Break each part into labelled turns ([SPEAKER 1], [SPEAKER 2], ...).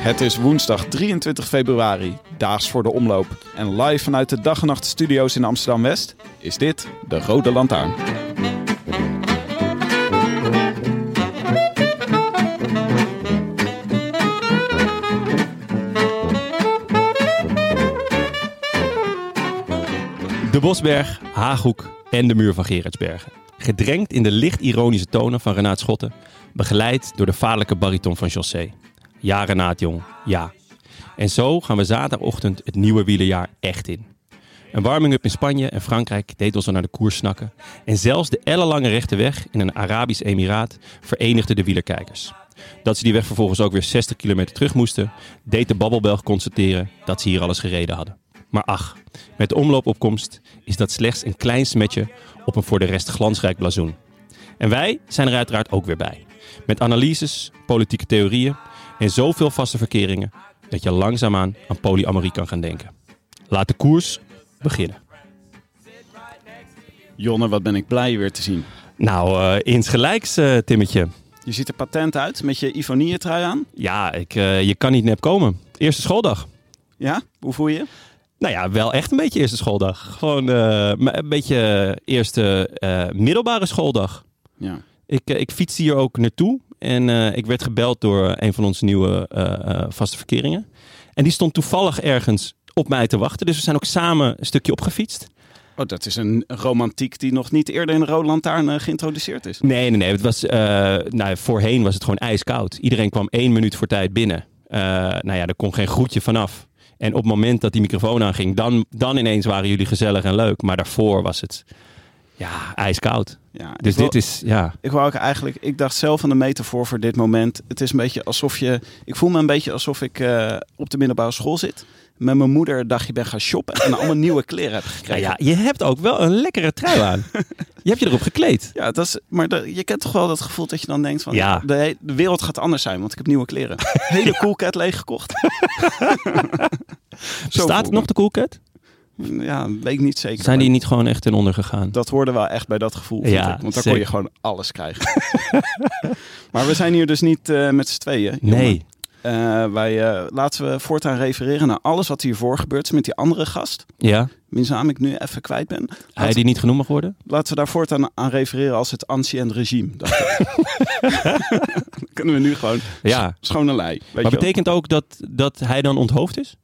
[SPEAKER 1] Het is woensdag 23 februari, daags voor de omloop. En live vanuit de dag en nacht studio's in Amsterdam-West is dit de Rode Lantaarn.
[SPEAKER 2] De Bosberg, Haaghoek en de muur van Geretsbergen. Gedrenkt in de licht ironische tonen van Renaat Schotten, begeleid door de vaderlijke bariton van José. Ja, Renaat jong, ja. En zo gaan we zaterdagochtend het nieuwe wielerjaar echt in. Een warming-up in Spanje en Frankrijk deed ons al naar de koers snakken. En zelfs de ellenlange rechte weg in een Arabisch emiraat verenigde de wielerkijkers. Dat ze die weg vervolgens ook weer 60 kilometer terug moesten, deed de Babbelbelg constateren dat ze hier alles gereden hadden. Maar ach, met de omloopopkomst is dat slechts een klein smetje op een voor de rest glansrijk blazoen. En wij zijn er uiteraard ook weer bij. Met analyses, politieke theorieën en zoveel vaste verkeringen dat je langzaamaan aan polyamorie kan gaan denken. Laat de koers beginnen.
[SPEAKER 1] Jonne, wat ben ik blij je weer te zien.
[SPEAKER 2] Nou, eh insgelijks, eh, Timmetje.
[SPEAKER 1] Je ziet er patent uit met je Ivonieën-trui aan.
[SPEAKER 2] Ja, ik, eh, je kan niet nep komen. Eerste schooldag.
[SPEAKER 1] Ja? Hoe voel je?
[SPEAKER 2] Nou ja, wel echt een beetje eerste schooldag. Gewoon eh, maar een beetje eerste eh, middelbare schooldag.
[SPEAKER 1] Ja.
[SPEAKER 2] Ik, eh, ik fietste hier ook naartoe. En eh, ik werd gebeld door een van onze nieuwe eh, eh, vaste verkeringen. En die stond toevallig ergens op mij te wachten. Dus we zijn ook samen een stukje opgefietst.
[SPEAKER 1] Oh, dat is een romantiek die nog niet eerder in de Rode Lantaarn eh, geïntroduceerd is.
[SPEAKER 2] Nee, nee, nee. Het was, eh, nou, voorheen was het gewoon ijskoud. Iedereen kwam één minuut voor tijd binnen. Eh, nou ja, er kon geen groetje vanaf. En op het moment dat die microfoon aanging, dan, dan ineens waren jullie gezellig en leuk. Maar daarvoor was het, ja, ijskoud.
[SPEAKER 1] Ja,
[SPEAKER 2] Dus
[SPEAKER 1] ik wil-
[SPEAKER 2] dit is, ja.
[SPEAKER 1] Ik wou ook eigenlijk, ik dacht zelf aan de metafoor voor dit moment. Het is een beetje alsof je, ik voel me een beetje alsof ik eh, op de middelbare school zit. Met mijn moeder een dagje ben gaan shoppen en allemaal nieuwe kleren heb
[SPEAKER 2] Nou
[SPEAKER 1] gekregen.
[SPEAKER 2] ja, je hebt ook wel een lekkere trui aan. je hebt je erop gekleed.
[SPEAKER 1] Ja, dat is, maar de- je kent toch wel dat gevoel dat je dan denkt van
[SPEAKER 2] Ja.
[SPEAKER 1] de, he- de wereld gaat anders zijn, want ik heb nieuwe kleren. Hele cool cat leeggekocht. Zo voel
[SPEAKER 2] Staat
[SPEAKER 1] ik
[SPEAKER 2] het nog de koelket?
[SPEAKER 1] me. Ja, weet ik niet zeker.
[SPEAKER 2] Zijn die
[SPEAKER 1] maar
[SPEAKER 2] niet gewoon echt ten onder gegaan?
[SPEAKER 1] Dat hoorde wel echt bij dat gevoel. vind
[SPEAKER 2] Ja,
[SPEAKER 1] ik, want daar kon
[SPEAKER 2] zeker.
[SPEAKER 1] je gewoon alles krijgen. maar we zijn hier dus niet eh, met z'n tweeën. jongen.
[SPEAKER 2] Nee.
[SPEAKER 1] Eh, wij, eh, laten we voortaan refereren naar alles wat hiervoor gebeurd is met die andere gast.
[SPEAKER 2] Ja?
[SPEAKER 1] Wiens naam ik nu even kwijt ben.
[SPEAKER 2] Hij die niet genoemd mag worden?
[SPEAKER 1] Laten we daar voortaan aan refereren als het ancien regime. dacht ik. Dan kunnen we nu gewoon
[SPEAKER 2] Ja.
[SPEAKER 1] schone lei. Weet je
[SPEAKER 2] Maar
[SPEAKER 1] wel.
[SPEAKER 2] betekent ook dat, dat hij dan onthoofd is?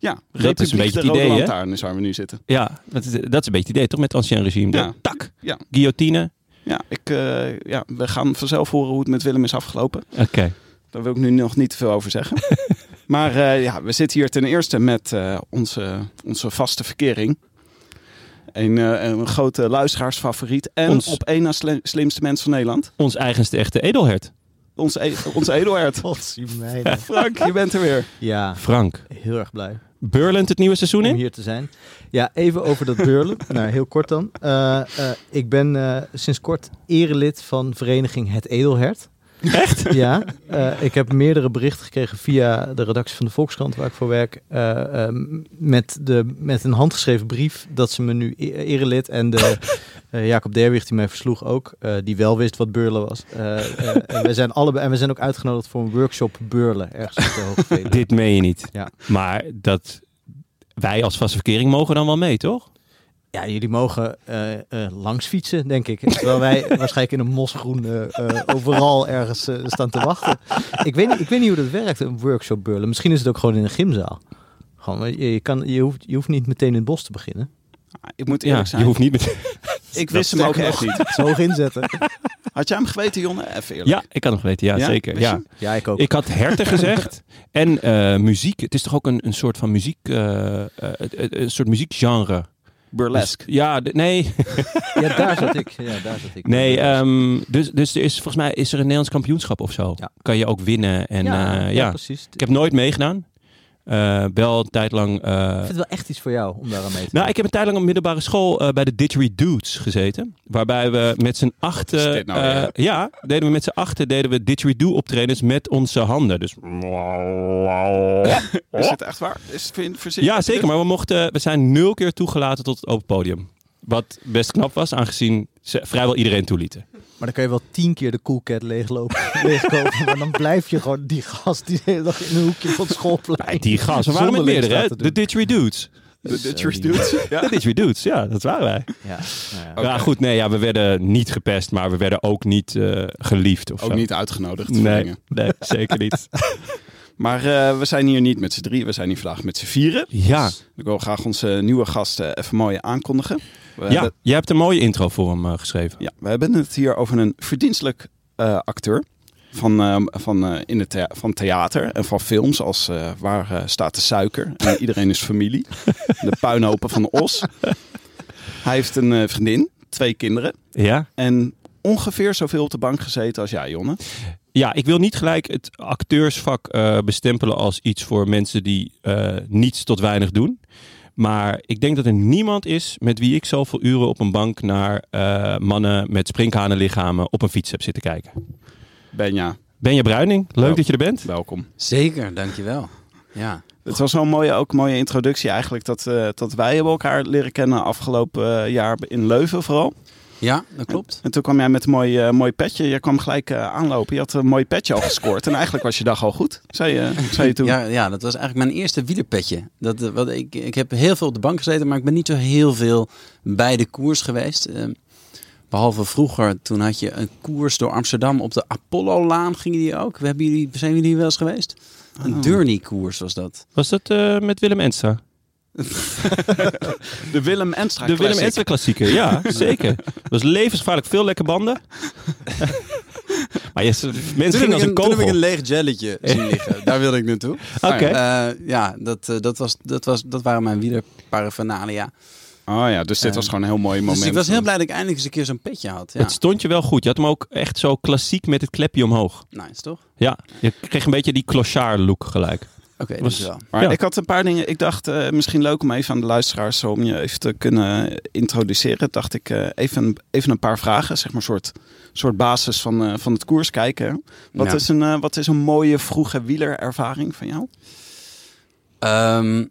[SPEAKER 1] Ja,
[SPEAKER 2] is een
[SPEAKER 1] dat is een
[SPEAKER 2] beetje
[SPEAKER 1] beetje
[SPEAKER 2] het
[SPEAKER 1] de rode
[SPEAKER 2] idee, hè?
[SPEAKER 1] lantaarn is waar we nu zitten.
[SPEAKER 2] Ja, dat is, dat is een beetje het idee, toch? Met het ancien regime.
[SPEAKER 1] Ja.
[SPEAKER 2] Dat- Tak.
[SPEAKER 1] Ja.
[SPEAKER 2] Guillotine.
[SPEAKER 1] Ja, ik, eh, ja, we gaan vanzelf horen hoe het met Willem is afgelopen.
[SPEAKER 2] Oké.
[SPEAKER 1] Daar wil ik nu nog niet te veel over zeggen. maar eh, ja, we zitten hier ten eerste met eh, onze, onze vaste verkering. Een, eh, een grote luisteraarsfavoriet. En
[SPEAKER 2] Ons-
[SPEAKER 1] op één na sli- slimste mens van Nederland.
[SPEAKER 2] Ons eigenste echte edelhert.
[SPEAKER 1] Onze, e- onze Edelhert.
[SPEAKER 2] Oh,
[SPEAKER 3] Godzijdank.
[SPEAKER 1] Frank, je bent er weer.
[SPEAKER 3] Ja,
[SPEAKER 2] Frank.
[SPEAKER 3] heel erg blij
[SPEAKER 2] Burlend het nieuwe seizoen
[SPEAKER 3] om
[SPEAKER 2] in?
[SPEAKER 3] hier te zijn. Ja, even over dat beurlen. nou, heel kort dan. Eh, eh, ik ben eh, sinds kort erelid van vereniging Het Edelhert. Echt? Ja. eh, ik heb meerdere berichten gekregen via de redactie van de Volkskrant, waar ik voor werk, eh, eh, met, de, met een handgeschreven brief dat ze me nu e- erelid en de eh, Jacob Derwig, die mij versloeg ook, eh, die wel wist wat beurlen was. Eh, eh, en, we zijn allebei, en we zijn ook uitgenodigd voor een workshop beurlen, ergens op de Hoge Veluwe.
[SPEAKER 2] Dit meen je niet.
[SPEAKER 3] Ja.
[SPEAKER 2] Maar dat wij als vaste verkering mogen dan wel mee, toch?
[SPEAKER 3] Ja, jullie mogen eh, eh, langs fietsen, denk ik. Terwijl wij waarschijnlijk in een mosgroen eh, eh, overal ergens eh, staan te wachten. Ik weet, niet, ik weet niet hoe dat werkt, een workshop beurlen. Misschien is het ook gewoon in een gymzaal. Gewoon, eh, je, je, kan, je, hoeft, je hoeft niet meteen in het bos te beginnen.
[SPEAKER 1] Ah, Ik moet
[SPEAKER 2] Ja,
[SPEAKER 1] eerlijk
[SPEAKER 2] je
[SPEAKER 1] zijn.
[SPEAKER 2] hoeft niet met...
[SPEAKER 1] ik wist hem ook echt niet.
[SPEAKER 3] Zo hoog inzetten.
[SPEAKER 1] Had jij hem geweten, Jonne? Even eerlijk.
[SPEAKER 2] Ja, ik kan nog weten. Ja,
[SPEAKER 1] Ja?
[SPEAKER 2] zeker.
[SPEAKER 1] Wist
[SPEAKER 2] Ja.
[SPEAKER 1] je?
[SPEAKER 3] Ja, ik ook.
[SPEAKER 2] Ik had herten gezegd. En eh, muziek. Het is toch ook een, een soort van muziek... eh, eh, eh, een soort muziekgenre.
[SPEAKER 1] Burlesque.
[SPEAKER 2] Dus- ja, d- nee.
[SPEAKER 3] Ja, daar zat ik. Ja, daar zat ik.
[SPEAKER 2] nee ehm, dus, dus er is volgens mij is er een Nederlands kampioenschap of zo.
[SPEAKER 3] Ja.
[SPEAKER 2] Kan je ook winnen. En,
[SPEAKER 3] ja,
[SPEAKER 2] eh,
[SPEAKER 3] ja,
[SPEAKER 2] ja.
[SPEAKER 3] precies.
[SPEAKER 2] Ik heb nooit meegedaan. Eh, wel een tijd lang... eh,
[SPEAKER 3] Ik vind het wel echt iets voor jou om daar aan mee te doen.
[SPEAKER 2] Nou, ik heb een tijd lang op middelbare school eh, bij de Didgeridoos gezeten. Waarbij we met z'n achten...
[SPEAKER 1] Wat is dit nou
[SPEAKER 2] eh,
[SPEAKER 1] weer?
[SPEAKER 2] ja, deden we met z'n achten deden we didgeridoo optredens met onze handen. Dus
[SPEAKER 1] Is het echt waar? Is het voor- voor zin-
[SPEAKER 2] ja, zeker. Maar we, mochten, we zijn nul keer toegelaten tot het open podium. Wat best knap was, aangezien ze vrijwel iedereen toelieten.
[SPEAKER 3] Maar dan kan je wel tien keer de coolcat leeglopen, leegkopen. Maar dan blijf je gewoon die gast die de hele dag in een hoekje van het schoolplein.
[SPEAKER 2] Die gasten we waren met
[SPEAKER 3] Zonderling
[SPEAKER 2] meerdere, hè?
[SPEAKER 3] staat
[SPEAKER 2] De
[SPEAKER 3] te doen.
[SPEAKER 2] Didgeridoos.
[SPEAKER 1] De Dutchers dude.
[SPEAKER 2] De
[SPEAKER 1] Ja.
[SPEAKER 2] Didgeridoos, ja, dat waren wij.
[SPEAKER 3] Ja, nou ja.
[SPEAKER 2] Ja, goed, nee, ja, we werden niet gepest, maar we werden ook niet eh, geliefd of zo.
[SPEAKER 1] Ook niet uitgenodigd. voor
[SPEAKER 2] Nee,
[SPEAKER 1] dingen.
[SPEAKER 2] nee, zeker niet.
[SPEAKER 1] Maar eh, we zijn hier niet met z'n drie. We zijn hier vandaag met z'n vieren.
[SPEAKER 2] Ja,
[SPEAKER 1] Ik wil graag onze nieuwe gasten even mooi aankondigen. We
[SPEAKER 2] ja
[SPEAKER 1] hebben,
[SPEAKER 2] jij hebt een mooie intro voor hem eh, geschreven.
[SPEAKER 1] ja, we hebben het hier over een verdienstelijk eh, acteur. Van, ehm, van, eh, in het thea- van theater en van films als eh, Waar eh, staat de suiker? En iedereen is familie. de puinhopen van Os. Hij heeft een eh, vriendin, twee kinderen.
[SPEAKER 2] Ja?
[SPEAKER 1] En ongeveer zoveel op de bank gezeten als jij, Jonne.
[SPEAKER 2] Ja, ik wil niet gelijk het acteursvak eh, bestempelen als iets voor mensen die eh, niets tot weinig doen. Maar ik denk dat er niemand is met wie ik zoveel uren op een bank naar eh, mannen met springhanenlichamen op een fiets heb zitten kijken.
[SPEAKER 1] Benja,
[SPEAKER 2] Benja Bruining, leuk
[SPEAKER 1] Ja.
[SPEAKER 2] dat je er bent.
[SPEAKER 1] welkom.
[SPEAKER 4] Zeker, dankjewel. Ja,
[SPEAKER 1] Het was zo'n mooie, ook een mooie introductie eigenlijk dat, eh, dat wij hebben elkaar leren kennen afgelopen eh, jaar in Leuven vooral.
[SPEAKER 4] ja dat klopt.
[SPEAKER 1] En toen kwam jij met een mooi, eh, mooi petje. Je kwam gelijk eh, aanlopen. Je had een mooi petje al gescoord. en eigenlijk was je dag al goed, zei je, zei je toen.
[SPEAKER 4] Ja, ja, dat was eigenlijk mijn eerste wielerpetje. Dat, eh, wat, ik, ik heb heel veel op de bank gezeten, maar ik ben niet zo heel veel bij de koers geweest. Ehm, behalve vroeger, toen had je een koers door Amsterdam op de Apollo-laan, gingen die ook. We hebben jullie, zijn jullie wel eens geweest? Een Journey-koers was dat.
[SPEAKER 2] Was dat eh, met Willem Enstra?
[SPEAKER 1] De Willem Enstra
[SPEAKER 4] Ah,
[SPEAKER 2] De Willem
[SPEAKER 1] Classic.
[SPEAKER 2] Enstra klassieker, ja, zeker. Dat was levensgevaarlijk, veel lekke banden. maar je, mensen gingen als een
[SPEAKER 4] toen heb ik
[SPEAKER 2] kogel.
[SPEAKER 4] een leeg jelletje zien liggen. Daar wilde ik naartoe.
[SPEAKER 2] Oké.
[SPEAKER 4] Eh, ja, dat, eh, dat, was, dat, was, dat waren mijn wielerparaphernalia.
[SPEAKER 1] Oh ja, dus dit was gewoon een heel mooi moment.
[SPEAKER 4] Dus ik was heel blij dat ik eindelijk eens een keer zo'n petje had. Ja.
[SPEAKER 2] Het stond je wel goed. Je had hem ook echt zo klassiek met het klepje omhoog.
[SPEAKER 4] Nice, toch?
[SPEAKER 2] Ja, je kreeg een beetje die clochard look gelijk.
[SPEAKER 4] Oké,
[SPEAKER 2] Was-
[SPEAKER 4] dus wel.
[SPEAKER 1] Maar
[SPEAKER 2] Ja.
[SPEAKER 1] ik had een paar dingen. Ik dacht eh, misschien leuk om even aan de luisteraars om je even te kunnen introduceren. Dacht ik eh, even, even een paar vragen, zeg maar soort, soort basis van, eh, van het koers kijken. Wat,
[SPEAKER 4] Ja.
[SPEAKER 1] is een, eh, wat is een mooie vroege wielerervaring van jou?
[SPEAKER 4] Ehm,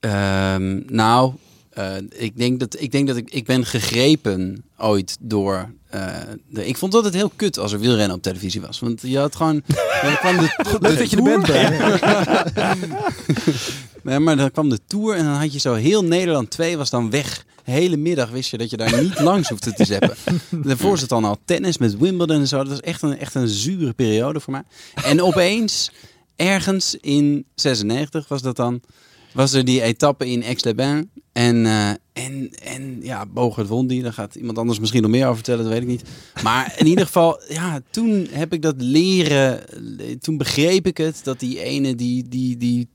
[SPEAKER 4] ehm, nou, eh, ik denk dat ik denk dat ik, ik ben gegrepen ooit door. eh, de, ik vond het altijd heel kut als er wielrennen op televisie was. Want je had gewoon. dan kwam de,
[SPEAKER 3] Leuk dat je er
[SPEAKER 4] Tour.
[SPEAKER 3] bent, Brian.
[SPEAKER 4] Nee, maar dan kwam de tour en dan had je zo heel Nederland 2 was dan weg. De hele middag wist je dat je daar niet langs hoefde te zeppen. Daarvoor zat dan al tennis met Wimbledon en zo. Dat was echt een, echt een zure periode voor mij. En opeens, ergens in 96 was dat dan, was er die etappe in Aix-les-Bains. En, eh, en, en ja, Bogert won die. Daar gaat iemand anders misschien nog meer over vertellen, dat weet ik niet. Maar in ieder geval, ja, toen heb ik dat leren. Toen begreep ik het, dat die ene, die, die, die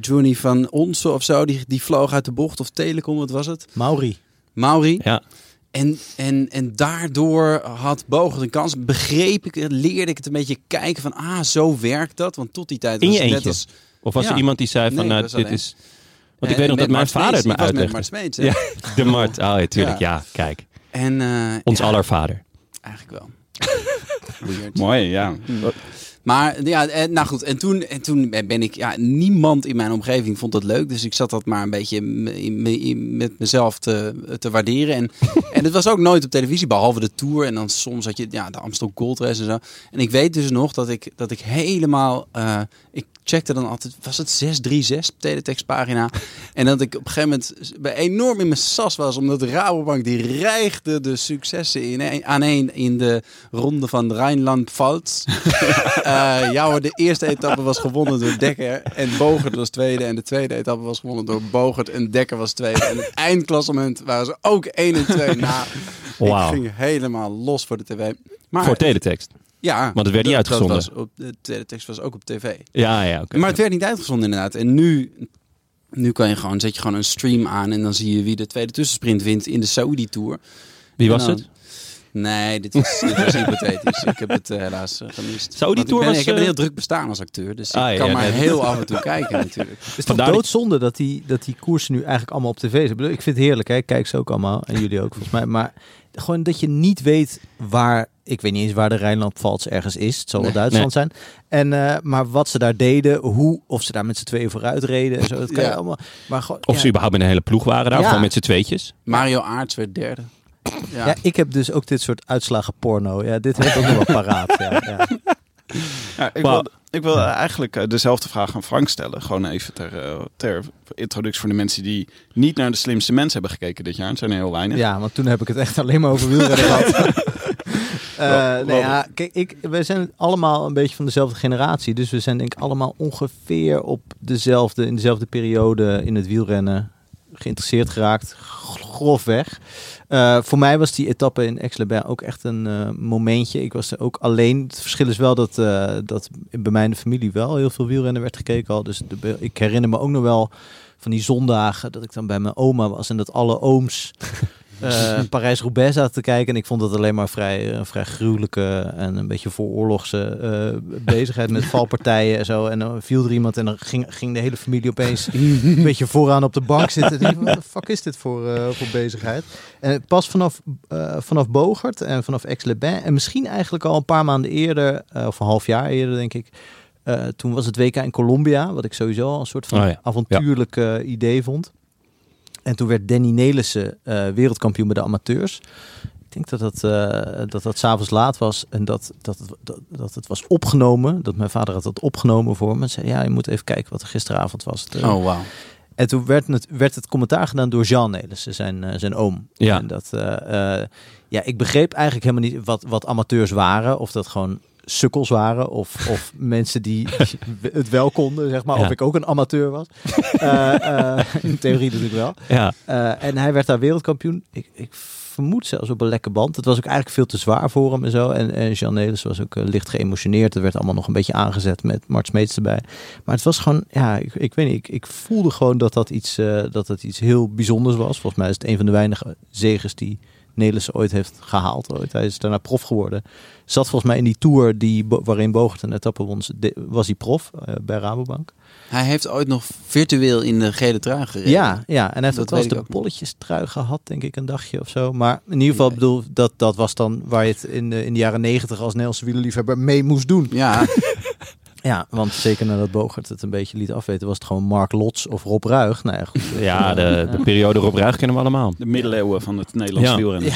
[SPEAKER 4] Johnny van Onsen of zo, die, die vloog uit de bocht. Of Telecom, wat was het?
[SPEAKER 3] Mauri.
[SPEAKER 4] Mauri.
[SPEAKER 2] Ja.
[SPEAKER 4] En, en, en daardoor had Bogert een kans. Begreep ik het, leerde ik het een beetje kijken van, ah, zo werkt dat. Want tot die tijd
[SPEAKER 2] In
[SPEAKER 4] was
[SPEAKER 2] je
[SPEAKER 4] het net
[SPEAKER 2] eentje?
[SPEAKER 4] als...
[SPEAKER 2] Of was er
[SPEAKER 4] Ja.
[SPEAKER 2] iemand die zei van,
[SPEAKER 4] Nee,
[SPEAKER 2] nou,
[SPEAKER 4] dat
[SPEAKER 2] dit
[SPEAKER 4] was alleen.
[SPEAKER 2] is... Want ik weet nog
[SPEAKER 4] met
[SPEAKER 2] dat mijn
[SPEAKER 4] Mart
[SPEAKER 2] vader het
[SPEAKER 4] Smeets.
[SPEAKER 2] me
[SPEAKER 4] Ik was met
[SPEAKER 2] uitlegde.
[SPEAKER 4] Mart Smeets, hè?
[SPEAKER 2] Ja, de Mart. Oh, ja, tuurlijk. Ja,
[SPEAKER 4] Ja.
[SPEAKER 2] kijk.
[SPEAKER 4] En, eh,
[SPEAKER 2] Ons
[SPEAKER 4] ja,
[SPEAKER 2] aller vader.
[SPEAKER 4] Eigenlijk wel. Weird.
[SPEAKER 1] Mooi, ja.
[SPEAKER 4] Maar ja, eh, nou goed. En toen, en toen ben ik, ja, niemand in mijn omgeving vond dat leuk. Dus ik zat dat maar een beetje m- in- in- met mezelf te, te waarderen. En, en het was ook nooit op televisie, behalve de tour. En dan soms had je ja, de Amstel Gold Race en zo. En ik weet dus nog dat ik, dat ik helemaal, eh, ik checkte dan altijd, was het 636 teletextpagina? en dat ik op een gegeven moment bij enorm in mijn sas was, omdat Rabobank die reigde de successen in, aan één in de ronde van Rijnland-Pfalz. Eh ja hoor, de eerste etappe was gewonnen door Dekker en Bogert was tweede. En de tweede etappe was gewonnen door Bogert en Dekker was tweede. En het eindklassement waren ze ook 1 en 2 na.
[SPEAKER 2] Wauw.
[SPEAKER 4] Ik ging helemaal los voor de tv. Maar,
[SPEAKER 2] Voor teletext.
[SPEAKER 4] ja,
[SPEAKER 2] Want het werd niet
[SPEAKER 4] dat- dat
[SPEAKER 2] uitgezonden.
[SPEAKER 4] was op, de teletext was ook op tv.
[SPEAKER 2] Ja, ja, oké.
[SPEAKER 4] Maar het werd niet uitgezonden inderdaad. En nu, nu kan je gewoon, zet je gewoon een stream aan en dan zie je wie de tweede tussensprint wint in de Saudi Tour.
[SPEAKER 2] Wie
[SPEAKER 4] En
[SPEAKER 2] was
[SPEAKER 4] dan-
[SPEAKER 2] het?
[SPEAKER 4] Nee, dit was, dit was hypothetisch. Ik heb het eh, helaas eh, gemist.
[SPEAKER 2] Saudi
[SPEAKER 4] Want ik
[SPEAKER 2] Tour
[SPEAKER 4] ben-
[SPEAKER 2] was,
[SPEAKER 4] Ik heb een
[SPEAKER 2] eh,
[SPEAKER 4] heel druk bestaan als acteur, dus
[SPEAKER 2] Ah,
[SPEAKER 4] ik kan
[SPEAKER 2] ja,
[SPEAKER 4] maar
[SPEAKER 2] nee.
[SPEAKER 4] heel af en toe kijken natuurlijk.
[SPEAKER 3] Het is
[SPEAKER 2] Vandaar
[SPEAKER 3] toch
[SPEAKER 2] dat-
[SPEAKER 3] doodzonde dat die, dat die koersen nu eigenlijk allemaal op tv zijn. Ik bedoel, Ik vind het heerlijk, hè? ik kijk ze ook allemaal. En jullie ook volgens mij. Maar gewoon dat je niet weet waar... Ik weet niet eens waar de Rijnland-Pfalz ergens is. Het zal wel
[SPEAKER 4] Nee.
[SPEAKER 3] Duitsland zijn. En, eh, maar wat ze daar deden, hoe... Of ze daar met z'n tweeën vooruit reden en zo. Dat kan
[SPEAKER 4] Ja.
[SPEAKER 3] je allemaal... Maar gewoon,
[SPEAKER 2] Of
[SPEAKER 3] ja.
[SPEAKER 2] ze überhaupt met een hele ploeg waren daar,
[SPEAKER 3] Ja.
[SPEAKER 2] of gewoon met z'n tweetjes.
[SPEAKER 4] Mario Aarts werd derde. Ja.
[SPEAKER 3] Ja, ik heb dus ook dit soort uitslagen porno. Ja, dit heb ik ook nog wel paraat. Ja, ja.
[SPEAKER 1] Ja, ik,
[SPEAKER 2] Wauw.
[SPEAKER 1] wil, ik wil eigenlijk eh, dezelfde vraag aan Frank stellen. Gewoon even ter, eh, ter introductie voor de mensen die niet naar de slimste mensen hebben gekeken dit jaar. Het zijn er heel weinig.
[SPEAKER 3] Ja, want toen heb ik het echt alleen maar over wielrennen gehad. Eh,
[SPEAKER 1] Wel-
[SPEAKER 3] nou ja, kijk, ik, we zijn allemaal een beetje van dezelfde generatie. Dus we zijn denk ik allemaal ongeveer op dezelfde, in dezelfde periode in het wielrennen geïnteresseerd geraakt. g- Grofweg. Eh, voor mij was die etappe in Aix-les-Bains ook echt een eh, momentje. Ik was er ook alleen. Het verschil is wel dat, eh, dat bij mij in de familie wel heel veel wielrennen werd gekeken al. Dus de be- ik herinner me ook nog wel van die zondagen dat ik dan bij mijn oma was en dat alle ooms eh, Parijs-Roubaix zaten te kijken. En ik vond dat alleen maar vrij, een vrij gruwelijke en een beetje vooroorlogse eh bezigheid met valpartijen en zo. En dan viel er iemand en dan ging, ging de hele familie opeens een beetje vooraan op de bank zitten. En ik, Wat de fuck is dit voor, eh, voor bezigheid? En pas vanaf, eh, vanaf Bogert en vanaf Aix-les-Bains en misschien eigenlijk al een paar maanden eerder, eh, of een half jaar eerder denk ik, eh, toen was het WK in Colombia, wat ik sowieso al een soort van
[SPEAKER 2] Oh ja.
[SPEAKER 3] avontuurlijk eh, idee vond. En toen werd Danny Nelissen eh, wereldkampioen bij de amateurs. Ik denk dat dat, eh, dat, dat s'avonds laat was en dat, dat, het- dat, dat het was opgenomen. Dat mijn vader had dat opgenomen voor me. En zei, ja, je moet even kijken wat er gisteravond was. Het, eh,
[SPEAKER 4] Oh, wauw.
[SPEAKER 3] en toen werd het, werd het commentaar gedaan door Jean Nelissen, zijn, eh, zijn oom.
[SPEAKER 2] Ja.
[SPEAKER 3] En dat, eh, eh, ja, ik begreep eigenlijk helemaal niet wat, wat amateurs waren. Of dat gewoon sukkels waren. Of, of mensen die het wel konden, zeg maar.
[SPEAKER 2] Ja.
[SPEAKER 3] Of ik ook een amateur was. Eh, eh, in theorie natuurlijk wel.
[SPEAKER 2] Ja.
[SPEAKER 3] Eh, en hij werd daar wereldkampioen. Ik, ik vermoed zelfs op een lekke band. Het was ook eigenlijk veel te zwaar voor hem en zo. En, en Jean Nelis was ook eh, licht geëmotioneerd. Het werd allemaal nog een beetje aangezet met Mart Smeets erbij. Maar het was gewoon, ja, ik, ik weet niet. Ik, ik voelde gewoon dat dat, iets, eh, dat dat iets heel bijzonders was. Volgens mij is het een van de weinige zegens die Nelissen ooit heeft gehaald. Ooit. Hij is daarna prof geworden. Zat volgens mij in die tour die, Bo- waarin Bogert een etappe won. de- Was hij prof eh, bij Rabobank.
[SPEAKER 4] Hij heeft ooit nog virtueel in de gele trui gereden.
[SPEAKER 3] Ja, ja. En hij heeft
[SPEAKER 4] Dat
[SPEAKER 3] ook wel eens
[SPEAKER 4] weet ik
[SPEAKER 3] de
[SPEAKER 4] ook nog.
[SPEAKER 3] bolletjes trui gehad, denk ik, een dagje of zo. Maar in ieder geval,
[SPEAKER 4] Nee.
[SPEAKER 3] bedoel, dat, dat was dan waar je het in de, in de jaren negentig als Nederlandse wielerliefhebber mee moest doen.
[SPEAKER 4] Ja,
[SPEAKER 3] Ja, want zeker nadat Bogert het een beetje liet afweten, was het gewoon Mark Lots of Rob Ruig. Nou ja, goed.
[SPEAKER 2] Ja, Ah, de, de
[SPEAKER 3] Ja.
[SPEAKER 2] periode Rob Ruig kennen we allemaal.
[SPEAKER 1] De middeleeuwen van het Nederlands
[SPEAKER 2] Ja.
[SPEAKER 1] wielrennen.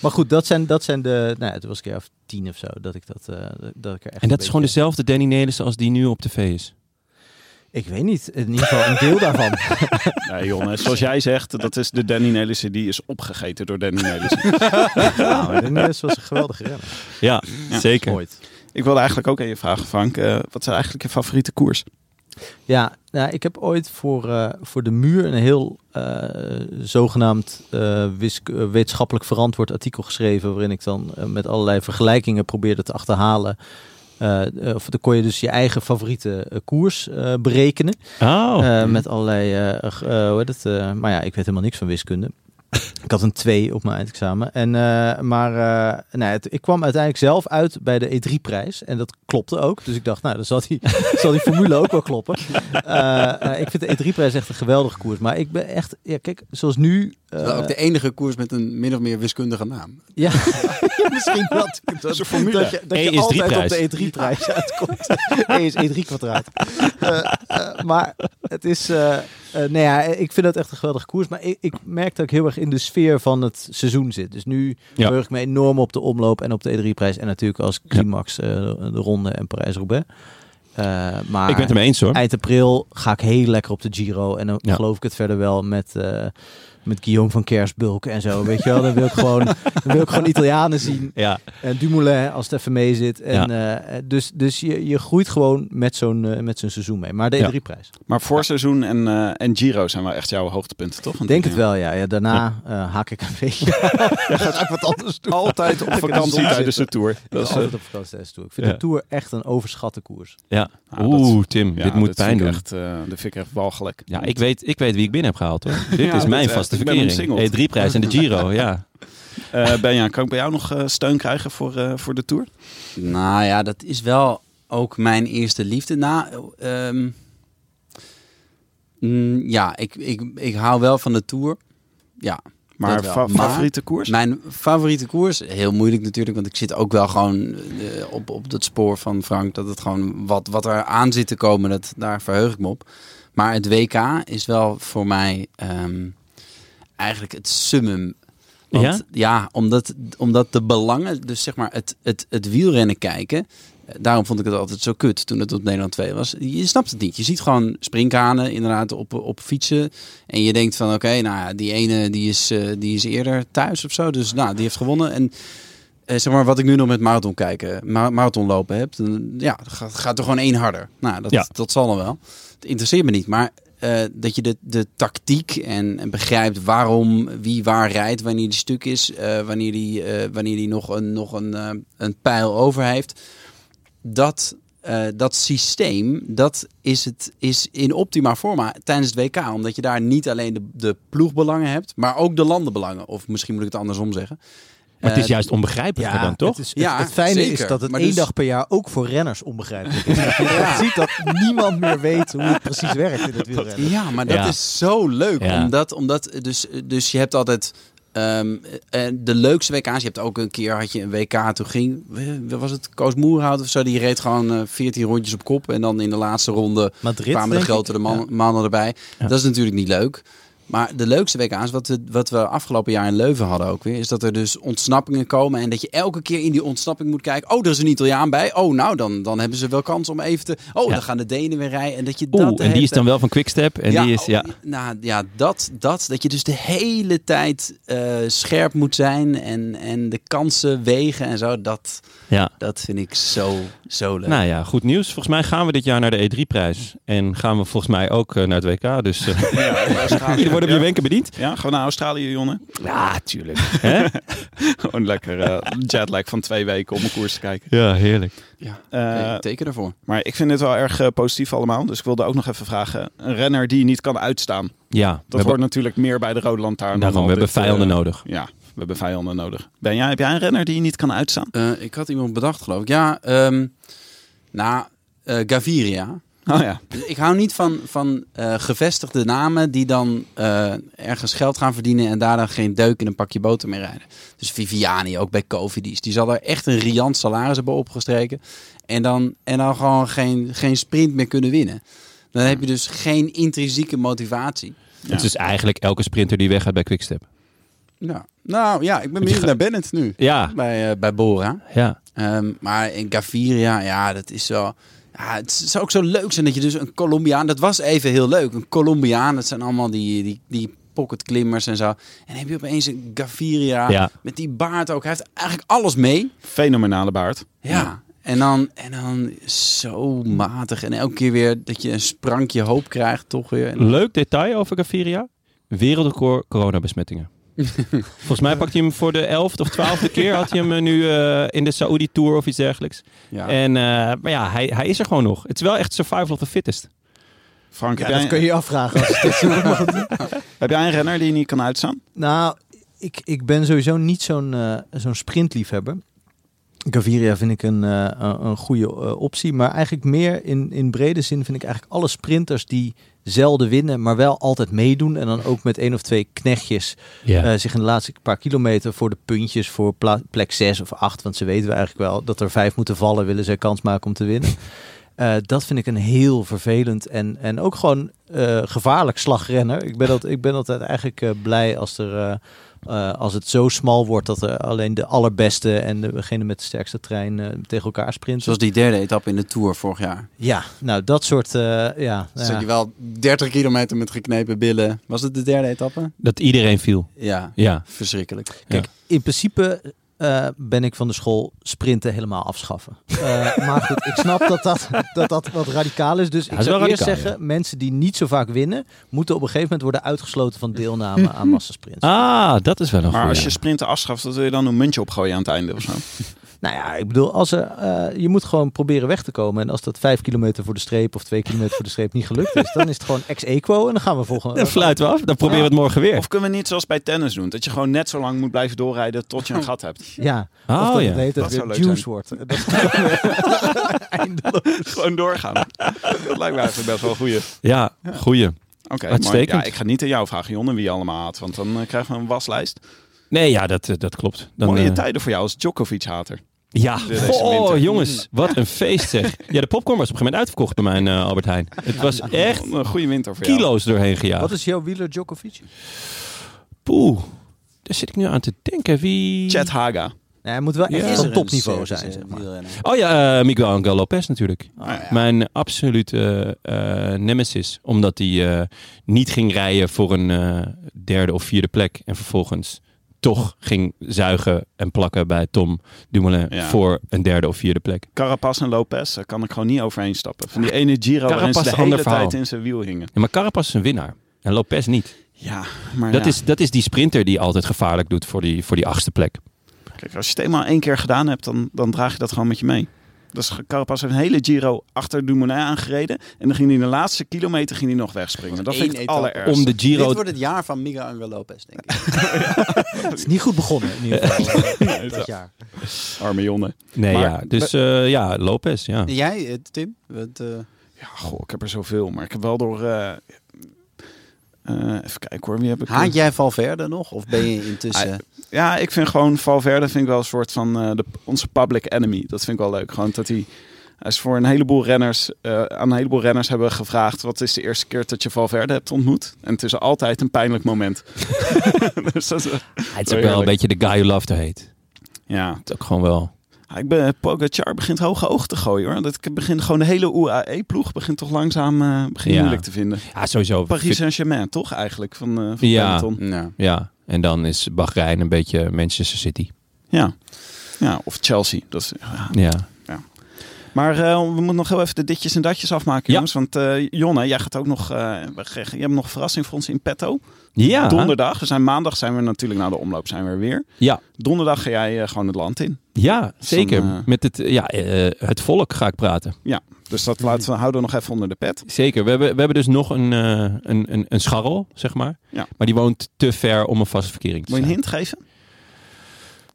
[SPEAKER 3] Maar goed, dat zijn, dat zijn de... Nou ja, toen was ik een jaar of tien of zo, dat ik dat... eh, dat ik er echt
[SPEAKER 2] En
[SPEAKER 3] een
[SPEAKER 2] dat is gewoon
[SPEAKER 3] beetje-
[SPEAKER 2] dezelfde Danny Nelissen als die nu op tv is.
[SPEAKER 3] Ik weet niet, in ieder geval een deel daarvan.
[SPEAKER 1] Nee, Jonne, zoals jij zegt, dat is de Danny Nelissen die is opgegeten door Danny Nelissen.
[SPEAKER 3] Nou, en dat was een geweldige renner.
[SPEAKER 2] Ja, zeker.
[SPEAKER 3] Ooit.
[SPEAKER 1] ik wilde eigenlijk ook aan je vragen, Frank. eh, wat is eigenlijk je favoriete koers?
[SPEAKER 3] Ja, nou, ik heb ooit voor, eh, voor de muur een heel eh, zogenaamd eh, wisk- eh, wetenschappelijk verantwoord artikel geschreven. Waarin ik dan eh, met allerlei vergelijkingen probeerde te achterhalen. eh, eh, of dan kon je dus je eigen favoriete eh, koers eh, berekenen.
[SPEAKER 2] Oh,
[SPEAKER 3] Eh, met allerlei, eh, g- eh, hoe heet het? eh, maar ja, ik weet helemaal niks van wiskunde. ik had een 2 op mijn eindexamen. En, eh, maar eh, nou, ja, het- ik kwam uiteindelijk zelf uit bij de E3-prijs. En dat klopte ook. Dus ik dacht, nou, dan zal die, zal die formule ook wel kloppen. Eh, eh, ik vind de E3-prijs echt een geweldige koers. Maar ik ben echt, ja, kijk, zoals nu. eh,
[SPEAKER 4] dat is ook de enige koers met een min of meer wiskundige naam.
[SPEAKER 3] ja, Ja, misschien dat. Dat
[SPEAKER 1] is een formule.
[SPEAKER 3] Dat je, dat
[SPEAKER 2] E
[SPEAKER 3] je
[SPEAKER 2] is
[SPEAKER 3] altijd op
[SPEAKER 2] drieprijs.
[SPEAKER 3] de E3-prijs uitkomt. E is E3-kwadraat. eh, maar het is... eh, eh, nou ja, ik vind dat echt een geweldige koers. Maar ik, ik merk dat ik heel erg in de sfeer van het seizoen zit. Dus nu
[SPEAKER 2] Ja.
[SPEAKER 3] verheug ik me E enorm op de omloop en op de E3-prijs. En natuurlijk als climax eh, de ronde en Parijs-Roubaix. Eh, maar
[SPEAKER 2] Ik ben het ermee eens hoor.
[SPEAKER 3] eind april ga ik heel lekker op de Giro. En dan
[SPEAKER 2] Ja.
[SPEAKER 3] geloof ik het verder wel met, eh, met Guillaume van Kersbulk en zo. Weet je wel, dan wil ik gewoon, dan wil ik gewoon Italianen zien.
[SPEAKER 2] Ja,
[SPEAKER 3] En Dumoulin als het even mee zit. En, eh, dus dus je, je groeit gewoon met zo'n eh, met zo'n seizoen mee. Maar de
[SPEAKER 2] Ja.
[SPEAKER 3] E3-prijs.
[SPEAKER 1] Maar voorseizoen en, eh, en Giro zijn wel echt jouw hoogtepunten, toch?
[SPEAKER 3] Ik denk het wel, ja. ja daarna eh, haak ik een beetje. Dan ga ik wat anders doen.
[SPEAKER 1] Altijd op vakantie tijdens de Tour. Dat
[SPEAKER 3] Dat
[SPEAKER 1] is,
[SPEAKER 3] is
[SPEAKER 1] eh,
[SPEAKER 3] altijd op vakantie tijdens de Tour. Ik vind
[SPEAKER 2] Ja.
[SPEAKER 3] de Tour echt een overschatte koers.
[SPEAKER 2] ja.
[SPEAKER 1] Ah,
[SPEAKER 2] Oeh,
[SPEAKER 1] dat-
[SPEAKER 2] Tim,
[SPEAKER 1] ja,
[SPEAKER 2] dit moet
[SPEAKER 1] dat vind
[SPEAKER 2] pijn
[SPEAKER 1] ik
[SPEAKER 2] doen.
[SPEAKER 1] Echt, eh dat vind ik echt walgelijk.
[SPEAKER 2] Ja, ik weet, ik weet wie ik binnen heb gehaald hoor. Dit is
[SPEAKER 1] dat
[SPEAKER 2] mijn
[SPEAKER 1] is-
[SPEAKER 2] vaste
[SPEAKER 1] ik ben
[SPEAKER 2] verkering.
[SPEAKER 1] omsingeld.
[SPEAKER 2] E3-prijs en de Giro, ja.
[SPEAKER 1] Eh, Benja, kan ik bij jou nog eh, steun krijgen voor, eh, voor de Tour?
[SPEAKER 4] Nou ja, dat is wel ook mijn eerste liefde. Na, ehm, mm, ja, ik, ik, ik hou wel van de Tour. Ja,
[SPEAKER 1] Maar
[SPEAKER 4] dat wel.
[SPEAKER 1] fa-
[SPEAKER 4] Maar
[SPEAKER 1] favoriete koers?
[SPEAKER 4] Mijn favoriete koers, heel moeilijk natuurlijk, want ik zit ook wel gewoon eh, op, op dat spoor van Frank. Dat het gewoon wat, wat er aan zit te komen, dat, daar verheug ik me op. Maar het WK is wel voor mij ehm, eigenlijk het summum. Want,
[SPEAKER 2] Ja?
[SPEAKER 4] ja, omdat, omdat de belangen, dus zeg maar het, het, het wielrennen kijken. eh, Daarom vond ik het altijd zo kut toen het op Nederland 2 was. Je snapt het niet. Je ziet gewoon springkanen inderdaad op, op fietsen. En je denkt van oké, nou ja, die ene die is, eh, die is eerder thuis of zo. Dus nou, die heeft gewonnen. En eh, zeg maar wat ik nu nog met marathon kijken, ma- marathon lopen heb. Dan, ja, gaat, gaat er gewoon één harder. Nou, dat,
[SPEAKER 2] Ja.
[SPEAKER 4] dat zal dan wel. Het interesseert me niet. Maar eh, dat je de, de tactiek en, en begrijpt waarom wie waar rijdt, wanneer die stuk is, eh, wanneer die, eh, wanneer die nog, een, nog een, eh, een pijl over heeft. Dat, eh, dat systeem, dat is, het, is in optima forma tijdens het WK. Omdat je daar niet alleen de, de ploegbelangen hebt, maar ook de landenbelangen. Of misschien moet ik het andersom zeggen.
[SPEAKER 2] Maar het is
[SPEAKER 4] Eh,
[SPEAKER 2] juist onbegrijpelijker dan, toch?
[SPEAKER 3] Het, is, het-
[SPEAKER 4] Ja,
[SPEAKER 3] het fijne is
[SPEAKER 4] zeker.
[SPEAKER 3] dat het
[SPEAKER 4] Maar
[SPEAKER 3] één
[SPEAKER 4] dus-
[SPEAKER 3] dag per jaar ook voor renners onbegrijpelijk is. Je ziet dat niemand meer weet hoe het precies werkt in het wielrennen.
[SPEAKER 4] Ja, maar dat
[SPEAKER 2] Ja.
[SPEAKER 4] is zo leuk.
[SPEAKER 2] Ja.
[SPEAKER 4] Omdat, omdat dus, dus je hebt altijd ehm, eh, de leukste WK's. Je hebt ook een keer had je een WK, toen ging, eh, was het Koos Moerhout of zo, die reed gewoon eh, 14 rondjes op kop. En dan in de laatste ronde
[SPEAKER 3] Madrid,
[SPEAKER 4] kwamen de
[SPEAKER 3] denk ik.
[SPEAKER 4] grotere man- mannen erbij. Dat is natuurlijk niet leuk. Maar de leukste WK's, wat we, wat we afgelopen jaar in Leuven hadden ook weer, is dat er dus ontsnappingen komen. En dat je elke keer in die ontsnapping moet kijken. Oh, er is een Italiaan bij. Oh, nou, dan, dan hebben ze wel kans om even te. Oh,
[SPEAKER 2] Ja.
[SPEAKER 4] dan gaan de Denen weer rijden. En dat je dat.
[SPEAKER 2] Oeh,
[SPEAKER 4] de
[SPEAKER 2] en die
[SPEAKER 4] hele
[SPEAKER 2] is dan wel van Quickstep. En die is,
[SPEAKER 4] oh,
[SPEAKER 2] ja.
[SPEAKER 4] Nou ja, dat, dat, dat je dus de hele tijd eh, scherp moet zijn en, en de kansen wegen en zo, dat,
[SPEAKER 2] ja.
[SPEAKER 4] dat vind ik zo, zo leuk.
[SPEAKER 2] Nou ja, goed nieuws. Volgens mij gaan we dit jaar naar de E3-prijs. En gaan we volgens mij ook eh, naar het WK. Dus eh, jullie worden op je wenken bediend.
[SPEAKER 1] Ja, gaan we naar Australië, Jonne? Ja, tuurlijk.
[SPEAKER 2] Hè?
[SPEAKER 1] Gewoon lekker eh, jetlag van twee weken om een koers te kijken.
[SPEAKER 2] Ja, heerlijk.
[SPEAKER 1] Eh,
[SPEAKER 4] Nee, teken ervoor.
[SPEAKER 1] maar ik vind dit wel erg eh, positief allemaal. Dus ik wilde ook nog even vragen. Een renner die je niet kan uitstaan.
[SPEAKER 2] Ja, we
[SPEAKER 1] Dat
[SPEAKER 2] hebben-
[SPEAKER 1] hoort natuurlijk meer bij de Rode Lantaarn. dan
[SPEAKER 2] daarom,
[SPEAKER 1] al
[SPEAKER 2] we hebben
[SPEAKER 1] dit, eh,
[SPEAKER 2] vijanden nodig.
[SPEAKER 1] Ja, we hebben vijanden nodig. Benja, heb jij een renner die je niet kan uitstaan?
[SPEAKER 4] Eh, ik had iemand bedacht, geloof ik. Ja, ehm nou, eh, Gaviria.
[SPEAKER 1] Oh ja.
[SPEAKER 4] Dus Ik hou niet van, van eh, gevestigde namen die dan eh, ergens geld gaan verdienen en daar dan geen deuk in een pakje boter mee rijden. Dus Viviani ook bij Covidis. Die zal er echt een riant salaris hebben opgestreken. En dan, en dan gewoon geen, geen sprint meer kunnen winnen. Dan heb je dus geen intrinsieke motivatie.
[SPEAKER 2] Het is dus eigenlijk elke sprinter die weggaat bij Quickstep.
[SPEAKER 4] Ja. Nou ja, ik ben benieuwd naar Bennett nu.
[SPEAKER 2] Ja,
[SPEAKER 4] Bij, eh, bij Bora.
[SPEAKER 2] ja.
[SPEAKER 4] Ehm, maar in Gaviria, ja, dat is zo. Ja, het zou ook zo leuk zijn dat je dus een Colombiaan. Dat was even heel leuk. Een Colombiaan, dat zijn allemaal die, die, die pocketklimmers en zo. En dan heb je opeens een Gaviria
[SPEAKER 2] Ja.
[SPEAKER 4] met die baard ook. Hij heeft eigenlijk alles mee.
[SPEAKER 1] Fenomenale baard.
[SPEAKER 4] Ja. En, dan, en dan zo matig. En elke keer weer dat je een sprankje hoop krijgt, toch weer.
[SPEAKER 3] Mm.
[SPEAKER 4] En-
[SPEAKER 2] Leuk detail over Gaviria. Wereldrecord coronabesmettingen. Volgens mij pakt hij hem voor de elfde of twaalfde keer. Had hij hem eh, nu eh, in de Saudi Tour of iets dergelijks.
[SPEAKER 4] Ja.
[SPEAKER 2] En, eh, maar ja, hij, hij is er gewoon nog. Het is wel echt survival of the fittest.
[SPEAKER 1] Frank,
[SPEAKER 3] Ja,
[SPEAKER 1] heb,
[SPEAKER 3] dat
[SPEAKER 1] jij,
[SPEAKER 3] kun je je afvragen. Als het is.
[SPEAKER 1] heb jij een renner die je niet kan uitstaan?
[SPEAKER 3] nou, ik, ik ben sowieso niet zo'n eh, zo'n sprintliefhebber. Gaviria vind ik een, eh, een een goede eh, optie. Maar eigenlijk meer in, in brede zin vind ik eigenlijk alle sprinters die zelden winnen, maar wel altijd meedoen. En dan ook met één of twee knechtjes eh, zich in de laatste paar kilometer voor de puntjes voor pla- plek 6 of 8. Want ze weten we eigenlijk wel dat er vijf moeten vallen, willen ze kans maken om te winnen. Eh, dat vind ik een heel vervelend en, en ook gewoon eh, gevaarlijk slagrenner. Ik ben, dat, ik ben altijd eigenlijk eh, blij als, er, eh, eh, als het zo smal wordt dat er alleen de allerbeste en degene met de sterkste trein eh, tegen elkaar sprinten.
[SPEAKER 4] Zoals die derde etappe in de Tour vorig jaar.
[SPEAKER 3] Ja, nou dat soort... eh, ja,
[SPEAKER 4] Dus
[SPEAKER 3] ja.
[SPEAKER 4] dat je wel 30 kilometer met geknepen billen. Was het de derde etappe?
[SPEAKER 2] Dat iedereen viel.
[SPEAKER 4] Ja,
[SPEAKER 2] Ja.
[SPEAKER 4] verschrikkelijk.
[SPEAKER 2] Ja.
[SPEAKER 3] in principe eh, ben ik van de school sprinten helemaal afschaffen. Eh, maar goed, ik snap dat dat, dat dat wat radicaal is. Dus
[SPEAKER 2] hij
[SPEAKER 3] ik
[SPEAKER 2] is
[SPEAKER 3] zou
[SPEAKER 2] wel
[SPEAKER 3] eerst
[SPEAKER 2] radicaal,
[SPEAKER 3] zeggen, mensen die niet zo vaak winnen... moeten op een gegeven moment worden uitgesloten van deelname aan massasprints.
[SPEAKER 2] Ah, dat is wel een
[SPEAKER 1] Maar
[SPEAKER 2] goede.
[SPEAKER 1] als je sprinten afschaft, dan wil je dan een muntje opgooien aan het einde of zo.
[SPEAKER 3] Nou ja, ik bedoel, als er, eh, je moet gewoon proberen weg te komen. En als dat vijf kilometer voor de streep of twee kilometer voor de streep niet gelukt is... dan is het gewoon ex-equo en dan gaan we volgende...
[SPEAKER 2] Dan fluiten we af. Dan proberen we het morgen weer.
[SPEAKER 1] Of kunnen we niet zoals bij tennis doen? Dat je gewoon net zo lang moet blijven doorrijden tot je een gat hebt.
[SPEAKER 3] Ja,
[SPEAKER 2] Oh,
[SPEAKER 3] of dat
[SPEAKER 2] ja.
[SPEAKER 3] het de hele tijd
[SPEAKER 1] Dat zou
[SPEAKER 3] weer
[SPEAKER 1] leuk
[SPEAKER 3] juice
[SPEAKER 1] zijn.
[SPEAKER 3] wordt. Dat is weer eindeloos.
[SPEAKER 1] Gewoon doorgaan. Dat lijkt me eigenlijk best wel een goeie.
[SPEAKER 2] Ja, goeie.
[SPEAKER 1] Oké, maar
[SPEAKER 2] Uitstekend.
[SPEAKER 1] ja, ik ga niet aan jou vragen, Jonne, wie je allemaal haat. Want dan eh, krijgen we een waslijst.
[SPEAKER 2] Nee, ja, dat, eh, dat klopt. Dan,
[SPEAKER 1] Mooie
[SPEAKER 2] eh,
[SPEAKER 1] tijden voor jou als Djokovic-hater.
[SPEAKER 2] Ja,
[SPEAKER 1] deze
[SPEAKER 2] oh
[SPEAKER 1] winter.
[SPEAKER 2] jongens, wat een feest zeg. Ja, de popcorn was op een gegeven moment uitverkocht bij mijn eh, Albert Heijn. Het was echt
[SPEAKER 1] Een goede winter voor jou.
[SPEAKER 2] kilo's doorheen gejaagd.
[SPEAKER 3] Wat is jouw wieler Djokovic? Nou,
[SPEAKER 2] Poeh, daar zit ik nu aan te denken. Wie...
[SPEAKER 1] Chad Haga.
[SPEAKER 3] Nee, hij moet wel echt
[SPEAKER 2] Ja.
[SPEAKER 4] Is
[SPEAKER 3] van
[SPEAKER 4] er een
[SPEAKER 3] topniveau
[SPEAKER 4] Servische
[SPEAKER 3] zijn, zeg maar.
[SPEAKER 4] wielrenner?
[SPEAKER 2] Oh ja, eh, Miguel Angel Lopez natuurlijk.
[SPEAKER 1] Oh, ja.
[SPEAKER 2] Mijn absolute eh, eh, nemesis. Omdat hij eh, niet ging rijden voor een eh, derde of vierde plek. En vervolgens toch ging zuigen en plakken bij Tom Dumoulin
[SPEAKER 1] Ja.
[SPEAKER 2] voor een derde of vierde plek.
[SPEAKER 1] Carapaz en Lopez, daar kan ik gewoon niet overheen stappen. Van die ene Giro waarin ze
[SPEAKER 2] Carapaz,
[SPEAKER 1] de
[SPEAKER 2] ander
[SPEAKER 1] hele
[SPEAKER 2] verhaal.
[SPEAKER 1] tijd in zijn wiel hingen.
[SPEAKER 2] Ja, maar Carapaz is een winnaar. En Lopez niet.
[SPEAKER 1] Ja, maar
[SPEAKER 2] Dat,
[SPEAKER 1] ja.
[SPEAKER 2] is, dat is die sprinter die altijd gevaarlijk doet voor die, voor die achtste plek.
[SPEAKER 1] Kijk, als je het eenmaal één keer gedaan hebt, dan, dan draag je dat gewoon met je mee. Dus Carapaz heeft een hele Giro achter Dumoulin aangereden. En dan ging hij in de laatste kilometer ging hij nog wegspringen. Dat
[SPEAKER 4] Eén
[SPEAKER 1] vind ik het
[SPEAKER 4] etappe.
[SPEAKER 1] allerergste.
[SPEAKER 2] Om de
[SPEAKER 4] Dit
[SPEAKER 2] Giro
[SPEAKER 4] wordt het jaar van Miguel Angel Lopez, denk ik.
[SPEAKER 3] Het is niet goed begonnen in ieder geval eh, dat jaar.
[SPEAKER 1] Arme jongen.
[SPEAKER 2] Nee,
[SPEAKER 1] Maar-
[SPEAKER 2] ja. Dus eh, ja, Lopez, ja.
[SPEAKER 4] En jij, eh, Tim? Wat, eh,
[SPEAKER 1] Ja, goh, ik heb er zoveel. Maar ik heb wel door... eh, eh, even kijken hoor, wie heb ik... er?
[SPEAKER 4] haat jij Valverde nog? Of ben je intussen...
[SPEAKER 1] Ja, ik vind gewoon Valverde vind ik wel een soort van eh, de, onze public enemy. Dat vind ik wel leuk. Gewoon dat hij, hij is voor een heleboel renners, eh, aan een heleboel renners hebben we gevraagd: wat is de eerste keer dat je Valverde hebt ontmoet? En het is altijd een pijnlijk moment. dus dat is, eh,
[SPEAKER 2] Hij is
[SPEAKER 1] wel
[SPEAKER 2] ook wel een
[SPEAKER 1] eerlijk.
[SPEAKER 2] beetje de guy who loved to hate.
[SPEAKER 1] ja,
[SPEAKER 2] Het is ook gewoon wel...
[SPEAKER 1] Ah, ik ben Pogacar begint hoge ogen te gooien hoor. Dat ik begin gewoon de hele UAE-ploeg begint toch langzaam eh begin
[SPEAKER 2] Ja.
[SPEAKER 1] moeilijk te vinden.
[SPEAKER 2] Ja, sowieso.
[SPEAKER 1] Paris Saint-Germain, toch eigenlijk van, eh van
[SPEAKER 2] Ja.
[SPEAKER 1] peloton?
[SPEAKER 4] Nou,
[SPEAKER 2] Ja, en dan is Bahrein een beetje Manchester City.
[SPEAKER 1] Ja. Ja, of Chelsea. Dat is, ja,
[SPEAKER 2] Ja.
[SPEAKER 1] Maar eh, we moeten nog heel even de ditjes en datjes afmaken,
[SPEAKER 2] Ja.
[SPEAKER 1] jongens. Want eh, Jonne, jij gaat ook nog. eh, we krijgen- je hebt nog een verrassing voor ons in petto.
[SPEAKER 2] Ja.
[SPEAKER 1] Donderdag. We zijn maandag zijn we natuurlijk na de omloop zijn we er weer.
[SPEAKER 2] Ja.
[SPEAKER 1] Donderdag ga jij eh, gewoon het land in.
[SPEAKER 2] Ja, zeker.
[SPEAKER 1] Dan, eh,
[SPEAKER 2] Met het, ja, eh, het volk ga ik praten.
[SPEAKER 1] Dus dat laten we houden we nog even onder de pet.
[SPEAKER 2] Zeker. We hebben, we hebben dus nog een, eh, een, een, een scharrel, zeg maar.
[SPEAKER 1] Ja.
[SPEAKER 2] Maar die woont te ver om een vaste verkering te
[SPEAKER 1] Moet je
[SPEAKER 2] zijn.
[SPEAKER 1] een hint geven?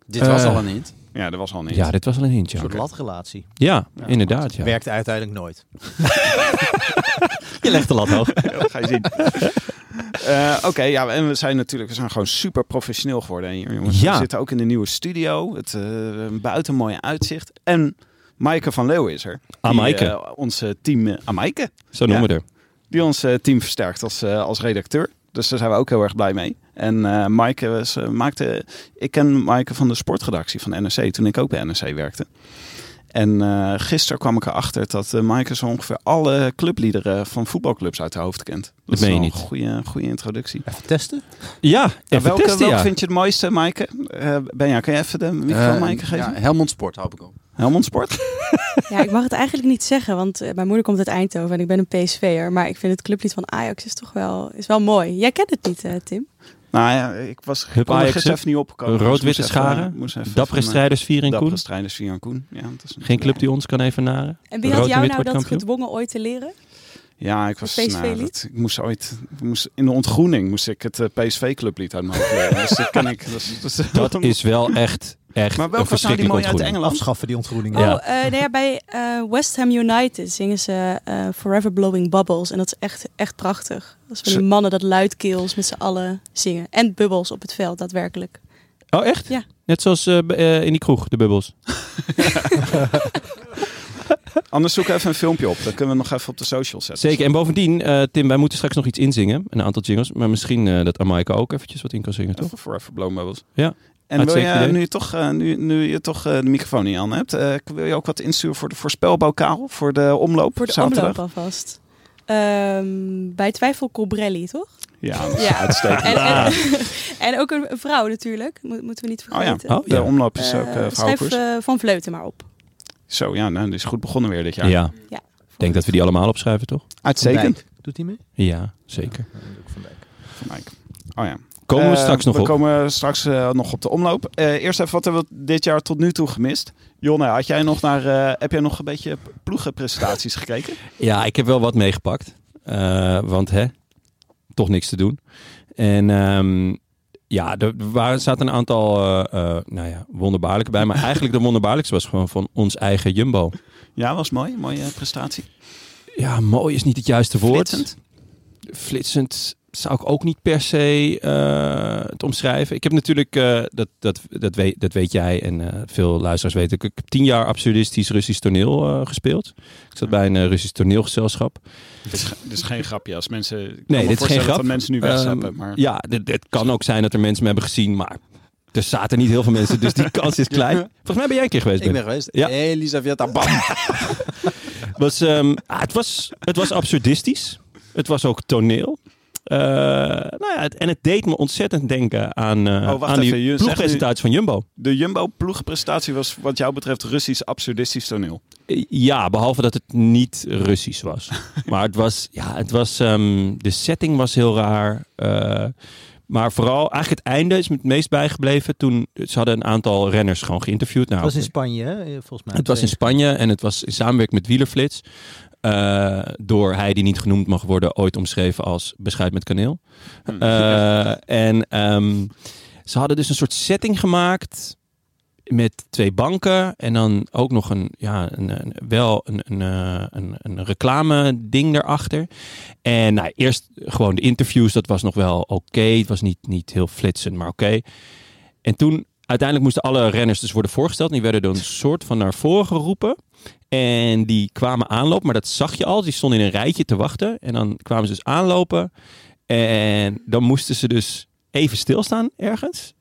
[SPEAKER 4] dit was
[SPEAKER 2] Eh,
[SPEAKER 4] al een hint.
[SPEAKER 1] Ja, dat was al een hint.
[SPEAKER 2] Ja, dit was wel een hintje.
[SPEAKER 3] Een soort latrelatie.
[SPEAKER 2] Ja, inderdaad. Ja.
[SPEAKER 3] Werkt uiteindelijk nooit.
[SPEAKER 2] Je legt de lat hoog.
[SPEAKER 1] dat ga je zien. Eh, Oké, ja, en we zijn natuurlijk, we zijn gewoon super professioneel geworden hier, jongens.
[SPEAKER 2] Ja.
[SPEAKER 1] We zitten ook in de nieuwe studio. Het eh, een buiten mooi uitzicht. En Maaike van Leeuwen is er. Die,
[SPEAKER 2] Amaike.
[SPEAKER 1] eh, ons eh, team, eh, Amaike.
[SPEAKER 2] Zo noemen we er.
[SPEAKER 1] die ons eh, team versterkt als, eh, als redacteur. Dus daar zijn we ook heel erg blij mee. En eh Maaike was, eh, maakte. Ik ken Maaike van de sportredactie van NRC toen ik ook bij NRC werkte. En eh, gisteren kwam ik erachter dat eh Maaike zo ongeveer alle clubliederen van voetbalclubs uit haar hoofd kent. Dat,
[SPEAKER 2] Dat
[SPEAKER 1] is
[SPEAKER 2] meen je
[SPEAKER 1] wel
[SPEAKER 2] niet.
[SPEAKER 1] Een goede, goede introductie. Nou,
[SPEAKER 3] Even testen.
[SPEAKER 2] Ja, even
[SPEAKER 1] welke
[SPEAKER 2] testen,
[SPEAKER 1] welke
[SPEAKER 2] ja.
[SPEAKER 1] vind je het mooiste, Maaike? Eh Benja, kan je even de microfoon
[SPEAKER 4] Eh,
[SPEAKER 1] Maaike geven?
[SPEAKER 4] ja, Helmond Sport, hoop ik al.
[SPEAKER 1] Helmond Sport?
[SPEAKER 5] Ja, ik mag het eigenlijk niet zeggen, want eh, mijn moeder komt uit Eindhoven en ik ben een PSV'er. Maar ik vind het clublied van Ajax is toch wel, is wel mooi. Jij kent het niet, eh, Tim?
[SPEAKER 1] Nou ja, ik was ik
[SPEAKER 2] Hup,
[SPEAKER 1] kon er
[SPEAKER 2] Ajax,
[SPEAKER 1] gisteren
[SPEAKER 2] hup.
[SPEAKER 1] even niet opkomen. Dus
[SPEAKER 2] Rood-witte
[SPEAKER 1] moest even-
[SPEAKER 2] scharen.
[SPEAKER 1] moest even
[SPEAKER 2] Dappere
[SPEAKER 1] van, eh,
[SPEAKER 2] strijders, vier in
[SPEAKER 1] Dappere
[SPEAKER 2] Koen.
[SPEAKER 1] strijders, Vian Koen. Ja, dat is een-
[SPEAKER 2] Geen club die ons kan evenaren.
[SPEAKER 5] En wie
[SPEAKER 2] Rood en
[SPEAKER 5] had jou
[SPEAKER 2] wit
[SPEAKER 5] nou
[SPEAKER 2] wordt
[SPEAKER 5] dat
[SPEAKER 2] kampioen.
[SPEAKER 5] gedwongen ooit te leren?
[SPEAKER 1] Ja, ik
[SPEAKER 5] Het
[SPEAKER 1] was
[SPEAKER 5] PSV-lied?
[SPEAKER 1] nou, dat- ik moest ooit ik moest, in de ontgroening moest ik het eh, PSV-clublied uit mijn hoofd leren. dus dat ken ik. Dat, is- dat is-
[SPEAKER 2] Dat is wel echt, echt
[SPEAKER 1] maar
[SPEAKER 2] een
[SPEAKER 1] welke was nou die
[SPEAKER 2] verschrikkelijke
[SPEAKER 1] mooie uit
[SPEAKER 2] ontgroening.
[SPEAKER 1] Engeland?
[SPEAKER 3] Afschaffen die ontgroeningen.
[SPEAKER 5] Oh,
[SPEAKER 2] Ja.
[SPEAKER 5] eh, nou ja, bij eh, West Ham United zingen ze eh, Forever Blowing Bubbles. En dat is echt, echt prachtig. Dat is van die
[SPEAKER 1] Ze-
[SPEAKER 5] mannen dat luidkeels met z'n allen zingen. En bubbels op het veld, daadwerkelijk.
[SPEAKER 2] Oh, echt?
[SPEAKER 5] Ja.
[SPEAKER 2] Net zoals eh, b- eh, in die kroeg, de bubbels.
[SPEAKER 1] Anders zoek even een filmpje op. Dan kunnen we nog even op de socials zetten.
[SPEAKER 2] Zeker. En bovendien, eh, Tim, wij moeten straks nog iets inzingen. Een aantal jingles. Maar misschien eh, dat Amaika ook eventjes wat in kan zingen, toch?
[SPEAKER 1] Even Forever Blow Bubbles.
[SPEAKER 2] Ja.
[SPEAKER 1] En wil
[SPEAKER 2] Uitstekend
[SPEAKER 1] je,
[SPEAKER 2] idee.
[SPEAKER 1] nu, je toch, eh, nu, nu je toch eh, de microfoon niet aan hebt, eh, wil je ook wat insturen voor de voorspelbokaal? Voor de omloop
[SPEAKER 5] Voor de
[SPEAKER 1] zaterdag?
[SPEAKER 5] omloop alvast. Ehm, bij twijfel Colbrelli, toch?
[SPEAKER 1] Ja, dus-
[SPEAKER 5] Ja.
[SPEAKER 1] uitstekend.
[SPEAKER 5] En, en, en ook een vrouw natuurlijk. Mo- moeten we niet
[SPEAKER 1] Oh ja.
[SPEAKER 5] vergeten.
[SPEAKER 2] Oh,
[SPEAKER 1] De
[SPEAKER 2] ja.
[SPEAKER 1] omloop is
[SPEAKER 5] Eh,
[SPEAKER 1] ook eh
[SPEAKER 5] schrijf
[SPEAKER 1] vrouwkurs.
[SPEAKER 5] eh, Van Vleuten maar op.
[SPEAKER 1] Zo, ja, nou, die is goed begonnen weer dit
[SPEAKER 2] Ja.
[SPEAKER 1] jaar.
[SPEAKER 5] Ja.
[SPEAKER 2] Ik denk dat we die allemaal opschrijven, toch?
[SPEAKER 1] Uitstekend.
[SPEAKER 3] Doet hij mee?
[SPEAKER 2] Ja, zeker.
[SPEAKER 1] Van Dijk. Oh ja.
[SPEAKER 2] Komen we
[SPEAKER 1] Eh,
[SPEAKER 2] straks nog
[SPEAKER 1] we
[SPEAKER 2] op.
[SPEAKER 1] komen straks eh, nog op de omloop. Eh, eerst even, wat hebben we dit jaar tot nu toe gemist? Jonne, had jij nog naar, eh, heb jij nog een beetje ploegenprestaties gekeken?
[SPEAKER 2] Ja, ik heb wel wat meegepakt. Eh, want hè, toch niks te doen. En ehm, ja, er waren, zaten een aantal eh, eh, nou ja, wonderbaarlijke bij. Maar eigenlijk de wonderbaarlijkste was gewoon van ons eigen Jumbo.
[SPEAKER 1] Ja, was mooi. Mooie eh, prestatie.
[SPEAKER 2] Ja, mooi is niet het juiste woord.
[SPEAKER 1] Flitsend.
[SPEAKER 2] Flitsend zou ik ook niet per se eh, het omschrijven. Ik heb natuurlijk, eh, dat, dat, dat, weet, dat weet jij en eh, veel luisteraars weten, ik heb tien jaar absurdistisch Russisch toneel eh, gespeeld. Ik zat bij een eh, Russisch toneelgezelschap.
[SPEAKER 1] Dit is, dit is geen grapje. Als mensen, ik kan
[SPEAKER 2] Nee,
[SPEAKER 1] me
[SPEAKER 2] dit is geen
[SPEAKER 1] voorstellen
[SPEAKER 2] grap.
[SPEAKER 1] Dat mensen nu wegzappen,
[SPEAKER 2] Ehm,
[SPEAKER 1] maar
[SPEAKER 2] Ja, dit- het kan ook zijn dat er mensen me hebben gezien, maar er zaten niet heel veel mensen, dus die kans is klein. Volgens mij ben jij een keer geweest.
[SPEAKER 4] Ik ben
[SPEAKER 2] Ben.
[SPEAKER 4] geweest.
[SPEAKER 2] Ja.
[SPEAKER 4] Elisaveta Bam.
[SPEAKER 2] Was, ehm, ah, het, was, het was absurdistisch. Het was ook toneel. Eh, nou ja, het- en het deed me ontzettend denken aan, eh,
[SPEAKER 1] Oh, wacht
[SPEAKER 2] aan
[SPEAKER 1] even, je
[SPEAKER 2] die
[SPEAKER 1] zegt
[SPEAKER 2] ploegpresentatie van Jumbo.
[SPEAKER 1] de Jumbo-ploegenprestatie was wat jou betreft Russisch absurdistisch toneel.
[SPEAKER 2] Eh, Ja, behalve dat het niet Russisch was. Maar het was, ja, het was, ehm, de setting was heel raar. Eh, maar vooral, eigenlijk het einde is me het meest bijgebleven. Toen, ze hadden een aantal renners gewoon geïnterviewd. Nou,
[SPEAKER 3] Het was in Spanje, hè? Eh, volgens mij.
[SPEAKER 2] Het was in Spanje en het was in samenwerking met Wielerflits. eh, door hij die niet genoemd mag worden, ooit omschreven als bescheid met kaneel. Eh, en ehm, ze hadden dus een soort setting gemaakt met twee banken en dan ook nog een, ja, een, een- wel een, een, eh, een, een reclame ding erachter. En nou, eerst gewoon de interviews, dat was nog wel oké. Het was niet, niet heel flitsend, maar oké. En toen, uiteindelijk moesten alle renners dus worden voorgesteld. En die werden dan een soort van naar voren geroepen. En die kwamen aanlopen, maar dat zag je al. Die stonden in een rijtje te wachten. En dan kwamen ze dus aanlopen. En dan moesten ze dus even stilstaan ergens.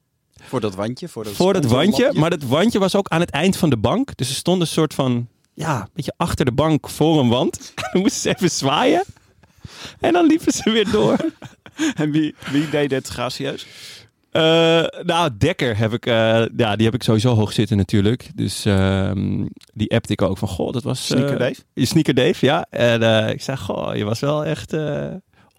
[SPEAKER 4] Voor dat wandje. Voor dat,
[SPEAKER 2] Voor dat wandje.
[SPEAKER 4] sponsorlapje.
[SPEAKER 2] Maar dat wandje was ook aan het eind van de bank. Dus ze stonden een soort van, ja, een beetje achter de bank voor een wand. En dan moesten ze even zwaaien. En dan liepen ze weer door.
[SPEAKER 1] En wie, wie deed dit gracieus?
[SPEAKER 2] Eh, nou, Dekker heb ik, eh, ja, die heb ik sowieso hoog zitten natuurlijk. Dus ehm, die appte ik ook van, goh, dat was... eh,
[SPEAKER 1] Sneaker Dave?
[SPEAKER 2] je Sneaker Dave, ja. En eh, ik zei, goh, je was wel echt eh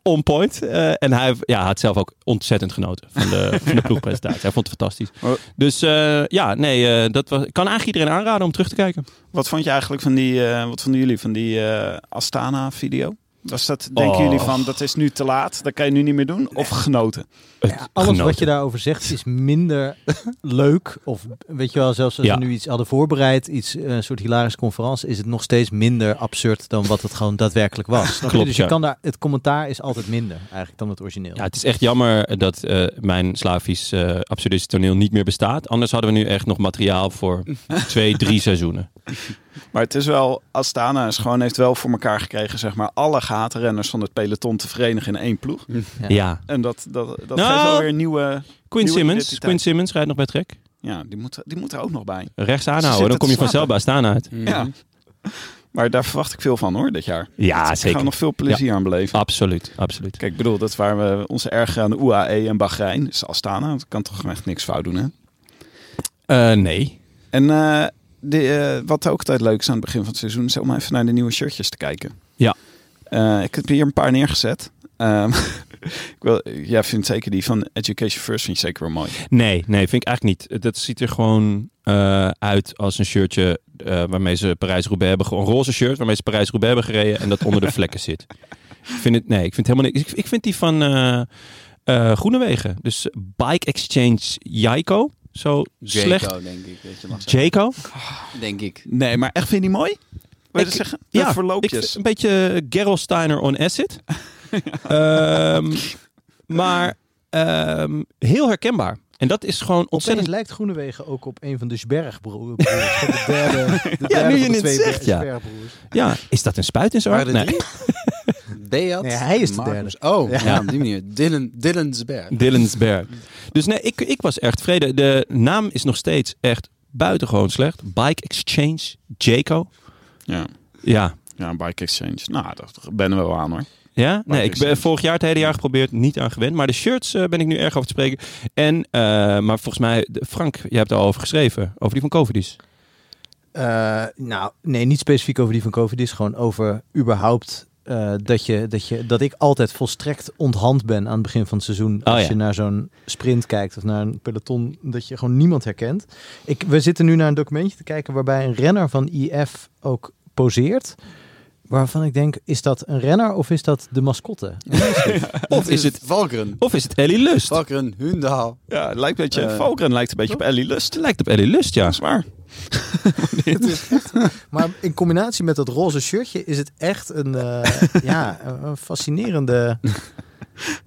[SPEAKER 2] on point. Eh, en hij ja, had zelf ook ontzettend genoten van de, van de ploegpresentatie. Hij vond het fantastisch.
[SPEAKER 1] Oh.
[SPEAKER 2] Dus eh, ja, nee, eh, dat was, ik kan eigenlijk iedereen aanraden om terug te kijken.
[SPEAKER 1] Wat vond je eigenlijk van die, eh, wat vonden jullie van die eh, Astana-video? Was dat, denken
[SPEAKER 2] Oh.
[SPEAKER 1] jullie van, dat is nu te laat, dat kan je nu niet meer doen? Of genoten?
[SPEAKER 3] Ja, alles wat je daarover zegt is minder leuk. Of weet je wel, zelfs als
[SPEAKER 2] Ja.
[SPEAKER 3] we nu iets hadden voorbereid, iets, eh, een soort hilarische conferentie, is het nog steeds minder absurd dan wat het gewoon daadwerkelijk was. Snap je?
[SPEAKER 2] Klopt,
[SPEAKER 3] Dus je
[SPEAKER 2] ja.
[SPEAKER 3] kan daar, het commentaar is altijd minder eigenlijk dan het origineel.
[SPEAKER 2] Ja, het is echt jammer dat eh, mijn Slavisch eh absurdistisch toneel niet meer bestaat. Anders hadden we nu echt nog materiaal voor twee, drie seizoenen.
[SPEAKER 1] Maar het is wel, Astana is gewoon, heeft wel voor elkaar gekregen, zeg maar, alle gatenrenners van het peloton te verenigen in één ploeg.
[SPEAKER 3] Ja.
[SPEAKER 2] Ja.
[SPEAKER 1] En dat, dat, dat
[SPEAKER 2] Nou.
[SPEAKER 1] geeft wel weer een nieuwe...
[SPEAKER 2] Quinn
[SPEAKER 1] Nieuwe
[SPEAKER 2] Simmons,
[SPEAKER 1] identiteit.
[SPEAKER 2] Quinn Simmons rijdt nog bij Trek.
[SPEAKER 1] Ja, die moet, die moet er ook nog bij.
[SPEAKER 2] Rechts aanhouden,
[SPEAKER 1] zitten
[SPEAKER 2] dan kom
[SPEAKER 1] te
[SPEAKER 2] je vanzelf
[SPEAKER 1] slapen.
[SPEAKER 2] bij staan uit.
[SPEAKER 4] Mm. Mhm.
[SPEAKER 1] Ja. Maar daar verwacht ik veel van hoor, dit jaar.
[SPEAKER 2] Ja, Ah.
[SPEAKER 1] Daar gaan we nog veel plezier aan beleven.
[SPEAKER 2] Absoluut, absoluut.
[SPEAKER 1] Kijk, ik bedoel, dat waren we onze erger aan de UAE en Bahrein. Dus Astana, dat kan toch echt niks fout doen, hè?
[SPEAKER 2] Eh, nee.
[SPEAKER 1] En eh, de, eh, wat ook altijd leuk is aan het begin van het seizoen... is om even naar de nieuwe shirtjes te kijken.
[SPEAKER 2] Ja.
[SPEAKER 1] Eh, ik heb hier een paar neergezet. Ehm, ik wil, jij vindt zeker die van Education First vind je zeker wel mooi.
[SPEAKER 2] Nee, nee, vind ik eigenlijk niet. Dat ziet er gewoon eh, uit als een shirtje eh, waarmee ze Parijs-Roubaix hebben... Gewoon een roze shirt waarmee ze Parijs-Roubaix hebben gereden... en dat onder de vlekken zit. Ik vind het, nee, ik vind het helemaal niks. Ik, ik vind die van eh eh, Groenewegen. Dus Bike Exchange Jaiko. Zo
[SPEAKER 4] Jaco,
[SPEAKER 2] slecht.
[SPEAKER 4] denk ik. Dat je mag zeggen.
[SPEAKER 2] Jaco?
[SPEAKER 4] denk ik.
[SPEAKER 1] Nee, maar echt vind je die mooi? Wil je
[SPEAKER 2] Ik-
[SPEAKER 1] dat zeggen? De
[SPEAKER 2] ik vind
[SPEAKER 1] verloopjes.
[SPEAKER 2] een beetje Gerolsteiner on acid. Ehm, maar ehm, heel herkenbaar. En dat is gewoon
[SPEAKER 3] Opeens
[SPEAKER 2] ontzettend...
[SPEAKER 3] lijkt Groenewegen ook op een van de Sbergbroers. de derde, de derde
[SPEAKER 2] nu je
[SPEAKER 3] van de
[SPEAKER 2] het
[SPEAKER 3] twee
[SPEAKER 2] zegt, ja.
[SPEAKER 3] Sbergbroers.
[SPEAKER 2] Ja, is dat een spuit in zijn
[SPEAKER 4] Waren
[SPEAKER 2] arm?
[SPEAKER 4] er
[SPEAKER 2] Nee.
[SPEAKER 4] drie? Deat,
[SPEAKER 3] Nee, hij is de
[SPEAKER 4] Marcus- Oh, ja. op die manier. Dylan, Dylansberg.
[SPEAKER 2] Dillensberg. Dus nee, ik, ik was erg tevreden. De naam is nog steeds echt buitengewoon slecht. Bike Exchange, Jaco.
[SPEAKER 1] Ja.
[SPEAKER 2] Ja.
[SPEAKER 1] ja, Bike Exchange. Nou, dat ben we wel aan hoor.
[SPEAKER 2] Ja? Nee, ik
[SPEAKER 1] Exchange.
[SPEAKER 2] ben vorig jaar het hele jaar geprobeerd, niet aan gewend. Maar de shirts eh, ben ik nu erg over te spreken. En, eh, maar volgens mij, de- Frank, jij hebt daar al over geschreven. Over die van Covidis.
[SPEAKER 3] Eh, nou, nee, niet specifiek over die van COVID. is gewoon over überhaupt eh, dat, je, dat, je, dat ik altijd volstrekt onthand ben aan het begin van het seizoen.
[SPEAKER 2] Oh,
[SPEAKER 3] als
[SPEAKER 2] ja.
[SPEAKER 3] je naar zo'n sprint kijkt of naar een peloton, dat je gewoon niemand herkent. Ik, we zitten nu naar een documentje te kijken waarbij een renner van IF ook poseert. Waarvan ik denk, is dat een renner of is dat de mascotte?
[SPEAKER 4] Of
[SPEAKER 2] is
[SPEAKER 4] is het Valkeren?
[SPEAKER 2] Of is het Ellie Lust? Het
[SPEAKER 4] Valkeren, Hundaal.
[SPEAKER 1] Ja, het lijkt een beetje,
[SPEAKER 4] Eh,
[SPEAKER 1] Valkeren lijkt een beetje op Ellie Lust.
[SPEAKER 2] lijkt op Ellie Lust, ja.
[SPEAKER 1] Dat is waar.
[SPEAKER 3] Maar in combinatie met dat roze shirtje is het echt een, eh, ja, een fascinerende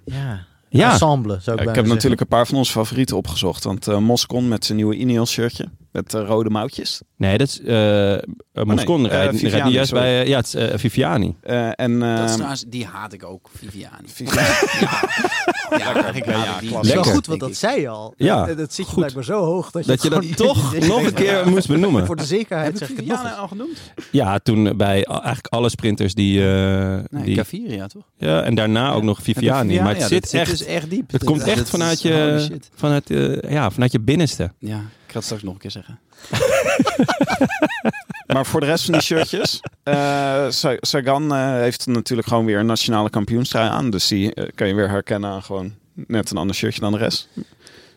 [SPEAKER 3] ja,
[SPEAKER 2] Ja.
[SPEAKER 3] ensemble, zou ik
[SPEAKER 1] ik heb
[SPEAKER 3] bijna zeggen.
[SPEAKER 1] natuurlijk een paar van onze favorieten opgezocht. Want eh, Moscon met zijn nieuwe Ineos shirtje. Met eh, rode mouwtjes.
[SPEAKER 2] Nee, dat is... eh eh, Moscon
[SPEAKER 1] eh,
[SPEAKER 2] rijdt- rijdt
[SPEAKER 1] Viviani,
[SPEAKER 2] niet juist
[SPEAKER 1] sorry.
[SPEAKER 2] bij... eh, ja, het is eh, Viviani.
[SPEAKER 1] Eh, en
[SPEAKER 4] Dat is
[SPEAKER 1] ehm,
[SPEAKER 4] trouwens- die haat ik ook, Viviani. Ja, ja, ik haat
[SPEAKER 1] ja, klasse.
[SPEAKER 3] Het
[SPEAKER 4] die.
[SPEAKER 3] is wel
[SPEAKER 2] Lekker.
[SPEAKER 3] goed, want
[SPEAKER 4] denk
[SPEAKER 3] dat
[SPEAKER 4] ik.
[SPEAKER 3] zei je al.
[SPEAKER 2] Ja,
[SPEAKER 3] Dat, dat zit je
[SPEAKER 2] goed.
[SPEAKER 3] blijkbaar zo hoog dat je,
[SPEAKER 2] Dat je
[SPEAKER 3] het
[SPEAKER 2] dat
[SPEAKER 3] gewoon-
[SPEAKER 2] toch
[SPEAKER 3] je
[SPEAKER 2] nog een
[SPEAKER 3] denkt,
[SPEAKER 2] keer moest benoemen.
[SPEAKER 3] Voor de zekerheid zeg
[SPEAKER 4] Heb ik
[SPEAKER 3] ik het nog
[SPEAKER 4] Viviani
[SPEAKER 3] eens.
[SPEAKER 4] al genoemd?
[SPEAKER 2] Ja, toen bij al- eigenlijk alle sprinters die... eh,
[SPEAKER 4] Nee,
[SPEAKER 2] die
[SPEAKER 4] Gaviria toch?
[SPEAKER 2] ja, en daarna ook nog Viviani. Maar het
[SPEAKER 4] ja,
[SPEAKER 2] zit
[SPEAKER 4] dat
[SPEAKER 2] echt...
[SPEAKER 4] dus echt diep.
[SPEAKER 2] het komt
[SPEAKER 4] Dat-
[SPEAKER 2] echt
[SPEAKER 4] dat is-
[SPEAKER 2] vanuit
[SPEAKER 4] holy
[SPEAKER 2] je,
[SPEAKER 4] shit.
[SPEAKER 2] vanuit, eh, ja, vanuit je binnenste.
[SPEAKER 4] Ja, ik ga het straks nog een keer zeggen.
[SPEAKER 1] Maar voor de rest van die shirtjes. eh, Sa- Sagan eh, heeft natuurlijk gewoon weer een nationale kampioenstrui aan. Dus die eh, kan je weer herkennen aan gewoon net een ander shirtje dan de rest.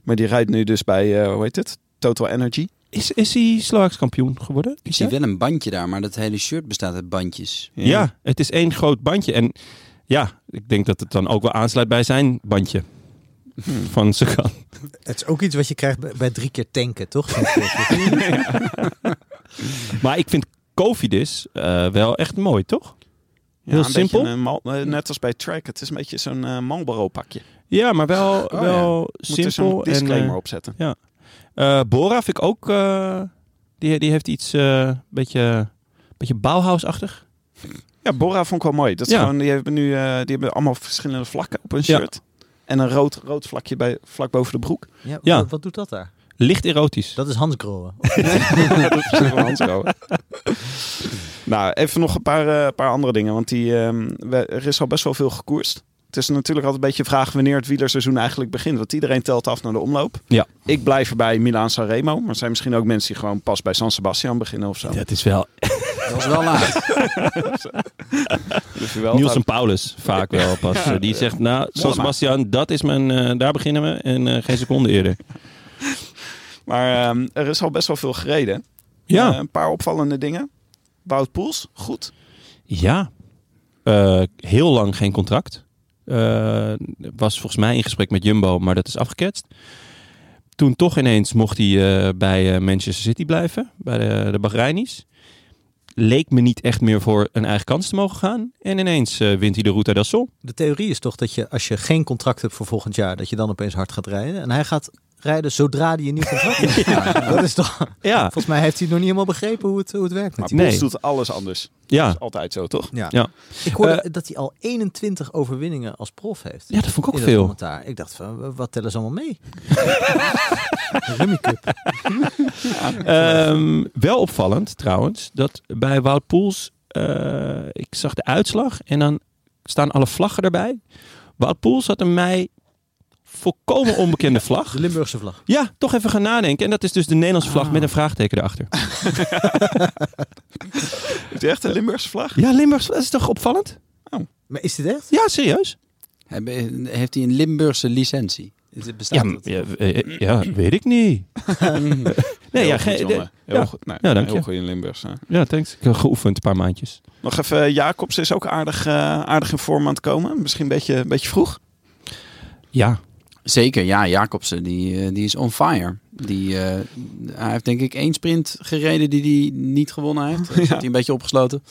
[SPEAKER 1] Maar die rijdt nu dus bij, eh, hoe heet het? Total Energy.
[SPEAKER 2] Is, is hij Slovaaks kampioen geworden?
[SPEAKER 4] Ik zie wel een bandje daar, maar dat hele shirt bestaat uit bandjes.
[SPEAKER 2] Ja. het is één groot bandje. En ja, ik denk dat het dan ook wel aansluit bij zijn bandje. Van Sagan.
[SPEAKER 3] Het is ook iets wat je krijgt bij, bij drie keer tanken, toch? Zo'n shirtje.
[SPEAKER 2] Maar ik vind Covidis eh, wel echt mooi, toch? Heel
[SPEAKER 1] een beetje
[SPEAKER 2] simpel.
[SPEAKER 1] een mal- eh, net als bij Track. Het is een beetje zo'n eh Marlboro pakje.
[SPEAKER 2] Ja, maar wel,
[SPEAKER 1] Oh,
[SPEAKER 2] wel
[SPEAKER 1] Moet er zo'n
[SPEAKER 2] simpel. En,
[SPEAKER 1] disclaimer
[SPEAKER 2] eh,
[SPEAKER 1] opzetten.
[SPEAKER 2] eh, Bora vind ik ook... eh, die, die heeft iets eh beetje, beetje Bauhaus-achtig.
[SPEAKER 1] Ja, Bora vond ik wel mooi. Dat is
[SPEAKER 2] Ja.
[SPEAKER 1] gewoon, die hebben nu eh, die hebben allemaal verschillende vlakken op hun
[SPEAKER 2] Ja.
[SPEAKER 1] shirt. En een rood, rood vlakje bij, vlak boven de broek.
[SPEAKER 3] Ja,
[SPEAKER 2] Ja.
[SPEAKER 3] Wat, wat doet dat daar?
[SPEAKER 2] Licht erotisch.
[SPEAKER 3] Dat is Hans Groen.
[SPEAKER 1] Dat is precies van Hans Rauwe. nou, even nog een paar, eh, paar andere dingen. Want die, ehm, we- er is al best wel veel gekoerst. Het is natuurlijk altijd een beetje de vraag wanneer het wielerseizoen eigenlijk begint. Want iedereen telt af naar de omloop.
[SPEAKER 2] Ja.
[SPEAKER 1] Ik blijf erbij Milaan Sanremo. Maar er zijn misschien ook mensen die gewoon pas bij San Sebastian beginnen of zo.
[SPEAKER 2] Dat is wel
[SPEAKER 4] Dat was wel laat.
[SPEAKER 1] Dus wel
[SPEAKER 2] Niels en Paulus vaak wel pas.
[SPEAKER 1] Ja.
[SPEAKER 2] Eh, die zegt, nou, zoals
[SPEAKER 1] Mollema.
[SPEAKER 2] Bastiaan, dat is mijn, eh, daar beginnen we en eh, geen seconde eerder.
[SPEAKER 1] Maar ehm, er is al best wel veel gereden.
[SPEAKER 2] Ja,
[SPEAKER 1] Eh, een paar opvallende dingen. Wout Poels, goed.
[SPEAKER 2] ja. Eh, heel lang geen contract. Eh, was volgens mij in gesprek met Jumbo, maar dat is afgeketst. Toen toch ineens mocht hij eh, bij eh, Manchester City blijven, bij de, de Bahrainis. Leek me niet echt meer voor een eigen kans te mogen gaan. En ineens eh, wint hij de Route del Sol.
[SPEAKER 3] De theorie is toch dat je als je geen contract hebt voor volgend jaar, dat je dan opeens hard gaat rijden. En hij gaat rijden zodra hij een nieuw contract heeft. Dat is toch...
[SPEAKER 2] Ja,
[SPEAKER 3] Volgens mij heeft hij nog niet helemaal begrepen hoe het, hoe het werkt.
[SPEAKER 1] Maar
[SPEAKER 3] Met
[SPEAKER 1] Poels
[SPEAKER 2] Nee.
[SPEAKER 1] doet alles anders.
[SPEAKER 2] ja.
[SPEAKER 1] Dat is altijd zo, toch?
[SPEAKER 3] die-
[SPEAKER 2] Ja. Eh,
[SPEAKER 3] Ik hoorde dat hij al 21 overwinningen als prof heeft.
[SPEAKER 2] ja, dat vond ik ook
[SPEAKER 3] in dat
[SPEAKER 2] veel.
[SPEAKER 3] commentaar. Ik dacht van, w- wat tellen ze allemaal mee? Rummy Cup.
[SPEAKER 2] Ehm, wel opvallend trouwens, dat bij Wout Poels, eh, ik zag de uitslag en dan staan alle vlaggen erbij. Wout Poels had een mij volkomen onbekende vlag.
[SPEAKER 3] De Limburgse vlag.
[SPEAKER 2] Ja, toch even gaan nadenken. En dat is dus de Nederlandse vlag met een vraagteken erachter.
[SPEAKER 1] Heeft hij echt een Limburgse vlag?
[SPEAKER 2] Ja, Limburgs, dat is toch opvallend?
[SPEAKER 3] Maar is dit echt?
[SPEAKER 2] Ja, serieus?
[SPEAKER 4] Heb- Heeft hij een Limburgse licentie? Het Bestaat
[SPEAKER 2] Ja,
[SPEAKER 4] dat?
[SPEAKER 2] ja, eh, ja, weet ik niet. nee,
[SPEAKER 1] Heel
[SPEAKER 2] ja,
[SPEAKER 1] goed,
[SPEAKER 2] geen-
[SPEAKER 1] jongen. Heel
[SPEAKER 2] ja.
[SPEAKER 1] goed. Nee,
[SPEAKER 2] Ja, dank
[SPEAKER 1] heel
[SPEAKER 2] je.
[SPEAKER 1] goed in Limburgs. ja.
[SPEAKER 2] ja, thanks. Ik heb geoefend een paar maandjes.
[SPEAKER 1] Nog even, Jacobs is ook aardig, eh, aardig in vorm aan het komen. Misschien een beetje, een beetje vroeg.
[SPEAKER 2] Ja,
[SPEAKER 4] Zeker, ja. Jacobsen, die, eh, die is on fire. Die, eh, hij heeft denk ik één sprint gereden die, die hij niet gewonnen heeft. Daar zat hij een beetje opgesloten.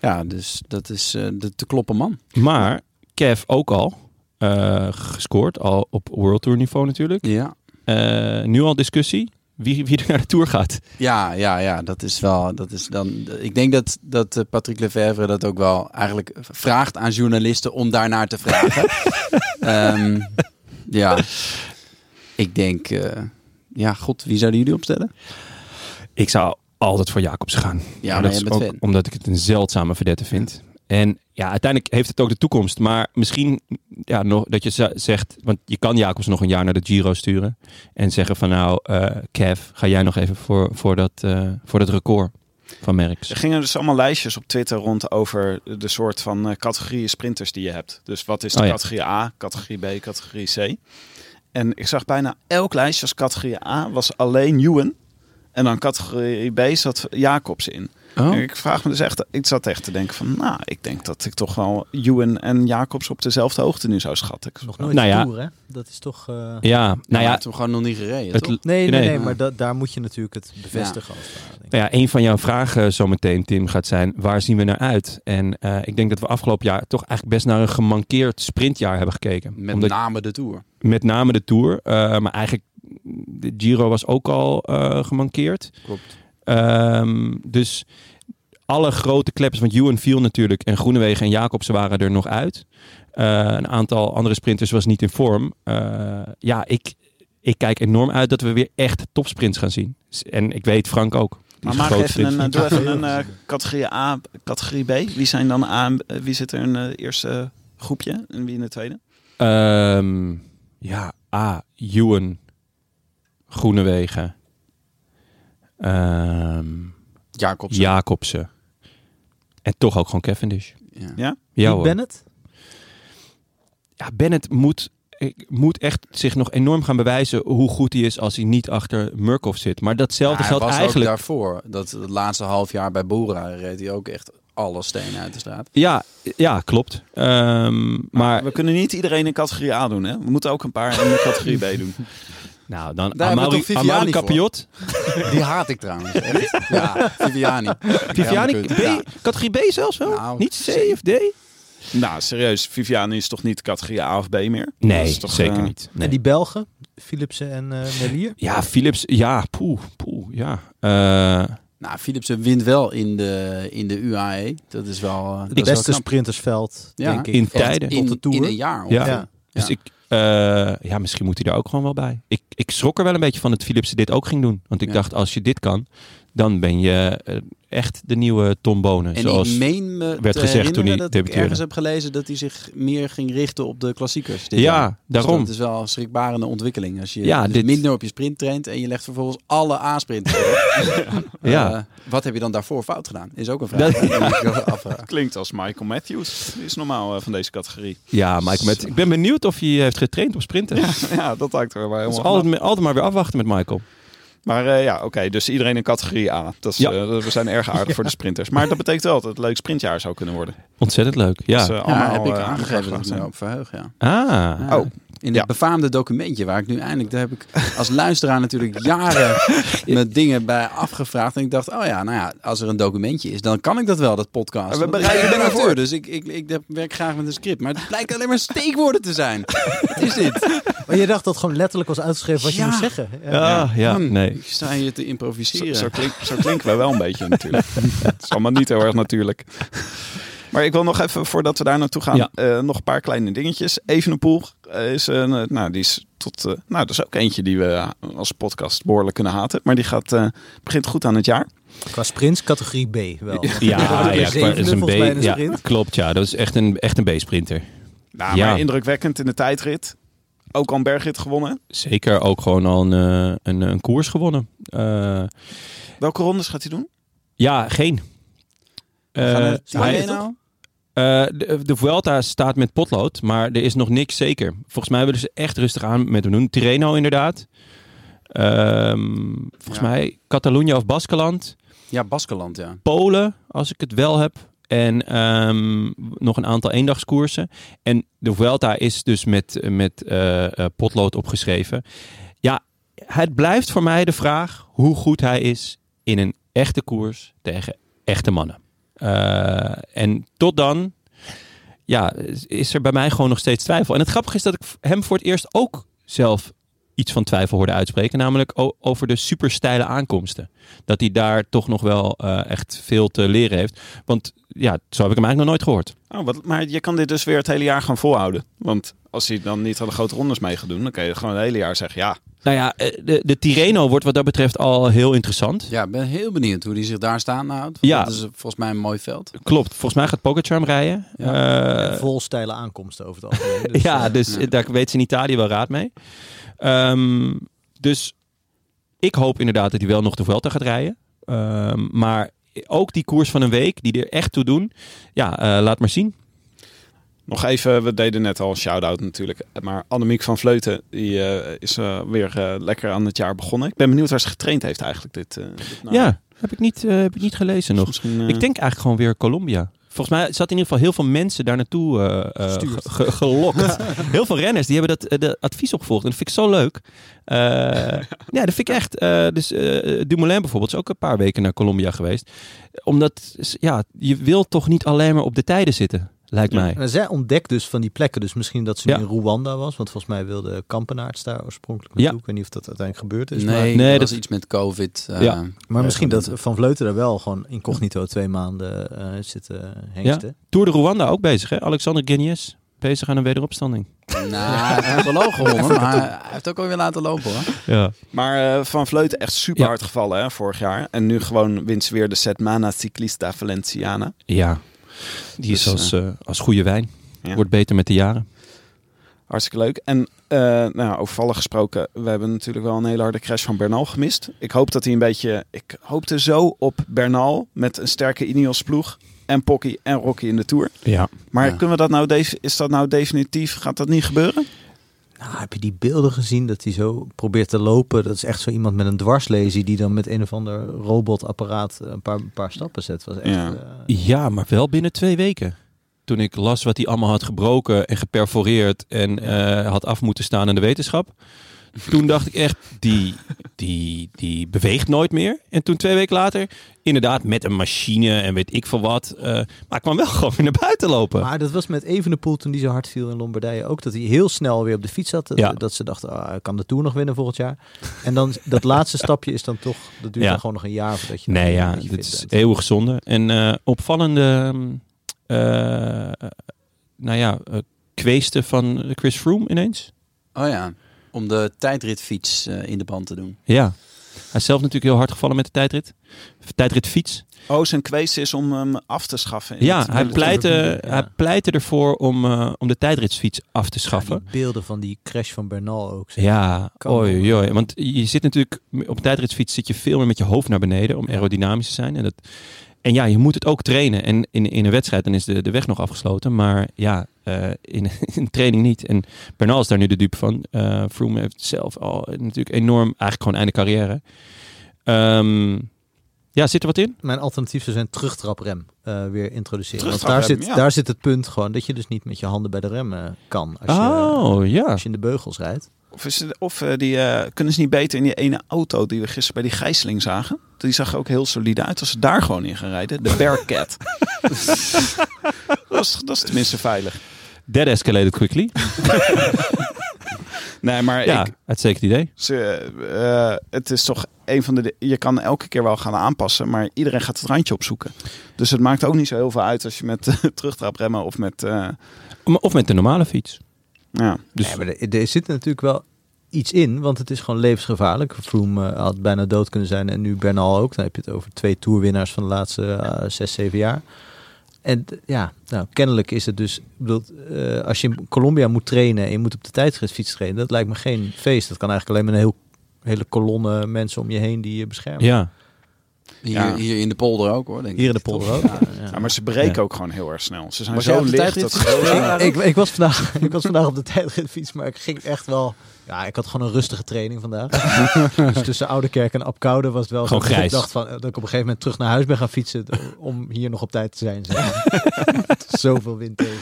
[SPEAKER 4] Ja, dus dat is eh, de te kloppen man.
[SPEAKER 2] maar Kev ook al eh, gescoord, al op World Tour niveau natuurlijk.
[SPEAKER 4] Ja.
[SPEAKER 2] eh, nu al discussie wie, wie er naar de Tour gaat.
[SPEAKER 4] Ja, ja, ja, dat is wel. Dat is dan, ik denk dat, dat eh, Patrick Lefevre dat ook wel eigenlijk vraagt aan journalisten om daarnaar te vragen. Ehm, ja, ik denk. eh, ja, god, wie zouden jullie opstellen?
[SPEAKER 2] Nou Ik zou altijd voor Jacobs gaan.
[SPEAKER 4] Ja,
[SPEAKER 2] Maar
[SPEAKER 4] maar
[SPEAKER 2] dat
[SPEAKER 4] jij
[SPEAKER 2] is
[SPEAKER 4] bent
[SPEAKER 2] ook
[SPEAKER 4] fan.
[SPEAKER 2] omdat ik het een zeldzame verdette vind. En ja, uiteindelijk heeft het ook de toekomst. Maar misschien ja, nog, dat je z- zegt... Want je kan Jacobs nog een jaar naar de Giro sturen. En zeggen van nou, eh Kev, ga jij nog even voor, voor, dat, eh, voor dat record van Merckx.
[SPEAKER 1] Er gingen dus allemaal lijstjes op Twitter rond over de soort van eh, categorieën sprinters die je hebt. Dus wat is de
[SPEAKER 2] Oh ja.
[SPEAKER 1] categorie A, categorie B, categorie C. En ik zag bijna elk lijstje als categorie A was alleen Ewan. En dan categorie B zat Jacobs in.
[SPEAKER 2] Oh.
[SPEAKER 1] En Ik vraag me dus echt, ik zat echt te denken van, nou, ik denk dat ik toch wel Ewan en Jacobs op dezelfde hoogte nu zou schatten. Ik-
[SPEAKER 3] Nog nooit
[SPEAKER 2] Nou ja.
[SPEAKER 3] toer, hè? Dat is toch... eh,
[SPEAKER 2] Ja, nou
[SPEAKER 4] Hij
[SPEAKER 2] ja,
[SPEAKER 4] heeft hem gewoon nog niet gereden,
[SPEAKER 2] het,
[SPEAKER 4] toch?
[SPEAKER 3] Nee, nee,
[SPEAKER 2] Nee.
[SPEAKER 3] nee, maar da- daar moet je natuurlijk het bevestigen. Als het ware, denk ik.
[SPEAKER 2] Nou ja, een van jouw vragen zometeen, Tim, gaat zijn: waar zien we naar uit? En eh, ik denk dat we afgelopen jaar toch eigenlijk best naar een gemankeerd sprintjaar hebben gekeken.
[SPEAKER 4] Met
[SPEAKER 2] Omdat-
[SPEAKER 4] name de Tour.
[SPEAKER 2] met name de Tour, eh, maar eigenlijk de Giro was ook al eh, gemankeerd.
[SPEAKER 4] Klopt.
[SPEAKER 2] Ehm, dus alle grote kleppers, want Ewan viel natuurlijk en Groenewegen en Jacobsen waren er nog uit. Eh, een aantal andere sprinters was niet in vorm. Eh, ja, ik, ik kijk enorm uit dat we weer echt topsprints gaan zien. S- En ik weet Frank ook. Die
[SPEAKER 1] Maar
[SPEAKER 2] is
[SPEAKER 1] maak
[SPEAKER 2] groot
[SPEAKER 1] even een, eh,
[SPEAKER 2] sprintvriend.
[SPEAKER 1] doe even een eh, categorie A, categorie B. Wie zijn dan A en B? wie zit er in het eerste groepje en wie in het tweede? eh,
[SPEAKER 2] Ehm, ja, A. Ewan. Groenewegen. Ehm,
[SPEAKER 4] Jacobs.
[SPEAKER 2] Jacobsen. En toch ook gewoon Cavendish.
[SPEAKER 4] eh, Ja.
[SPEAKER 2] Ja,
[SPEAKER 3] Wie
[SPEAKER 2] hoor.
[SPEAKER 3] Bennett?
[SPEAKER 2] ja Bennett moet, ik- moet echt zich nog enorm gaan bewijzen hoe goed hij is als hij niet achter Murkoff zit. Maar datzelfde
[SPEAKER 4] Maar hij
[SPEAKER 2] geldt
[SPEAKER 4] was
[SPEAKER 2] eigenlijk...
[SPEAKER 4] ook daarvoor. Dat het laatste half jaar bij Bora reed hij ook echt alle stenen uit de straat.
[SPEAKER 2] Ja, ja, klopt. Ehm, maar
[SPEAKER 4] Ah,
[SPEAKER 1] We kunnen niet iedereen in categorie A doen, hè? We moeten ook een paar in de categorie B doen.
[SPEAKER 2] nou, dan
[SPEAKER 4] Daar hebben we
[SPEAKER 2] Amaury,
[SPEAKER 4] toch Viviani
[SPEAKER 2] Amaury
[SPEAKER 4] voor?
[SPEAKER 2] Capiot.
[SPEAKER 4] Die haat ik trouwens. Echt. Ja, Viviani.
[SPEAKER 2] Viviani,
[SPEAKER 4] Helemaal
[SPEAKER 2] B,
[SPEAKER 4] kut. Ja.
[SPEAKER 2] categorie B zelfs wel?
[SPEAKER 4] Nou,
[SPEAKER 2] niet C of D?
[SPEAKER 1] nou, serieus. Viviani is toch niet categorie A of B meer? Dat
[SPEAKER 2] Nee,
[SPEAKER 1] is toch,
[SPEAKER 2] zeker
[SPEAKER 1] eh,
[SPEAKER 2] niet. Nee.
[SPEAKER 3] En die Belgen? Philipsen en eh Melier?
[SPEAKER 2] Ja, Philips. Ja, poeh, poeh, ja. Eh,
[SPEAKER 4] Nou, Philipsen wint wel in de, in de UAE. Dat is wel... eh, dat
[SPEAKER 3] Het
[SPEAKER 4] is wel
[SPEAKER 3] beste
[SPEAKER 4] knap.
[SPEAKER 3] sprintersveld,
[SPEAKER 4] Ja.
[SPEAKER 3] denk ik.
[SPEAKER 2] In
[SPEAKER 3] Echt
[SPEAKER 2] tijden.
[SPEAKER 3] Op de
[SPEAKER 4] in,
[SPEAKER 3] Tour.
[SPEAKER 4] in een jaar.
[SPEAKER 2] Ja.
[SPEAKER 4] ongeveer.
[SPEAKER 3] Ja.
[SPEAKER 2] dus
[SPEAKER 4] Ja.
[SPEAKER 2] ik... eh, ja, misschien moet hij daar ook gewoon wel bij. Ik, ik schrok er wel een beetje van dat Philips dit ook ging doen. Want ik
[SPEAKER 4] Ja.
[SPEAKER 2] dacht, als je dit kan, dan ben je eh, echt de nieuwe Tom Bonen.
[SPEAKER 4] En
[SPEAKER 2] zoals...
[SPEAKER 4] ik meen me
[SPEAKER 2] werd
[SPEAKER 4] te
[SPEAKER 2] gezegd
[SPEAKER 4] herinneren
[SPEAKER 2] toen hij
[SPEAKER 4] dat ik
[SPEAKER 2] debuteerde.
[SPEAKER 4] ergens heb gelezen dat hij zich meer ging richten op de klassiekers. dit jaar.
[SPEAKER 2] ja,
[SPEAKER 4] Dus
[SPEAKER 2] daarom.
[SPEAKER 4] dat is wel een schrikbarende ontwikkeling. Als je
[SPEAKER 2] Ja,
[SPEAKER 4] dus
[SPEAKER 2] dit-
[SPEAKER 4] minder op je sprint traint en je legt vervolgens alle A-sprinten. eh,
[SPEAKER 2] Ja.
[SPEAKER 4] wat heb je dan daarvoor fout gedaan? Is ook een vraag.
[SPEAKER 2] Dat-
[SPEAKER 4] hè, die ik wel afvraag.
[SPEAKER 1] Klinkt als Michael Matthews. Die is normaal eh, van deze categorie.
[SPEAKER 2] Ja, Michael met, ik ben benieuwd of hij heeft getraind op sprinten.
[SPEAKER 1] Ja, dat lijkt er wel
[SPEAKER 2] dat is
[SPEAKER 1] helemaal
[SPEAKER 2] altijd, me- altijd maar weer afwachten met Michael.
[SPEAKER 1] Maar eh, ja, oké. dus iedereen in categorie A. Dat is,
[SPEAKER 2] Ja.
[SPEAKER 1] eh, we zijn erg aardig voor de sprinters. Maar dat betekent wel dat het een leuk sprintjaar zou kunnen worden.
[SPEAKER 2] Ontzettend leuk. Ja.
[SPEAKER 1] Dus, eh,
[SPEAKER 4] Ja,
[SPEAKER 1] allemaal,
[SPEAKER 4] heb ik
[SPEAKER 1] eh,
[SPEAKER 4] aangegeven dat
[SPEAKER 1] aangevraagd
[SPEAKER 4] ik me
[SPEAKER 1] zijn.
[SPEAKER 4] daarop verheug, ja.
[SPEAKER 2] ah,
[SPEAKER 4] Ja.
[SPEAKER 1] Oh.
[SPEAKER 4] In het
[SPEAKER 1] Ja.
[SPEAKER 4] befaamde documentje waar ik nu eindelijk... Daar heb ik als luisteraar natuurlijk jaren met dingen bij afgevraagd. En ik dacht, oh ja, nou ja, als er een documentje is, dan kan ik dat wel, dat podcast.
[SPEAKER 1] We
[SPEAKER 4] Want
[SPEAKER 1] bereiden
[SPEAKER 4] ik ben
[SPEAKER 1] ervoor.
[SPEAKER 4] auteur, dus ik, ik, ik werk graag met een script. Maar het blijkt alleen maar steekwoorden te zijn. Wat is dit?
[SPEAKER 3] Maar je dacht dat gewoon letterlijk was uitgeschreven wat
[SPEAKER 4] Ja.
[SPEAKER 3] je moest zeggen. Ja.
[SPEAKER 2] Ah, ja,
[SPEAKER 1] Hmm.
[SPEAKER 4] Man,
[SPEAKER 2] nee.
[SPEAKER 4] Hmm, Ik sta hier te
[SPEAKER 1] Zo,
[SPEAKER 4] improviseren.
[SPEAKER 1] zo, klink- zo klinken wij wel een beetje natuurlijk. Het is allemaal niet heel erg natuurlijk. Maar ik wil nog even, voordat we daar naartoe gaan,
[SPEAKER 2] Ja.
[SPEAKER 1] eh, nog een paar kleine dingetjes. Evenepoel eh, is, een, eh, nou, die is tot, eh, nou, dat is ook eentje die we eh, als podcast behoorlijk kunnen haten. Maar die gaat, eh, begint goed aan het jaar.
[SPEAKER 3] Qua sprints categorie B wel.
[SPEAKER 2] Ja, ja,
[SPEAKER 3] Zevende
[SPEAKER 2] dat is een
[SPEAKER 3] volgens mij in
[SPEAKER 2] B.
[SPEAKER 3] een
[SPEAKER 2] Ja,
[SPEAKER 3] sprint.
[SPEAKER 2] klopt, ja. Dat is echt een, echt een B-sprinter.
[SPEAKER 1] Nou,
[SPEAKER 2] Ja.
[SPEAKER 1] maar indrukwekkend in de tijdrit. Ook al een bergrit gewonnen.
[SPEAKER 2] Zeker ook gewoon al een, eh, een, een koers gewonnen. Eh,
[SPEAKER 1] Welke rondes gaat hij doen?
[SPEAKER 2] ja, geen. Eh,
[SPEAKER 4] Gaan we naar
[SPEAKER 2] hij-
[SPEAKER 4] het nou?
[SPEAKER 2] eh, de, de Vuelta staat met potlood, maar er is nog niks zeker. Volgens mij willen ze echt rustig aan met hem doen. Tirreno inderdaad. Ehm, volgens
[SPEAKER 1] Ja.
[SPEAKER 2] mij Catalonië of Baskeland.
[SPEAKER 4] Ja, Baskeland, ja.
[SPEAKER 2] Polen, als ik het wel heb. En ehm, nog een aantal eendagskoersen. En de Vuelta is dus met, met eh, eh, potlood opgeschreven. Ja, het blijft voor mij de vraag hoe goed hij is in een echte koers tegen echte mannen. Eh, en tot dan ja, is- is er bij mij gewoon nog steeds twijfel. En het grappige is dat ik hem voor het eerst ook zelf iets van twijfel hoorde uitspreken. Namelijk o- over de supersteile aankomsten. Dat hij daar toch nog wel eh, echt veel te leren heeft. Want ja, zo heb ik hem eigenlijk nog nooit gehoord.
[SPEAKER 1] Oh, wat, maar je kan dit dus weer het hele jaar gaan volhouden. Want als hij dan niet aan de grote rondes mee gaat doen, dan kan je gewoon het hele jaar zeggen, ja,
[SPEAKER 2] Nou ja, eh, de, de Tireno wordt wat dat betreft al heel interessant.
[SPEAKER 4] Ja, ik ben heel benieuwd hoe die zich daar staan houdt.
[SPEAKER 2] Ja.
[SPEAKER 4] Ja. Dat is volgens mij een mooi veld.
[SPEAKER 2] Klopt, volgens mij gaat Pogacar hem rijden. Ja,
[SPEAKER 3] Vol steile aankomsten over het algemeen.
[SPEAKER 2] Eh,
[SPEAKER 3] Dus,
[SPEAKER 2] ja
[SPEAKER 3] eh,
[SPEAKER 2] dus
[SPEAKER 4] ja.
[SPEAKER 2] daar weet ze in Italië wel raad mee. Ehm, dus ik hoop inderdaad dat hij wel nog de Vuelta gaat rijden. Ehm, maar ook die koers van een week, die er echt toe doen. Ja, eh, laat maar zien.
[SPEAKER 1] Nog even, we deden net al een shout-out natuurlijk. Maar Annemiek van Vleuten die, eh, is eh, weer eh, lekker aan het jaar begonnen. Ik ben benieuwd waar ze getraind heeft eigenlijk. Dit, eh, dit najaar.
[SPEAKER 2] Nou ja, heb ik niet, eh, heb ik niet gelezen nog.
[SPEAKER 1] Misschien, eh,
[SPEAKER 2] Ik denk eigenlijk gewoon weer Colombia. Volgens mij zat in ieder geval heel veel mensen daar naartoe eh, eh, ge- ge- gelokt. heel veel renners die hebben dat eh, de advies opgevolgd. En dat vind ik zo leuk. Eh, ja, dat vind ik echt. eh, dus eh, Dumoulin bijvoorbeeld is ook een paar weken naar Colombia geweest. Omdat, ja, je wil toch niet alleen maar op de tijden zitten, lijkt mij.
[SPEAKER 3] en zij ontdekt dus van die plekken. Dus misschien dat ze
[SPEAKER 2] Ja.
[SPEAKER 3] nu in Rwanda was. Want volgens mij wilde Kampenaerts daar oorspronkelijk
[SPEAKER 2] Ja.
[SPEAKER 3] naartoe. Ik weet niet of dat uiteindelijk gebeurd is. Dus maar-
[SPEAKER 4] nee,
[SPEAKER 2] Nee,
[SPEAKER 4] dat
[SPEAKER 2] dat-
[SPEAKER 4] is iets met COVID. eh,
[SPEAKER 2] Ja.
[SPEAKER 3] Maar misschien dat Van Vleuten daar wel gewoon incognito twee maanden eh zitten hengsten.
[SPEAKER 2] Tour de Rwanda ook bezig, hè? Alexander Guinness bezig aan een wederopstanding.
[SPEAKER 4] Nou, hij heeft wel logo gewonnen, maar hij heeft ook alweer laten lopen hoor.
[SPEAKER 2] Ja.
[SPEAKER 1] Maar eh, van Vleuten echt super
[SPEAKER 2] Ja.
[SPEAKER 1] hard gevallen hè, vorig jaar. En nu gewoon wint ze weer de Setmana Ciclista Valenciana.
[SPEAKER 2] ja. Die is
[SPEAKER 1] Dus,
[SPEAKER 2] als, eh, als goede wijn.
[SPEAKER 1] Ja.
[SPEAKER 2] Wordt beter met de jaren.
[SPEAKER 1] Hartstikke leuk. En eh nou, over vallen gesproken, we hebben natuurlijk wel een hele harde crash van Bernal gemist. Ik hoop dat hij een beetje. Ik hoopte zo op Bernal met een sterke Ineos ploeg. En Pocky en Rocky in de Tour.
[SPEAKER 2] Ja.
[SPEAKER 1] Maar
[SPEAKER 4] Ja.
[SPEAKER 1] kunnen we dat nou def- is dat nou definitief? Gaat dat niet gebeuren?
[SPEAKER 3] Nou, heb je die beelden gezien dat hij zo probeert te lopen? Dat is echt zo iemand met een dwarslesie die dan met een of ander robotapparaat een paar, een paar stappen zet. Was echt,
[SPEAKER 1] Ja.
[SPEAKER 3] eh,
[SPEAKER 2] Ja, maar wel binnen twee weken. Toen ik las wat hij allemaal had gebroken en geperforeerd en eh, had af moeten staan aan de wetenschap. Toen dacht ik echt, die, die, die beweegt nooit meer. En toen twee weken later, inderdaad met een machine en weet ik veel wat. eh, maar ik kwam wel gewoon weer naar buiten lopen.
[SPEAKER 3] Maar dat was met Evenepoel toen die zo hard viel in Lombardije ook. Dat hij heel snel weer op de fiets zat. Dat,
[SPEAKER 2] Ja.
[SPEAKER 3] dat ze dachten, ah, hij kan de Tour nog winnen volgend jaar. En dan dat laatste stapje is dan toch, dat duurt
[SPEAKER 2] Ja.
[SPEAKER 3] dan gewoon nog een jaar voordat je
[SPEAKER 2] Nee,
[SPEAKER 3] een
[SPEAKER 2] ja,
[SPEAKER 3] beetje
[SPEAKER 2] dit
[SPEAKER 3] fit
[SPEAKER 2] is
[SPEAKER 3] bent.
[SPEAKER 2] eeuwig zonde. En eh, opvallende, mm, eh, nou ja, eh, kweesten van Chris Froome ineens.
[SPEAKER 4] Oh ja, om de tijdritfiets eh, in de band te doen.
[SPEAKER 2] Ja. Hij is zelf natuurlijk heel hard gevallen met de tijdrit. Tijdritfiets.
[SPEAKER 1] Oh, zijn kwees is om hem af te schaffen. in
[SPEAKER 2] Ja,
[SPEAKER 1] het-
[SPEAKER 2] hij pleitte,
[SPEAKER 3] ja.
[SPEAKER 2] hij pleitte ervoor om, eh, om de tijdritsfiets af te
[SPEAKER 3] Ja, die
[SPEAKER 2] schaffen.
[SPEAKER 3] beelden van die crash van Bernal ook. zeg.
[SPEAKER 2] Ja,
[SPEAKER 3] Kan
[SPEAKER 2] oei,
[SPEAKER 3] wel.
[SPEAKER 2] oei. Want je zit natuurlijk, op een tijdritsfiets zit je veel meer met je hoofd naar beneden om aerodynamisch te zijn. En, dat, en ja, je moet het ook trainen. En in, in een wedstrijd dan is de, de weg nog afgesloten. Maar ja, eh, in, in training niet. En Bernal is daar nu de dupe van. Eh Froome heeft zelf al natuurlijk enorm, eigenlijk gewoon einde carrière. Ehm, ja, zit er wat in?
[SPEAKER 3] Mijn alternatief zou zijn terugtraprem eh, weer introduceren. Want daar
[SPEAKER 1] Terugtraprem,
[SPEAKER 3] zit,
[SPEAKER 1] ja.
[SPEAKER 3] daar zit het punt gewoon dat je dus niet met je handen bij de rem eh, kan. Als je,
[SPEAKER 2] oh, ja.
[SPEAKER 3] als je in de beugels rijdt.
[SPEAKER 1] Of, is het- of eh, die, eh, kunnen ze niet beter in die ene auto die we gisteren bij die gijzeling zagen? Die zag er ook heel solide uit als ze daar gewoon in gaan rijden. De Bearcat. dat, is, dat is tenminste veilig.
[SPEAKER 2] That escalated quickly.
[SPEAKER 1] Nee, maar
[SPEAKER 2] Ja,
[SPEAKER 1] ik,
[SPEAKER 2] uitstekend idee.
[SPEAKER 1] ze, eh, het is toch een van de... Je kan elke keer wel gaan aanpassen, maar iedereen gaat het randje opzoeken. Dus het maakt ook niet zo heel veel uit als je met eh, terugtrapremmen of met... eh,
[SPEAKER 2] Maar- Of met de normale fiets.
[SPEAKER 1] ja.
[SPEAKER 2] Dus
[SPEAKER 3] Nee, maar er, er zit natuurlijk wel iets in, want het is gewoon levensgevaarlijk. Froome eh, had bijna dood kunnen zijn en nu Bernal ook. Dan heb je het over twee toerwinnaars van de laatste eh, zes, zeven jaar. En eh, ja, nou, kennelijk is het dus... Ik bedoel, eh, als je in Colombia moet trainen en je moet op de tijdritfiets trainen... dat lijkt me geen feest. Dat kan eigenlijk alleen maar een heel, hele kolonne mensen om je heen die je beschermen.
[SPEAKER 2] ja.
[SPEAKER 4] Hier,
[SPEAKER 1] Ja.
[SPEAKER 4] hier in de polder ook hoor. Denk ik.
[SPEAKER 3] Hier in de polder ook. Ja.
[SPEAKER 1] Ja, maar ze breken
[SPEAKER 2] Ja.
[SPEAKER 1] ook gewoon heel erg snel. Ze zijn
[SPEAKER 4] Was jij
[SPEAKER 1] zo
[SPEAKER 4] op de
[SPEAKER 1] licht.
[SPEAKER 4] tijdrit?
[SPEAKER 1] dat-
[SPEAKER 3] Ik, ik, ik, was vandaag, ik was vandaag op de tijdritfiets, maar ik ging echt wel... Ja, ik had gewoon een rustige training vandaag. dus tussen Oudekerk en Apkoude was het wel... zo
[SPEAKER 2] Gewoon
[SPEAKER 3] dat ik
[SPEAKER 2] grijs.
[SPEAKER 3] dacht van, eh, dat ik op een gegeven moment terug naar huis ben gaan fietsen... d- om hier nog op tijd te zijn. zeg maar. Zoveel wind tegen.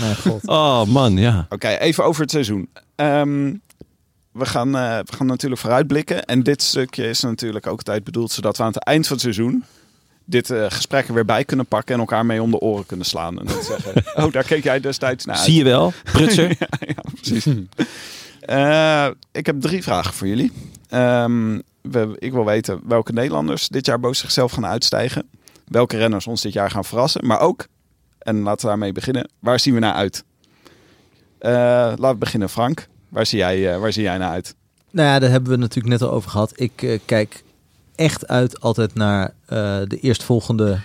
[SPEAKER 3] Mijn god.
[SPEAKER 2] Oh man, ja.
[SPEAKER 1] Oké, even over het seizoen. Ehm, we, gaan, eh, we gaan natuurlijk vooruitblikken. En dit stukje is natuurlijk ook tijd bedoeld zodat we aan het eind van het seizoen dit eh, gesprek er weer bij kunnen pakken en elkaar mee om de oren kunnen slaan. En dan zeggen, oh, daar keek jij destijds naar uit.
[SPEAKER 2] Zie je wel, prutser.
[SPEAKER 1] Ja, precies. Eh, ik heb drie vragen voor jullie. Ehm, we, ik wil weten welke Nederlanders dit jaar boven zichzelf gaan uitstijgen. Welke renners ons dit jaar gaan verrassen. Maar ook, en laten we daarmee beginnen, waar zien we naar uit? Eh, laten we beginnen, Frank. Waar zie jij, eh, waar zie jij naar uit?
[SPEAKER 3] Nou ja, daar hebben we het natuurlijk net al over gehad. Ik eh, kijk echt uit altijd naar eh, de eerstvolgende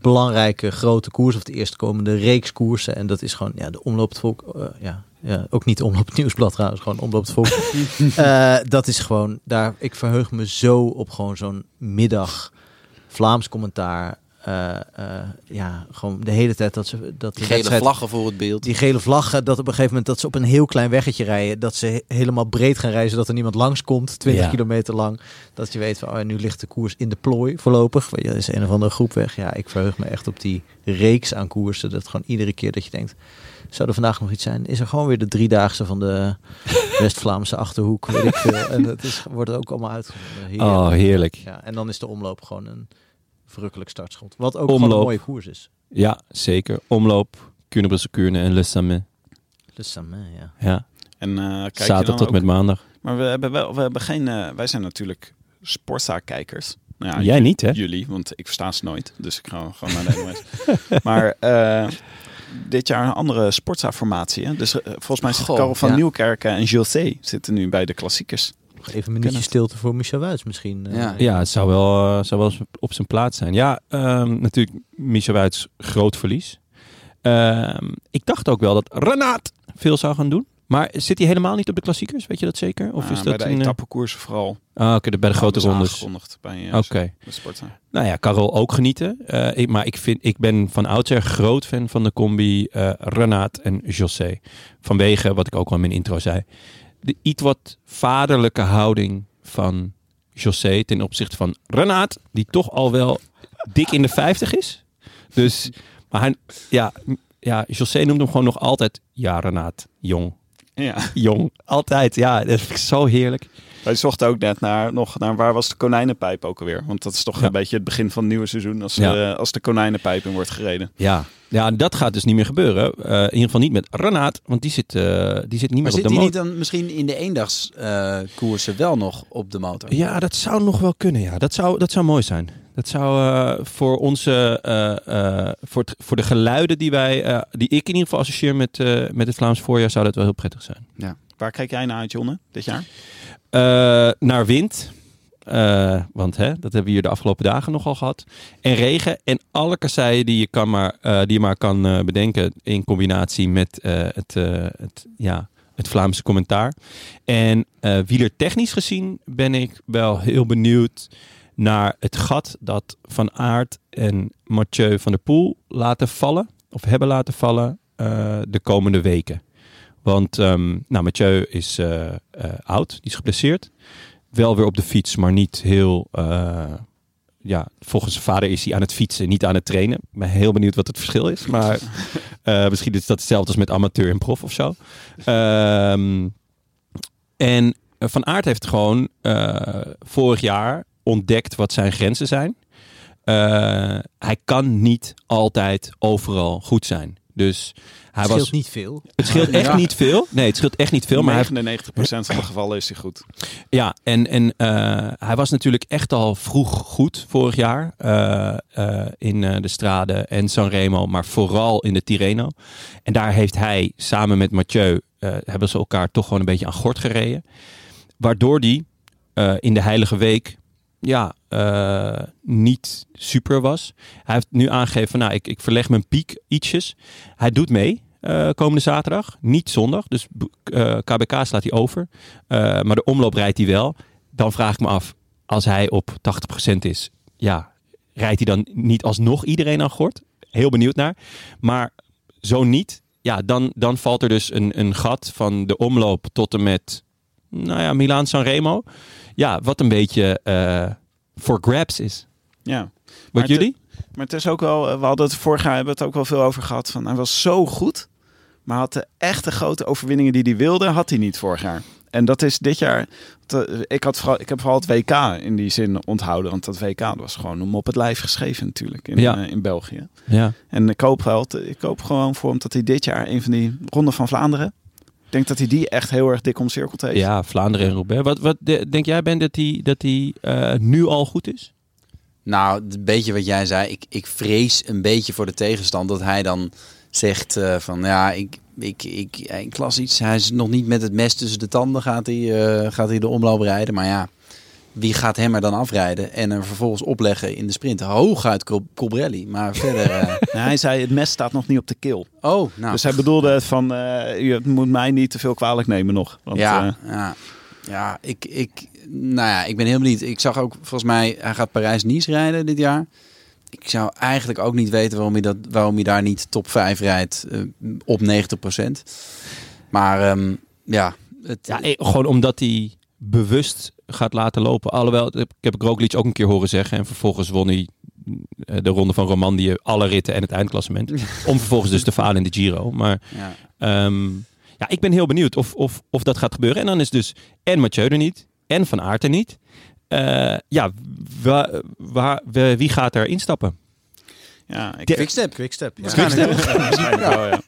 [SPEAKER 3] belangrijke grote koers of de eerstkomende reeks koersen. En dat is gewoon ja, de omloop het volk. eh, ja, ja, ook niet omloop het nieuwsblad trouwens, gewoon omloop het volk. Eh, dat is gewoon daar. Ik verheug me zo op gewoon zo'n middag Vlaams commentaar. Eh, eh, ja, gewoon de hele tijd dat ze dat de
[SPEAKER 4] Die gele
[SPEAKER 3] wedstrijd-
[SPEAKER 4] vlaggen voor het beeld.
[SPEAKER 3] die gele vlaggen, dat op een gegeven moment dat ze op een heel klein weggetje rijden, dat ze he- helemaal breed gaan rijden, zodat er niemand langskomt, 20
[SPEAKER 2] Ja.
[SPEAKER 3] kilometer lang. Dat je weet van, oh, nu ligt de koers in de plooi voorlopig. Want ja, Er is een of andere groep weg. Ja, ik verheug me echt op die reeks aan koersen. Dat gewoon iedere keer dat je denkt, zou er vandaag nog iets zijn? Is er gewoon weer de driedaagse van de West-Vlaamse Achterhoek, weet ik veel. En het is, wordt ook allemaal uitgevonden. Heerlijk.
[SPEAKER 2] Oh, heerlijk.
[SPEAKER 3] Ja, en dan is de omloop gewoon een verrukkelijk startschot. Wat ook gewoon
[SPEAKER 2] Omloop.
[SPEAKER 3] een mooie koers is.
[SPEAKER 2] Ja, zeker. Omloop, Kuurne-Brussel-Kuurne en Le Samet.
[SPEAKER 3] Le Samen, ja.
[SPEAKER 2] Ja,
[SPEAKER 1] En, eh, kijk je dan
[SPEAKER 2] zaterdag tot
[SPEAKER 1] ook-
[SPEAKER 2] met maandag.
[SPEAKER 1] Maar we hebben wel, we hebben geen, eh, wij zijn natuurlijk sportzaakkijkers. Nou ja,
[SPEAKER 2] Jij niet, hè?
[SPEAKER 1] jullie, want ik versta ze nooit. Dus ik ga gewoon naar de NOS. maar eh, dit jaar een andere sportza-formatie. hè? Dus eh, volgens mij zitten
[SPEAKER 4] Goh,
[SPEAKER 1] Karel van
[SPEAKER 4] ja.
[SPEAKER 1] Nieuwkerken en Gilles zitten nu bij de klassiekers.
[SPEAKER 3] Even een minuutje
[SPEAKER 1] het.
[SPEAKER 3] stilte voor Michel Wuits misschien. eh.
[SPEAKER 4] Ja.
[SPEAKER 2] Ja, het zou wel, eh, zou wel eens op zijn plaats zijn. Ja, ehm, natuurlijk Michel Wuits, groot verlies. Ehm, ik dacht ook wel dat Renaat veel zou gaan doen. Maar zit hij helemaal niet op de klassiekers? Weet je dat zeker? Of
[SPEAKER 1] Ah,
[SPEAKER 2] is
[SPEAKER 1] bij
[SPEAKER 2] dat
[SPEAKER 1] de
[SPEAKER 2] een, eh,
[SPEAKER 1] etappekoersen vooral.
[SPEAKER 2] Ah, oké, de- bij de
[SPEAKER 1] Nou,
[SPEAKER 2] grote
[SPEAKER 1] dat is
[SPEAKER 2] rondes.
[SPEAKER 1] aangekondigd bij eh,
[SPEAKER 2] Oké.
[SPEAKER 1] de sportza.
[SPEAKER 2] Nou ja, Karel ook genieten. Eh, ik, maar ik, vind, ik ben van oudsher groot fan van de combi eh Renaat en José. Vanwege, wat ik ook al in mijn intro zei, de iets wat vaderlijke houding van José ten opzichte van Renaat, die toch al wel dik in de 50 is. Dus, maar hij, ja, m- ja, José noemt hem gewoon nog altijd, ja Renaat, jong,
[SPEAKER 1] Ja,
[SPEAKER 2] jong. Altijd, ja, dat vind ik zo heerlijk.
[SPEAKER 1] wij zochten ook net naar, nog naar waar was de konijnenpijp ook alweer. Want dat is toch
[SPEAKER 2] Ja.
[SPEAKER 1] een beetje het begin van het nieuwe seizoen als,
[SPEAKER 2] Ja.
[SPEAKER 1] eh, als de konijnenpijp in wordt gereden.
[SPEAKER 2] Ja, ja en dat gaat dus niet meer gebeuren. Eh, in ieder geval niet met Renaat, want die zit, eh, die zit niet meer
[SPEAKER 4] Maar
[SPEAKER 2] op
[SPEAKER 4] zit
[SPEAKER 2] de
[SPEAKER 4] hij
[SPEAKER 2] motor.
[SPEAKER 4] niet dan misschien in de eendagskoersen koersen wel nog op de motor?
[SPEAKER 2] Ja, dat zou nog wel kunnen. Ja. Dat, zou, dat zou mooi zijn. Dat zou eh, voor onze, eh, eh, voor, het- voor de geluiden die wij, eh, die ik in ieder geval associeer met, eh, met het Vlaams voorjaar, zou dat wel heel prettig zijn.
[SPEAKER 1] Waar kijk jij naar uit, Jonne, dit jaar?
[SPEAKER 2] Eh, naar wind. Eh, want hè, dat hebben we hier de afgelopen dagen nogal gehad. En regen en alle kasseien die je, kan maar, eh, die je maar kan eh, bedenken. In combinatie met eh, het, eh, het, ja, het Vlaamse commentaar. En eh wielertechnisch gezien ben ik wel heel benieuwd naar het gat dat Van Aert en Mathieu van der Poel laten vallen. Of hebben laten vallen eh, de komende weken. Want ehm, nou, Mathieu is eh, eh, oud, die is geblesseerd. Wel weer op de fiets, maar niet heel. eh, ja, volgens zijn vader is hij aan het fietsen, niet aan het trainen. Ik ben heel benieuwd wat het verschil is. Maar eh, misschien is dat hetzelfde als met amateur en prof of zo. Ehm, en eh, Van Aert heeft gewoon eh, vorig jaar ontdekt wat zijn grenzen zijn. Eh, hij kan niet altijd overal goed zijn. Dus hij was
[SPEAKER 3] Het scheelt niet veel.
[SPEAKER 2] het scheelt echt
[SPEAKER 4] Ja.
[SPEAKER 2] niet veel. Nee, het scheelt echt niet veel. Maar hij,
[SPEAKER 1] 99% van de gevallen is hij goed.
[SPEAKER 2] ja, en, en eh, hij was natuurlijk echt al vroeg goed vorig jaar. eh, eh, in eh, de Strade en Sanremo, maar vooral in de Tirreno. En daar heeft hij samen met Mathieu, eh, hebben ze elkaar toch gewoon een beetje aan gort gereden. Waardoor die eh, in de Heilige Week ja, eh, niet super was. Hij heeft nu aangegeven, van, nou, ik, ik verleg mijn piek ietsjes. Hij doet mee eh, komende zaterdag, niet zondag. Dus eh, KBK slaat hij over. Eh, maar de omloop rijdt hij wel. Dan vraag ik me af, als hij op 80% is, ja, rijdt hij dan niet alsnog iedereen aan gort? Heel benieuwd naar. Maar zo niet, ja, dan, dan valt er dus een, een gat van de omloop tot en met, nou ja, Milaan Sanremo. Ja, wat een beetje eh, voor grabs is.
[SPEAKER 1] Ja.
[SPEAKER 2] Wat
[SPEAKER 1] Maar te-
[SPEAKER 2] jullie?
[SPEAKER 1] Maar het is ook wel, eh, we hadden het vorig jaar hebben we het ook wel veel over gehad. Van, hij was zo goed, maar had de echte grote overwinningen die hij wilde, had hij niet vorig jaar. En dat is dit jaar. te- ik, had vooral, ik heb vooral het WK in die zin onthouden. Want dat WK dat was gewoon om op het lijf geschreven natuurlijk in,
[SPEAKER 2] Ja.
[SPEAKER 1] eh, in België.
[SPEAKER 2] Ja.
[SPEAKER 1] En ik hoop, wel, ik hoop gewoon voor hem dat hij dit jaar een van die Ronde van Vlaanderen denk dat hij die echt heel erg dik omcirkeld heeft.
[SPEAKER 2] Ja, Vlaanderen en Roubaix. Wat, wat de- denk jij, Ben, dat die, dat die eh, nu al goed is?
[SPEAKER 4] Nou, een beetje wat jij zei. Ik, ik vrees een beetje voor de tegenstand dat hij dan zegt eh, van ja, ik, ik, ik, ik las iets. Hij is nog niet met het mes tussen de tanden gaat hij, eh, gaat hij de omloop rijden. Maar ja, wie gaat hem er dan afrijden en hem vervolgens opleggen in de sprint? Hooguit Col- Colbrelli, maar verder... eh,
[SPEAKER 1] Nou, hij zei, het mes staat nog niet op de keel.
[SPEAKER 4] oh, nou.
[SPEAKER 1] Dus hij bedoelde het van, eh, je moet mij niet te veel kwalijk nemen nog. Want,
[SPEAKER 4] ja,
[SPEAKER 1] eh,
[SPEAKER 4] ja, ja ik, ik, nou ja, ik ben heel benieuwd. Ik zag ook, volgens mij, hij gaat Parijs-Nice rijden dit jaar. Ik zou eigenlijk ook niet weten waarom hij, dat, waarom hij daar niet top 5 rijdt eh, op 90%. Maar ehm, ja, het,
[SPEAKER 2] Ja, eh, gewoon omdat hij bewust gaat laten lopen. Alhoewel, ik heb Roglic ook een keer horen zeggen. En vervolgens won hij eh, de ronde van Romandie, alle ritten en het eindklassement. om vervolgens dus te falen in de Giro. Maar
[SPEAKER 4] ja.
[SPEAKER 2] Ehm, ja, ik ben heel benieuwd of, of, of dat gaat gebeuren. En dan is dus en Mathieu er niet, en Van Aert er niet. Eh, ja, wa- waar- we- wie gaat er instappen?
[SPEAKER 1] ja, ik,
[SPEAKER 4] Quickstep.
[SPEAKER 3] Quickstep. Ja.
[SPEAKER 1] waarschijnlijk wel, ja.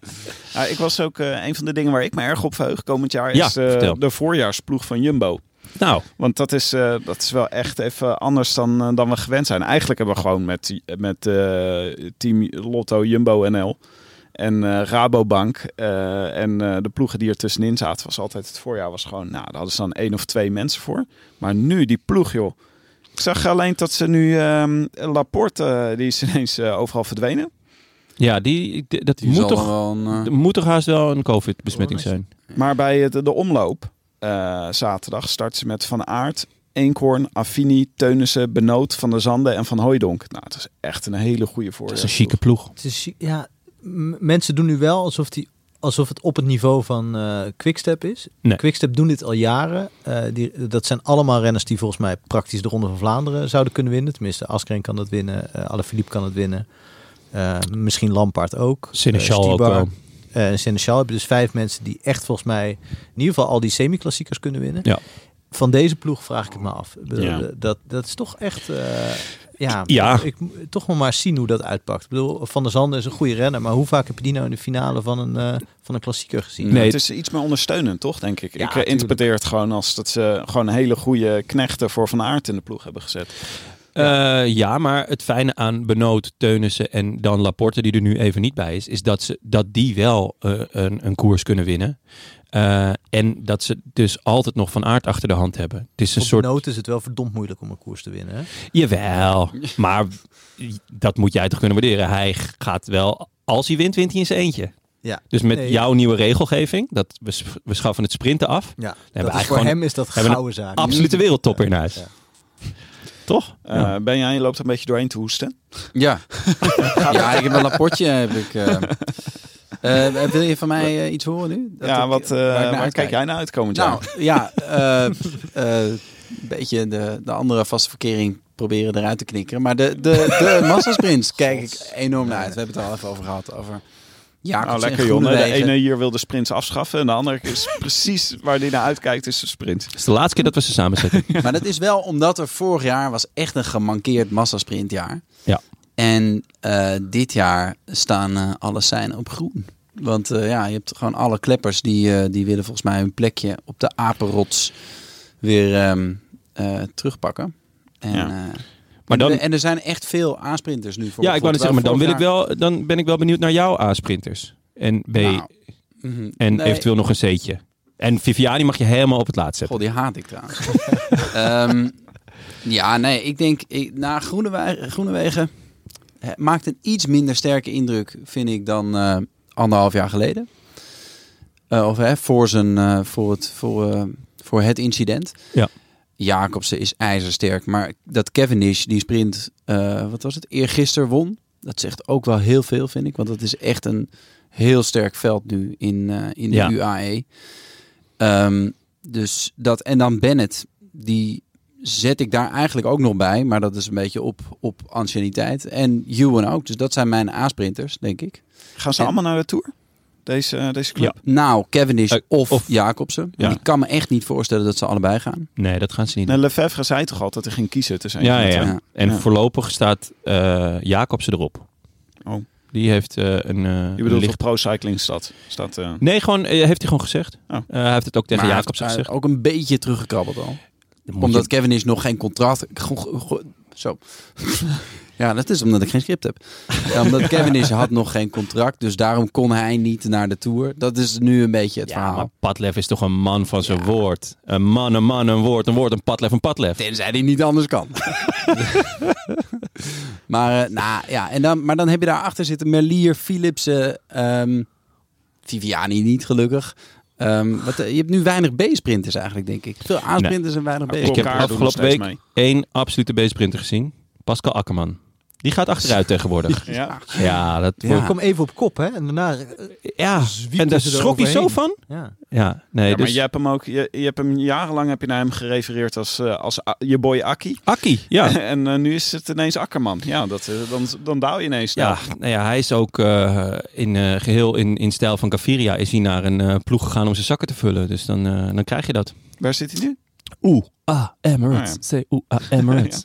[SPEAKER 1] Nou, ik was ook, eh, een van de dingen waar ik me erg op verheug komend jaar,
[SPEAKER 2] Ja,
[SPEAKER 1] is eh,
[SPEAKER 2] vertel.
[SPEAKER 1] de voorjaarsploeg van Jumbo.
[SPEAKER 2] Nou,
[SPEAKER 1] Want dat is, eh, dat is wel echt even anders dan, eh, dan we gewend zijn. Eigenlijk hebben we gewoon met, met eh, team Lotto, Jumbo NL en eh, Rabobank eh, en eh, de ploegen die er tussenin zaten, was altijd het voorjaar was gewoon, nou, daar hadden ze dan één of twee mensen voor. Maar nu, die ploeg, joh. Ik zag alleen dat ze nu ehm Laporte, eh, die is ineens eh, overal verdwenen.
[SPEAKER 2] ja, die, d- dat
[SPEAKER 4] Die
[SPEAKER 2] moet
[SPEAKER 4] zal
[SPEAKER 2] toch,
[SPEAKER 4] dan wel een, eh,
[SPEAKER 2] d- moet toch haast wel een COVID-besmetting zijn.
[SPEAKER 1] Maar bij het- de omloop eh, zaterdag start ze met Van Aert, Eenkhoorn, Affini, Teunissen, Benoot, Van der Zande en Van Hooijdonk. Nou, dat is echt een hele goede
[SPEAKER 2] Dat
[SPEAKER 1] voorzet. Mm.
[SPEAKER 2] is een chique ploeg.
[SPEAKER 3] Het is, ja, m- mensen doen nu wel alsof, die, alsof het op het niveau van eh Quickstep is.
[SPEAKER 2] Nee.
[SPEAKER 3] Quickstep doen dit al jaren. Eh, die, dat zijn allemaal renners die volgens mij praktisch de Ronde van Vlaanderen zouden kunnen winnen. Tenminste, Askreen kan dat winnen, eh Alaphilippe kan dat winnen. Eh, misschien Lampaard ook.
[SPEAKER 2] Seneschal
[SPEAKER 3] Eh,
[SPEAKER 2] ook
[SPEAKER 3] Stibar.
[SPEAKER 2] wel.
[SPEAKER 3] Eh, en Seneschal hebben dus vijf mensen die echt volgens mij in ieder geval al die semi-klassiekers kunnen winnen.
[SPEAKER 2] Ja.
[SPEAKER 3] Van deze ploeg vraag ik het me af. Ik bedoel,
[SPEAKER 1] Ja.
[SPEAKER 3] eh, Dat, dat is toch echt... eh, ja,
[SPEAKER 2] Ja.
[SPEAKER 3] Ik, mo- toch maar maar zien hoe dat uitpakt. Ik bedoel, Van der Zanden is een goede renner, maar hoe vaak heb je die nou in de finale van een, eh, van een klassieker gezien?
[SPEAKER 1] Nee,
[SPEAKER 2] Nee.
[SPEAKER 1] het is iets meer ondersteunend, toch? Denk ik. ik eh,
[SPEAKER 3] tuurlijk.
[SPEAKER 1] interpreteer het gewoon als dat ze gewoon hele goede knechten voor Van Aert in de ploeg hebben gezet.
[SPEAKER 2] Ja. Eh, ja, maar het fijne aan Benoot, Teunissen en dan Laporte, die er nu even niet bij is, is dat, ze, dat die wel eh, een, een koers kunnen winnen. Eh, en dat ze dus altijd nog van aard achter de hand hebben. Het is een
[SPEAKER 3] Op
[SPEAKER 2] soort.
[SPEAKER 3] nood is het wel verdomd moeilijk om een koers te winnen. Hè?
[SPEAKER 2] Jawel, maar dat moet jij toch kunnen waarderen. Hij gaat wel, als hij wint, wint hij in zijn eentje.
[SPEAKER 3] Ja.
[SPEAKER 2] Dus met
[SPEAKER 3] Nee.
[SPEAKER 2] jouw nieuwe regelgeving, dat we, s- we schaffen het sprinten af.
[SPEAKER 3] Ja,
[SPEAKER 2] hebben
[SPEAKER 3] dat is
[SPEAKER 2] eigenlijk
[SPEAKER 3] voor
[SPEAKER 2] gewoon-
[SPEAKER 3] hem is dat
[SPEAKER 2] hebben een
[SPEAKER 3] gouden zaak.
[SPEAKER 2] Absolute wereldtopper in huis.
[SPEAKER 3] Ja.
[SPEAKER 2] Toch?
[SPEAKER 1] Eh, Ben jij, je loopt een beetje doorheen te hoesten.
[SPEAKER 4] ja. ja, ik heb een rapportje. Heb ik, eh. Eh, wil je van mij eh, iets horen nu? Dat
[SPEAKER 1] ja,
[SPEAKER 4] ik-
[SPEAKER 1] wat, eh,
[SPEAKER 4] waar ik naar
[SPEAKER 1] waar,
[SPEAKER 4] uitkijk?
[SPEAKER 1] kijk jij naar uit komend
[SPEAKER 4] Nou,
[SPEAKER 1] jaar?
[SPEAKER 4] ja, eh, eh, een beetje de, de andere vaste verkering proberen eruit te knikkeren. Maar de, de, de massasprints kijk ik enorm naar uit. We hebben het er al even over gehad, over Jacobs
[SPEAKER 1] Nou, lekker
[SPEAKER 4] en
[SPEAKER 1] jongen. De
[SPEAKER 4] Groenewegen.
[SPEAKER 1] ene hier wil de sprints afschaffen en de andere is precies waar die naar uitkijkt, is de sprint.
[SPEAKER 2] Het is de laatste keer dat we ze samen zetten.
[SPEAKER 4] Maar dat is wel omdat er vorig jaar was echt een gemankeerd massasprintjaar.
[SPEAKER 2] Ja.
[SPEAKER 4] En eh, dit jaar staan eh, alle zijn op groen. Want eh, ja, je hebt gewoon alle kleppers die, eh, die willen volgens mij hun plekje op de apenrots weer ehm, eh, terugpakken. En,
[SPEAKER 1] Ja.
[SPEAKER 4] eh,
[SPEAKER 2] Maar dan,
[SPEAKER 4] en, en er zijn echt veel aansprinters nu. Voor
[SPEAKER 2] ja, ik wou net zeggen, maar dan, wil ik
[SPEAKER 4] terwijl
[SPEAKER 2] wel, dan ben ik wel benieuwd naar jouw A-sprinters. En B.
[SPEAKER 4] vorig jaar- Nou, mhm.
[SPEAKER 2] en
[SPEAKER 4] Nee,
[SPEAKER 2] eventueel nog een C'tje. En Viviani mag je helemaal op het laatst zetten.
[SPEAKER 4] God, die haat ik trouwens. Ehm, ja, nee, ik denk, ik, na Groenewegen, Groenewegen eh, maakt een iets minder sterke indruk, vind ik, dan eh, anderhalf jaar geleden. Eh, of hè, voor, zijn, eh, voor, het, voor, eh, voor het incident.
[SPEAKER 2] Ja.
[SPEAKER 4] Jacobsen is ijzersterk, maar dat Cavendish, die sprint, eh, wat was het, eergisteren won. Dat zegt ook wel heel veel, vind ik, want dat is echt een heel sterk veld nu in, eh, in de
[SPEAKER 2] Ja.
[SPEAKER 4] UAE. Ehm, dus dat, en dan Bennett, die zet ik daar eigenlijk ook nog bij. Maar dat is een beetje op, op anciëniteit. En Ewan ook. Dus dat zijn mijn A-sprinters, denk ik.
[SPEAKER 1] Gaan ze
[SPEAKER 4] En-
[SPEAKER 1] allemaal naar de Tour? Deze, deze club?
[SPEAKER 4] Nou, Cavendish
[SPEAKER 2] Eh,
[SPEAKER 4] of,
[SPEAKER 2] of-
[SPEAKER 4] Jacobsen.
[SPEAKER 2] Ja.
[SPEAKER 4] Ik kan me echt niet voorstellen dat ze allebei gaan.
[SPEAKER 2] Nee, dat gaan ze niet
[SPEAKER 1] Nee, Lefebvre zei toch altijd dat hij ging kiezen tussen
[SPEAKER 2] Ja, ja,
[SPEAKER 1] ja,
[SPEAKER 2] ja.
[SPEAKER 4] Ja.
[SPEAKER 2] En
[SPEAKER 1] Ja.
[SPEAKER 2] voorlopig staat eh Jacobsen erop.
[SPEAKER 1] Oh.
[SPEAKER 2] Die heeft eh, een, eh,
[SPEAKER 1] Je
[SPEAKER 2] een
[SPEAKER 1] bedoelt
[SPEAKER 2] licht-
[SPEAKER 1] op Pro Cycling staat. staat eh,
[SPEAKER 2] Nee, gewoon, eh, heeft hij gewoon gezegd.
[SPEAKER 1] Oh.
[SPEAKER 2] Eh, hij heeft het ook tegen
[SPEAKER 4] Maar hij
[SPEAKER 2] Jacobs
[SPEAKER 4] heeft, eh,
[SPEAKER 2] gezegd.
[SPEAKER 4] ook een beetje teruggekrabbeld al.
[SPEAKER 2] Dan moet
[SPEAKER 4] omdat
[SPEAKER 2] je-
[SPEAKER 4] Kevin is nog geen contract. go- go- go- Zo. ja, dat is omdat ik geen script heb. Ja, omdat Kevin is had nog geen contract, dus daarom kon hij niet naar de tour. Dat is nu een beetje het
[SPEAKER 2] ja,
[SPEAKER 4] verhaal.
[SPEAKER 2] maar Padlef is toch een man van zijn woord. Een man, een man, een woord, een woord, een Padlef, een Padlef.
[SPEAKER 4] Tenzij hij niet anders kan. maar, eh, nou, ja, en dan, maar dan heb je daarachter zitten Merlier, Philipsen, ehm, Viviani niet gelukkig. Ehm, wat, eh, je hebt nu weinig B-sprinters eigenlijk, denk ik. Veel A-sprinters en weinig
[SPEAKER 1] Nou,
[SPEAKER 2] Ik
[SPEAKER 4] B-sprinters.
[SPEAKER 2] heb
[SPEAKER 1] Pocard doet nog
[SPEAKER 2] afgelopen
[SPEAKER 1] steeds
[SPEAKER 2] week
[SPEAKER 1] mee.
[SPEAKER 2] één absolute beestprinter gezien. Pascal Akkerman. Die gaat achteruit tegenwoordig.
[SPEAKER 1] Ja.
[SPEAKER 2] Ja, dat
[SPEAKER 4] Ja.
[SPEAKER 2] wordt...
[SPEAKER 3] Kom even op kop, hè? En daarna...
[SPEAKER 2] Ja,
[SPEAKER 3] Zwiepte
[SPEAKER 2] en daar
[SPEAKER 3] ze er
[SPEAKER 2] schrok hij zo
[SPEAKER 3] overheen.
[SPEAKER 2] van.
[SPEAKER 3] Ja.
[SPEAKER 2] Ja, nee,
[SPEAKER 1] Ja, maar
[SPEAKER 2] dus...
[SPEAKER 1] je hebt hem ook, je, je hebt hem jarenlang heb je naar hem gerefereerd als, eh, als A- je boy Akkie.
[SPEAKER 2] Akkie, ja.
[SPEAKER 1] en eh, nu is het ineens Akkerman. Ja, dat, eh, dan, dan daal je ineens.
[SPEAKER 2] Ja, nou ja, hij is ook eh, in, eh, geheel in, in stijl van Gaviria is hij naar een eh, ploeg gegaan om zijn zakken te vullen. Dus dan, eh, dan krijg je dat.
[SPEAKER 1] Waar zit hij nu?
[SPEAKER 2] Oeh, ah, Emirates.
[SPEAKER 1] Ah,
[SPEAKER 2] Say oeh, ah, Emirates.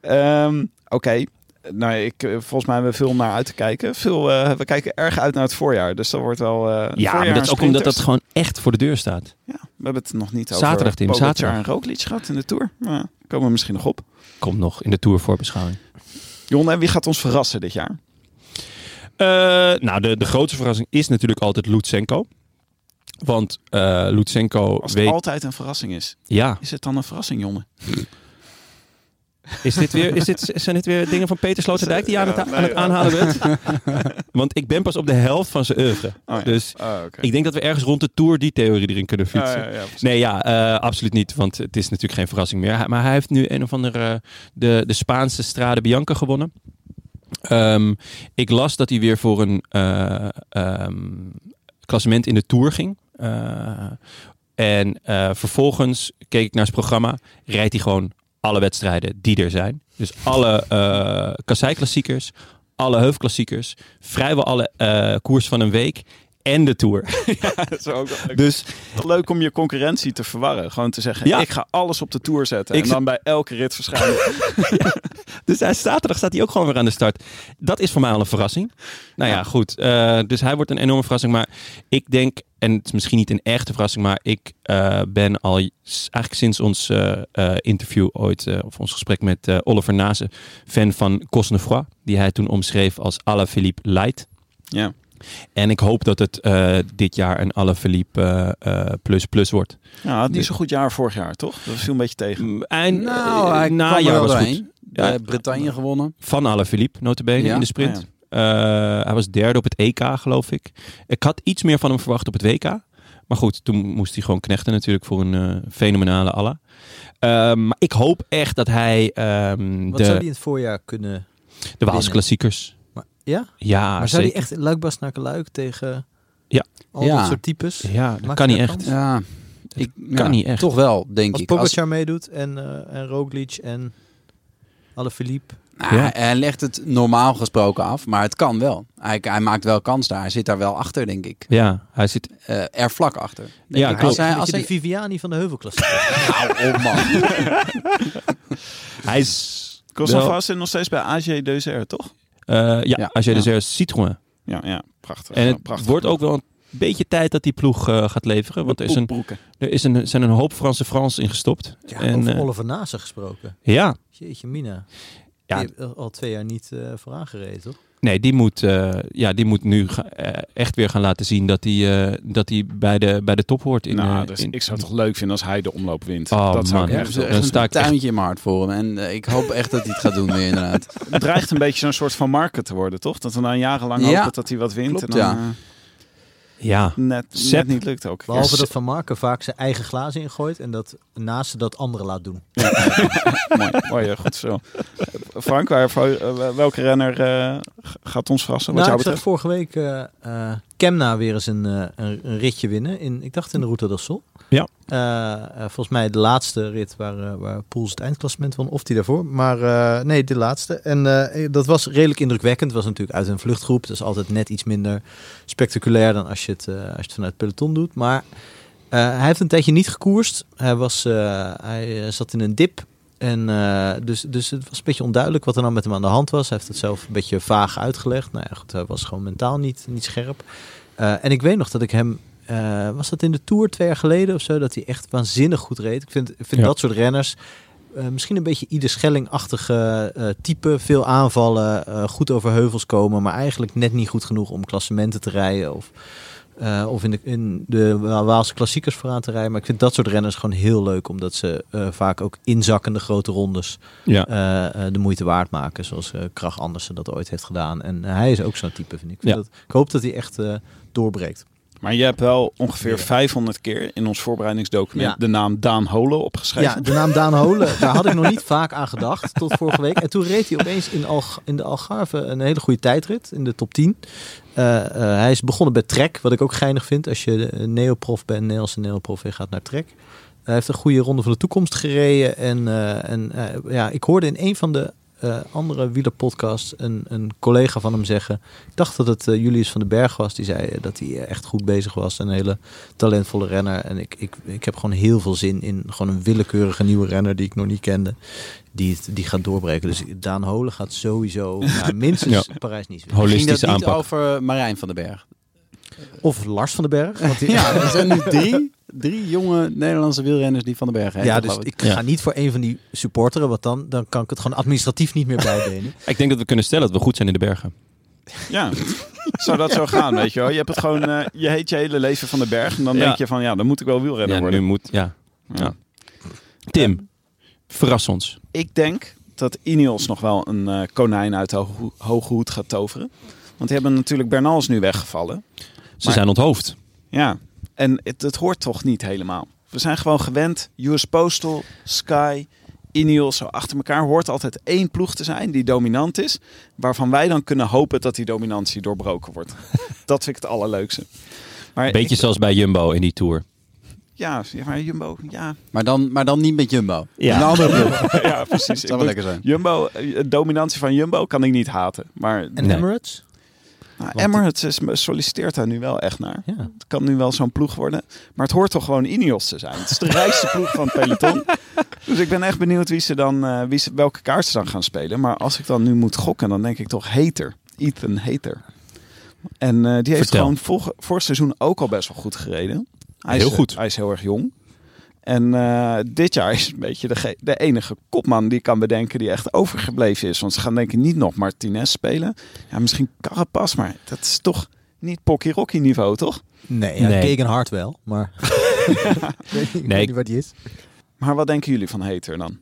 [SPEAKER 1] Ehm, Oké. Nou, ik, eh, volgens mij hebben we veel om naar uit te kijken. Veel, eh, we kijken erg uit naar het voorjaar. Dus dat wordt wel. eh,
[SPEAKER 2] ja,
[SPEAKER 1] voorjaar
[SPEAKER 2] maar dat is
[SPEAKER 1] en
[SPEAKER 2] ook omdat dat
[SPEAKER 1] sprinters.
[SPEAKER 2] gewoon echt voor de deur staat.
[SPEAKER 1] Ja, we hebben het nog niet over.
[SPEAKER 2] Zaterdag, Tim,
[SPEAKER 1] Pogacar
[SPEAKER 2] zaterdag.
[SPEAKER 1] en Roglic gehad in de tour. Maar komen we misschien nog op.
[SPEAKER 2] Komt nog in de Tour voorbeschouwing.
[SPEAKER 1] Jon, en wie gaat ons verrassen dit jaar?
[SPEAKER 2] Eh, nou, de, de grootste verrassing is natuurlijk altijd Lutsenko. Want eh Lutsenko
[SPEAKER 1] Als het
[SPEAKER 2] weet...
[SPEAKER 1] altijd een verrassing is,
[SPEAKER 2] Ja,
[SPEAKER 1] is het dan een verrassing, Jonne?
[SPEAKER 2] is dit weer, is dit, zijn dit weer dingen van Peter Sloterdijk die je aan het, aan het aanhalen bent? Want ik ben pas op de helft van zijn oeuvre.
[SPEAKER 1] ja.
[SPEAKER 2] Dus
[SPEAKER 1] Oh, oké.
[SPEAKER 2] ik denk dat we ergens rond de Tour die theorie erin kunnen
[SPEAKER 1] Ja,
[SPEAKER 2] fietsen.
[SPEAKER 1] ja, ja, precies.
[SPEAKER 2] Nee, ja, eh, absoluut niet. Want het is natuurlijk geen verrassing meer. Hij- Maar hij heeft nu een of andere... eh, De, de Spaanse Strade Bianca gewonnen. Ehm, ik las dat hij weer voor een eh, ehm, klassement in de Tour ging. Eh, en eh, vervolgens keek ik naar zijn programma. Rijdt hij gewoon alle wedstrijden die er zijn. Dus alle eh kasseiklassiekers, alle heufklassiekers, vrijwel alle eh, koers van een week en de Tour.
[SPEAKER 1] Het is ook wel-
[SPEAKER 2] Dus
[SPEAKER 1] Toch leuk om je concurrentie te verwarren. Gewoon te zeggen,
[SPEAKER 2] Ja.
[SPEAKER 1] ik ga alles op de tour zetten.
[SPEAKER 2] Ik
[SPEAKER 1] en dan bij elke rit verschijnen.
[SPEAKER 2] Dus hij, zaterdag staat hij ook gewoon weer aan de start. Dat is voor mij al een verrassing. Nou ja, goed. Eh, dus hij wordt een enorme verrassing. Maar ik denk, en het is misschien niet een echte verrassing, maar ik eh, ben al s- eigenlijk sinds ons eh, eh, interview ooit, eh, of ons gesprek met eh, Oliver Nase, fan van Cosnefroid, die hij toen omschreef als Alain Philippe Light.
[SPEAKER 1] ja.
[SPEAKER 2] En ik hoop dat het eh, dit jaar een Alain Philippe eh, eh, plus plus wordt.
[SPEAKER 1] ja, had niet zo'n goed jaar vorig jaar, toch? Dat viel een beetje tegen.
[SPEAKER 2] En
[SPEAKER 4] Nou,
[SPEAKER 2] eh,
[SPEAKER 4] hij kwam er
[SPEAKER 2] najaar
[SPEAKER 4] wel
[SPEAKER 2] was goed.
[SPEAKER 4] doorheen.
[SPEAKER 2] Ja.
[SPEAKER 4] Eh, Bretagne gewonnen.
[SPEAKER 2] Van Alaphilippe, notabene,
[SPEAKER 4] Ja?
[SPEAKER 2] in de
[SPEAKER 3] Ah,
[SPEAKER 2] sprint. Eh, hij was derde op het EK, geloof ik. Ik had iets meer van hem verwacht op het WK. Maar goed, toen moest hij gewoon knechten natuurlijk voor een eh, fenomenale Alla. Ehm, maar ik hoop echt dat hij ehm,
[SPEAKER 3] Wat zou die
[SPEAKER 2] de,
[SPEAKER 3] in het voorjaar kunnen...
[SPEAKER 2] de Waalse
[SPEAKER 3] winnen?
[SPEAKER 2] klassiekers...
[SPEAKER 3] Maar, ja?
[SPEAKER 2] Ja,
[SPEAKER 3] Maar zou die
[SPEAKER 2] Ah, zeker.
[SPEAKER 3] echt in Luikbas naar Luik tegen...
[SPEAKER 2] Ja.
[SPEAKER 3] Al
[SPEAKER 4] Ja.
[SPEAKER 3] dat soort types?
[SPEAKER 2] Ja, dat
[SPEAKER 3] Maakt
[SPEAKER 2] kan
[SPEAKER 3] hij
[SPEAKER 2] niet
[SPEAKER 3] dat
[SPEAKER 2] echt.
[SPEAKER 3] kans?
[SPEAKER 4] Ja, ik, ja,
[SPEAKER 2] niet echt.
[SPEAKER 4] Toch wel, denk
[SPEAKER 3] Als
[SPEAKER 4] ik. Als-
[SPEAKER 3] Pogacar meedoet en, eh en Roglic en Alaphilippe.
[SPEAKER 4] Nou,
[SPEAKER 2] Ja.
[SPEAKER 4] Hij legt het normaal gesproken af, maar het kan wel. Hij, hij maakt wel kans daar. Hij zit daar wel achter, denk ik.
[SPEAKER 2] Ja, hij zit...
[SPEAKER 4] Eh, er vlak achter. denk
[SPEAKER 2] Ja,
[SPEAKER 4] ik.
[SPEAKER 2] klopt.
[SPEAKER 4] Als hij,
[SPEAKER 3] Een
[SPEAKER 4] als
[SPEAKER 3] beetje
[SPEAKER 4] hij,
[SPEAKER 3] de Viviani van de Heuvelklasse.
[SPEAKER 4] Hou op, man.
[SPEAKER 2] Hij is...
[SPEAKER 1] Kosovo zit nog steeds bij AG Deuzer, toch?
[SPEAKER 2] Eh, ja,
[SPEAKER 4] Ja,
[SPEAKER 2] als je
[SPEAKER 4] ja.
[SPEAKER 2] de Zerre Citroën.
[SPEAKER 1] Ja, ja. Prachtig.
[SPEAKER 2] En
[SPEAKER 1] Ja,
[SPEAKER 2] het
[SPEAKER 1] prachtig.
[SPEAKER 2] wordt ook wel een beetje tijd dat die ploeg eh, gaat leveren. Want er, is een,
[SPEAKER 1] Poepbroeken.
[SPEAKER 2] er is een, zijn een hoop Franse Frans ingestopt.
[SPEAKER 3] Ja,
[SPEAKER 2] en,
[SPEAKER 3] over
[SPEAKER 2] eh,
[SPEAKER 3] Oliver Nase gesproken.
[SPEAKER 2] ja,
[SPEAKER 3] Jeetje mina.
[SPEAKER 2] Ja.
[SPEAKER 3] Ja. Die heeft al- al twee jaar niet eh vooraan gereden, toch?
[SPEAKER 2] Nee, die moet, eh, ja, die moet nu ga- eh, echt weer gaan laten zien dat hij eh, dat hij bij, de, bij de top hoort. In,
[SPEAKER 1] nou,
[SPEAKER 2] eh,
[SPEAKER 1] dus
[SPEAKER 2] in-
[SPEAKER 1] ik zou het toch leuk vinden als hij de omloop wint.
[SPEAKER 2] Oh,
[SPEAKER 1] dat zou
[SPEAKER 2] man.
[SPEAKER 1] ik
[SPEAKER 4] Ja,
[SPEAKER 1] echt
[SPEAKER 4] er is
[SPEAKER 2] Dan
[SPEAKER 4] echt
[SPEAKER 2] sta
[SPEAKER 4] een
[SPEAKER 2] ik echt-
[SPEAKER 4] tuintje in mijn hart voor hem. En eh, ik hoop echt dat hij het gaat doen weer, inderdaad.
[SPEAKER 1] Het dreigt een beetje zo'n soort van market te worden, toch? Dat we na jarenlang
[SPEAKER 4] Ja.
[SPEAKER 1] hopen dat hij wat wint.
[SPEAKER 4] Klopt,
[SPEAKER 1] en dan
[SPEAKER 4] ja.
[SPEAKER 1] eh,
[SPEAKER 2] ja,
[SPEAKER 1] net, net
[SPEAKER 2] Sepp.
[SPEAKER 1] niet lukt ook.
[SPEAKER 3] Behalve
[SPEAKER 1] Ja,
[SPEAKER 3] dat Van Marken vaak zijn eigen glazen ingooit en dat Nase dat anderen laat doen.
[SPEAKER 1] mooi, mooi, eh, goed zo. Frank, waar, eh, welke renner eh, g- gaat ons verrassen? Wat
[SPEAKER 3] Nou, ik
[SPEAKER 1] jou betreft?
[SPEAKER 3] zag vorige week eh, eh, Kemna weer eens een, eh, een, een ritje winnen. In, ik dacht in de Route del Sol.
[SPEAKER 2] Ja.
[SPEAKER 3] Eh, eh, volgens mij de laatste rit waar, eh, waar Poels het eindklassement won. Of die daarvoor. Maar eh, nee, de laatste. En eh, dat was redelijk indrukwekkend. was natuurlijk uit een vluchtgroep. Dat is altijd net iets minder spectaculair dan als je het, eh, als je het vanuit het peloton doet. Maar eh, hij heeft een tijdje niet gekoerst. Hij, was, eh, hij eh, zat in een dip. En eh, dus, dus het was een beetje onduidelijk wat er nou met hem aan de hand was. Hij heeft het zelf een beetje vaag uitgelegd. Nou ja, goed, hij was gewoon mentaal niet, niet scherp. Eh, en ik weet nog dat ik hem, eh, was dat in de Tour twee jaar geleden of zo, dat hij echt waanzinnig goed reed. Ik vind, ik vind
[SPEAKER 2] Ja.
[SPEAKER 3] dat soort renners, eh, misschien een beetje ieder Schelling-achtige eh, type. Veel aanvallen, eh, goed over heuvels komen, maar eigenlijk net niet goed genoeg om klassementen te rijden. Of, eh, of in, de, in de Wa- Waalse klassiekers vooraan te rijden. Maar ik vind dat soort renners gewoon heel leuk, omdat ze eh, vaak ook inzakkende grote rondes
[SPEAKER 2] Ja.
[SPEAKER 3] eh, eh, de moeite waard maken. Zoals eh Krach Andersen dat ooit heeft gedaan. En eh, hij is ook zo'n type, vind ik. Ik vind
[SPEAKER 2] Ja.
[SPEAKER 3] dat, ik hoop dat hij echt eh, doorbreekt.
[SPEAKER 1] Maar je hebt wel ongeveer
[SPEAKER 3] Ja.
[SPEAKER 1] 500 keer in ons voorbereidingsdocument
[SPEAKER 3] Ja.
[SPEAKER 1] de naam Daan Holo opgeschreven.
[SPEAKER 3] Ja, de naam Daan Holen, daar had ik nog niet vaak aan gedacht tot vorige week. En toen reed hij opeens in, Alg in de Algarve een hele goede tijdrit in de top 10. Eh, eh, hij is begonnen bij Trek, wat ik ook geinig vind. Als je eh, neoprof bent, Nederlandse neoprof, en gaat naar Trek. Hij heeft een goede ronde van de toekomst gereden. En, eh, en eh, ja, ik hoorde in een van de eh, andere wielerpodcasts een, een collega van hem zeggen... Ik dacht dat het eh, Julius van den Berg was. Die zei eh, dat hij eh, echt goed bezig was. Een hele talentvolle renner. En ik, ik, ik heb gewoon heel veel zin in gewoon een willekeurige nieuwe renner die ik nog niet kende. Die, het- die gaat doorbreken. Dus Daan Holen gaat sowieso naar minstens Parijs-Nice. winnen.
[SPEAKER 4] Ging dat
[SPEAKER 2] Holistische
[SPEAKER 4] niet
[SPEAKER 2] aanpak.
[SPEAKER 4] over Marijn van den Berg?
[SPEAKER 3] Of Lars van den Berg. Want die,
[SPEAKER 4] Ja, er zijn nu drie, drie jonge Nederlandse wielrenners die van den Berg heten.
[SPEAKER 3] ja, dus
[SPEAKER 4] geloof ik.
[SPEAKER 3] ik
[SPEAKER 2] Ja.
[SPEAKER 3] ga niet voor een van die supporteren. Want dan, dan kan ik het gewoon administratief niet meer bijbenen.
[SPEAKER 2] Ik denk dat we kunnen stellen dat we goed zijn in de bergen.
[SPEAKER 1] Ja. Zou dat zo gaan, weet je wel? Je hebt het gewoon, eh, je heet je hele leven van de berg. En dan
[SPEAKER 2] Ja.
[SPEAKER 1] denk je van, ja, dan moet ik wel wielrenner
[SPEAKER 2] Ja, nu
[SPEAKER 1] worden.
[SPEAKER 2] moet. Ja. ja. Tim, verras ons.
[SPEAKER 1] Ik denk dat Ineos nog wel een eh, konijn uit de ho- hoge hoed gaat toveren. Want die hebben natuurlijk Bernals nu weggevallen.
[SPEAKER 2] Ze
[SPEAKER 1] Maar-
[SPEAKER 2] zijn onthoofd.
[SPEAKER 1] Ja, en het, het hoort toch niet helemaal. We zijn gewoon gewend. US Postal, Sky, Ineos, zo achter elkaar hoort altijd één ploeg te zijn die dominant is. Waarvan wij dan kunnen hopen dat die dominantie doorbroken wordt. dat vind ik het allerleukste. Maar
[SPEAKER 2] Beetje
[SPEAKER 1] ik-
[SPEAKER 2] zoals bij Jumbo in die tour.
[SPEAKER 1] ja, ja, maar Jumbo, ja.
[SPEAKER 4] Maar, dan, maar dan niet met Jumbo.
[SPEAKER 2] Ja.
[SPEAKER 4] Een andere ploeg.
[SPEAKER 1] ja, precies.
[SPEAKER 4] Dat
[SPEAKER 1] Ik
[SPEAKER 4] zou wel
[SPEAKER 1] moet-
[SPEAKER 4] lekker zijn.
[SPEAKER 1] Jumbo, eh, de dominantie van Jumbo kan ik niet haten. Maar
[SPEAKER 3] En
[SPEAKER 2] Nee.
[SPEAKER 3] Emirates?
[SPEAKER 1] nou, Emirates is, solliciteert daar nu wel echt naar.
[SPEAKER 3] Ja.
[SPEAKER 1] Het kan nu wel zo'n ploeg worden. Maar het hoort toch gewoon Ineos te zijn. Het is de rijkste ploeg van het peloton. Dus ik ben echt benieuwd wie ze dan, eh, wie ze, welke kaart ze dan gaan spelen. Maar als ik dan nu moet gokken, dan denk ik toch Hater. Ethan Hater. En eh, die heeft
[SPEAKER 2] Vertel.
[SPEAKER 1] gewoon vor, vorig seizoen ook al best wel goed gereden. Hij
[SPEAKER 2] Heel
[SPEAKER 1] is,
[SPEAKER 2] goed.
[SPEAKER 1] Hij is heel erg jong. En eh, dit jaar is een beetje de, ge- de enige kopman die ik kan bedenken die echt overgebleven is. Want ze gaan denk ik niet nog Martinez spelen. Ja, misschien Carapaz, maar dat is toch niet Pocky Rocky niveau, toch?
[SPEAKER 3] Nee, ja,
[SPEAKER 2] Nee.
[SPEAKER 3] Gegenhard wel. Maar ik weet niet- ik
[SPEAKER 2] Nee.
[SPEAKER 3] weet niet waar die is.
[SPEAKER 1] Maar wat denken jullie van Hater dan?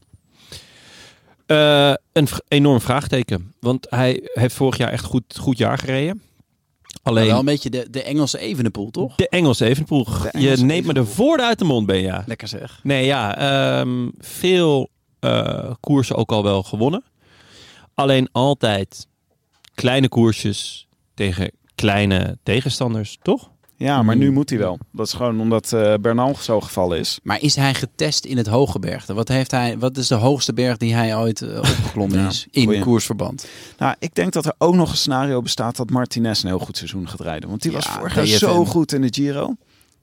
[SPEAKER 2] Eh, een v- enorm vraagteken. Want hij heeft vorig jaar echt goed, goed jaar gereden.
[SPEAKER 4] Maar
[SPEAKER 2] Alleen
[SPEAKER 4] wel een beetje de, de Engelse Evenepoel, toch?
[SPEAKER 2] de Engelse Evenpoel. Je
[SPEAKER 1] Engelse
[SPEAKER 2] neemt me de woorden uit de mond, ben je.
[SPEAKER 4] Lekker zeg.
[SPEAKER 2] Nee, ja. ehm, veel eh, koersen ook al wel gewonnen. Alleen altijd kleine koersjes tegen kleine tegenstanders, toch?
[SPEAKER 1] Ja, maar nu moet hij wel. Dat is gewoon omdat eh, Bernal zo gevallen is.
[SPEAKER 4] Maar is hij getest in het hoge bergte? Wat, heeft hij, wat is de hoogste berg die hij ooit eh, opgeklommen
[SPEAKER 1] Ja,
[SPEAKER 4] is in
[SPEAKER 1] goeie.
[SPEAKER 4] koersverband?
[SPEAKER 1] Nou, ik denk dat er ook nog een scenario bestaat dat Martinez een heel goed seizoen gaat rijden. Want die was
[SPEAKER 4] Ja,
[SPEAKER 1] vorig jaar
[SPEAKER 4] DFM.
[SPEAKER 1] zo goed in de Giro.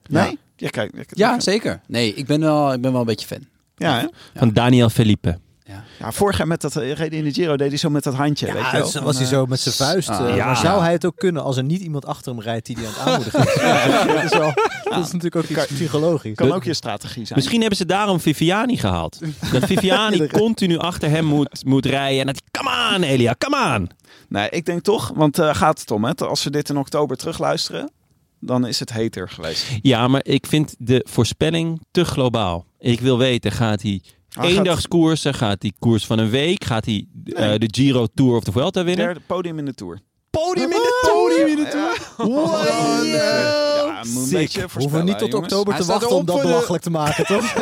[SPEAKER 1] Nee? Ja, kijk. ik-
[SPEAKER 4] Ja, zeker. Nee, ik ben wel, ik ben wel een beetje fan.
[SPEAKER 1] Ja, hè?
[SPEAKER 2] Van Daniel Felipe.
[SPEAKER 1] ja, vorig jaar met dat eh, reden in de Giro deed hij zo met dat handje. weet je
[SPEAKER 3] Ja,
[SPEAKER 1] wel.
[SPEAKER 3] dus
[SPEAKER 1] Van,
[SPEAKER 3] was hij
[SPEAKER 1] eh,
[SPEAKER 3] zo met zijn vuist. eh,
[SPEAKER 4] ah,
[SPEAKER 3] Maar zou hij het ook kunnen als er niet iemand achter hem rijdt die hij aan het aanmoedigen is? Ja, dat, is wel, dat is natuurlijk ook iets psychologisch.
[SPEAKER 1] Kan ook je strategie zijn.
[SPEAKER 2] Misschien hebben ze daarom Viviani gehaald. Dat Viviani continu achter hem moet, moet rijden. En dat, come on Elia, come on.
[SPEAKER 1] Nee, ik denk toch, want eh, gaat het om. Hè? Als we dit in oktober terugluisteren, dan is het hater geweest.
[SPEAKER 2] Ja, maar ik vind de voorspelling te globaal. Ik wil weten, gaat hij
[SPEAKER 1] Hij gaat-
[SPEAKER 2] eendagskoersen, gaat hij koers van een week, gaat hij eh, de Giro Tour of de Vuelta winnen?
[SPEAKER 1] Derde podium in de Tour.
[SPEAKER 2] Podium in de Tour!
[SPEAKER 1] Ja, moet een beetje
[SPEAKER 3] Hoeven we
[SPEAKER 1] eh, voorspellen,
[SPEAKER 3] niet tot
[SPEAKER 1] jongens.
[SPEAKER 3] oktober
[SPEAKER 4] Hij
[SPEAKER 3] te
[SPEAKER 4] staat
[SPEAKER 3] wachten om
[SPEAKER 4] erop
[SPEAKER 3] dat
[SPEAKER 4] voor de-
[SPEAKER 3] belachelijk te maken, toch?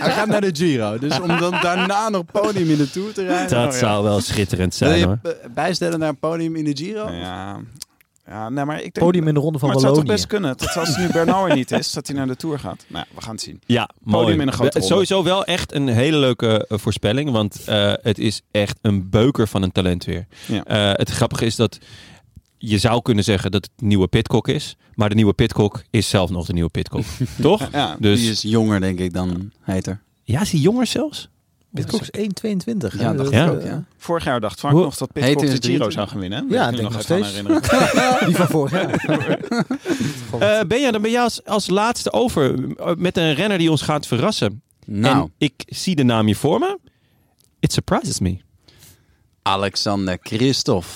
[SPEAKER 4] Hij gaat naar de Giro. Dus om dan daarna nog podium in de Tour te rijden. Oh,
[SPEAKER 2] Dat zou wel schitterend
[SPEAKER 4] Wil
[SPEAKER 2] zijn
[SPEAKER 4] je
[SPEAKER 2] hoor.
[SPEAKER 4] eh, bijstellen naar een podium in de Giro?
[SPEAKER 1] Ja, ja nee, maar ik denk...
[SPEAKER 3] Podium in de ronde van
[SPEAKER 1] maar het zou toch
[SPEAKER 3] Wallonië.
[SPEAKER 1] best kunnen. Dat als nu Bernal er niet is, dat hij naar de Tour gaat. Nou, ja, we gaan het zien.
[SPEAKER 2] Ja, mooi.
[SPEAKER 1] Podium in een grote
[SPEAKER 2] We-
[SPEAKER 1] ronde.
[SPEAKER 2] Sowieso wel echt een hele leuke eh, voorspelling. Want eh, het is echt een beuker van een talent weer.
[SPEAKER 1] Ja.
[SPEAKER 2] Eh, het grappige is dat je zou kunnen zeggen dat het een nieuwe Pitcock is. Maar de nieuwe Pitcock is zelf nog de nieuwe Pitcock. Toch?
[SPEAKER 1] Ja,
[SPEAKER 2] Dus
[SPEAKER 4] Die is jonger, denk ik, dan Heiter.
[SPEAKER 2] ja, is hij jonger zelfs?
[SPEAKER 3] Pitcock is 1,22.
[SPEAKER 4] Ja, dacht
[SPEAKER 2] Ja.
[SPEAKER 4] ik ook,
[SPEAKER 3] eh,
[SPEAKER 4] ja.
[SPEAKER 1] Vorig jaar dacht Frank
[SPEAKER 3] Hoe-
[SPEAKER 1] nog dat
[SPEAKER 4] Heet in
[SPEAKER 1] Pitcock
[SPEAKER 4] het
[SPEAKER 1] de Giro
[SPEAKER 4] drie-
[SPEAKER 1] zou gaan winnen. hè?
[SPEAKER 3] Ja,
[SPEAKER 1] Wil je nog
[SPEAKER 3] denk nog
[SPEAKER 1] even aan
[SPEAKER 3] steeds.
[SPEAKER 1] herinneren.
[SPEAKER 3] Die van vorig jaar.
[SPEAKER 2] Eh Benja, dan ben jij als, als laatste over eh, met een renner die ons gaat verrassen.
[SPEAKER 4] Nou,
[SPEAKER 2] En ik zie de naam hier voor me. It surprises me.
[SPEAKER 4] Alexander Christophe.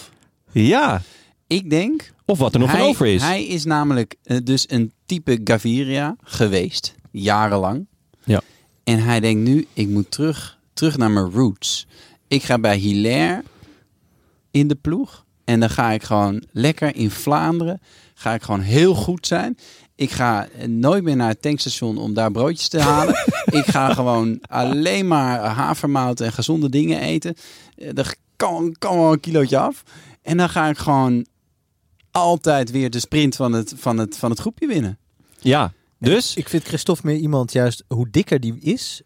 [SPEAKER 2] Ja,
[SPEAKER 4] Ik denk
[SPEAKER 2] of wat er nog van over is.
[SPEAKER 4] Hij is namelijk eh, dus een type Gaviria geweest, jarenlang.
[SPEAKER 2] Ja.
[SPEAKER 4] En hij denkt nu, ik moet terug, terug naar mijn roots. Ik ga bij Hilaire in de ploeg. En dan ga ik gewoon lekker in Vlaanderen. Ga ik gewoon heel goed zijn. Ik ga eh, nooit meer naar het tankstation om daar broodjes te halen. ik ga gewoon alleen maar havermout en gezonde dingen eten. Eh, Er kan, kan wel een kilootje af. En dan ga ik gewoon altijd weer de sprint van het, van het, van het groepje winnen.
[SPEAKER 2] Ja, dus
[SPEAKER 3] Ik vind Christophe meer iemand juist hoe dikker die is,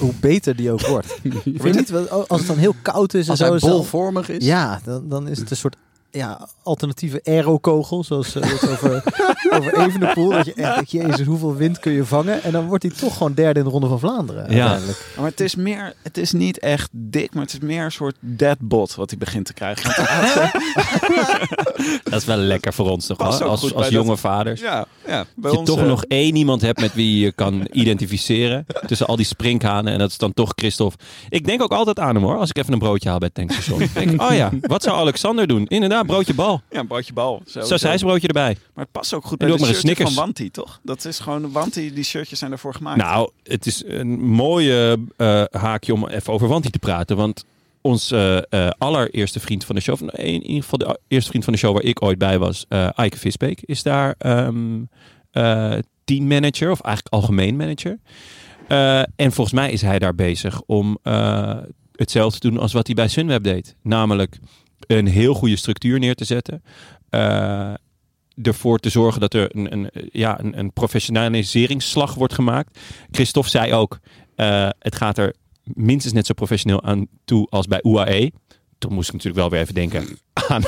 [SPEAKER 3] hoe beter die ook wordt. Ik vind niet, wel- als het dan heel koud is en
[SPEAKER 4] Als
[SPEAKER 3] zo.
[SPEAKER 4] hij
[SPEAKER 3] is dan-
[SPEAKER 4] bolvormig is.
[SPEAKER 3] Ja, dan, dan is het een soort ja, alternatieve aerokogel, zoals eh, dat over, over Evenepoel. Dat je echt denkt, jezus, hoeveel wind kun je vangen? En dan wordt hij toch gewoon derde in de Ronde van Vlaanderen
[SPEAKER 2] Ja.
[SPEAKER 3] uiteindelijk.
[SPEAKER 1] Maar het is meer, het is niet echt dik, maar het is meer een soort deadbot wat hij begint te krijgen. Want hij had, eh,
[SPEAKER 2] dat is wel lekker voor ons toch?
[SPEAKER 1] Past
[SPEAKER 2] hoor,
[SPEAKER 1] ook
[SPEAKER 2] Als,
[SPEAKER 1] goed
[SPEAKER 2] als
[SPEAKER 1] bij
[SPEAKER 2] jonge vaders.
[SPEAKER 1] ja, ja, bij
[SPEAKER 2] Dat je
[SPEAKER 1] ons,
[SPEAKER 2] toch
[SPEAKER 1] eh,
[SPEAKER 2] nog één iemand hebt met wie je kan identificeren. Tussen al die sprinkhanen. En dat is dan toch Christophe. Ik denk ook altijd aan hem hoor. Als ik even een broodje haal bij het tankstation. Ik denk, oh ja, wat zou Alexander doen? Inderdaad, broodje bal.
[SPEAKER 1] Ja, een broodje bal. sowieso.
[SPEAKER 2] Zo'n broodje erbij.
[SPEAKER 1] Maar het past ook goed bij
[SPEAKER 2] En
[SPEAKER 1] de
[SPEAKER 2] doe ook maar een
[SPEAKER 1] shirtje
[SPEAKER 2] Snickers.
[SPEAKER 1] van Wanty, toch? Dat is gewoon, Wanty, die shirtjes zijn ervoor gemaakt.
[SPEAKER 2] Nou, het is een mooie eh, haakje om even over Wanti te praten. Want ons eh, eh, allereerste vriend van de show, of in ieder geval de eerste vriend van de show waar ik ooit bij was, eh Eike Visbeek, is daar ehm eh, teammanager of eigenlijk algemeen manager. Eh, en volgens mij is hij daar bezig om eh, hetzelfde te doen als wat hij bij Sunweb deed. Namelijk een heel goede structuur neer te zetten. Eh, ervoor te zorgen dat er een, een, ja, een, een professionaliseringsslag wordt gemaakt. Christophe zei ook, eh, het gaat er minstens net zo professioneel aan toe als bij UAE. Toen moest ik natuurlijk wel weer even denken aan,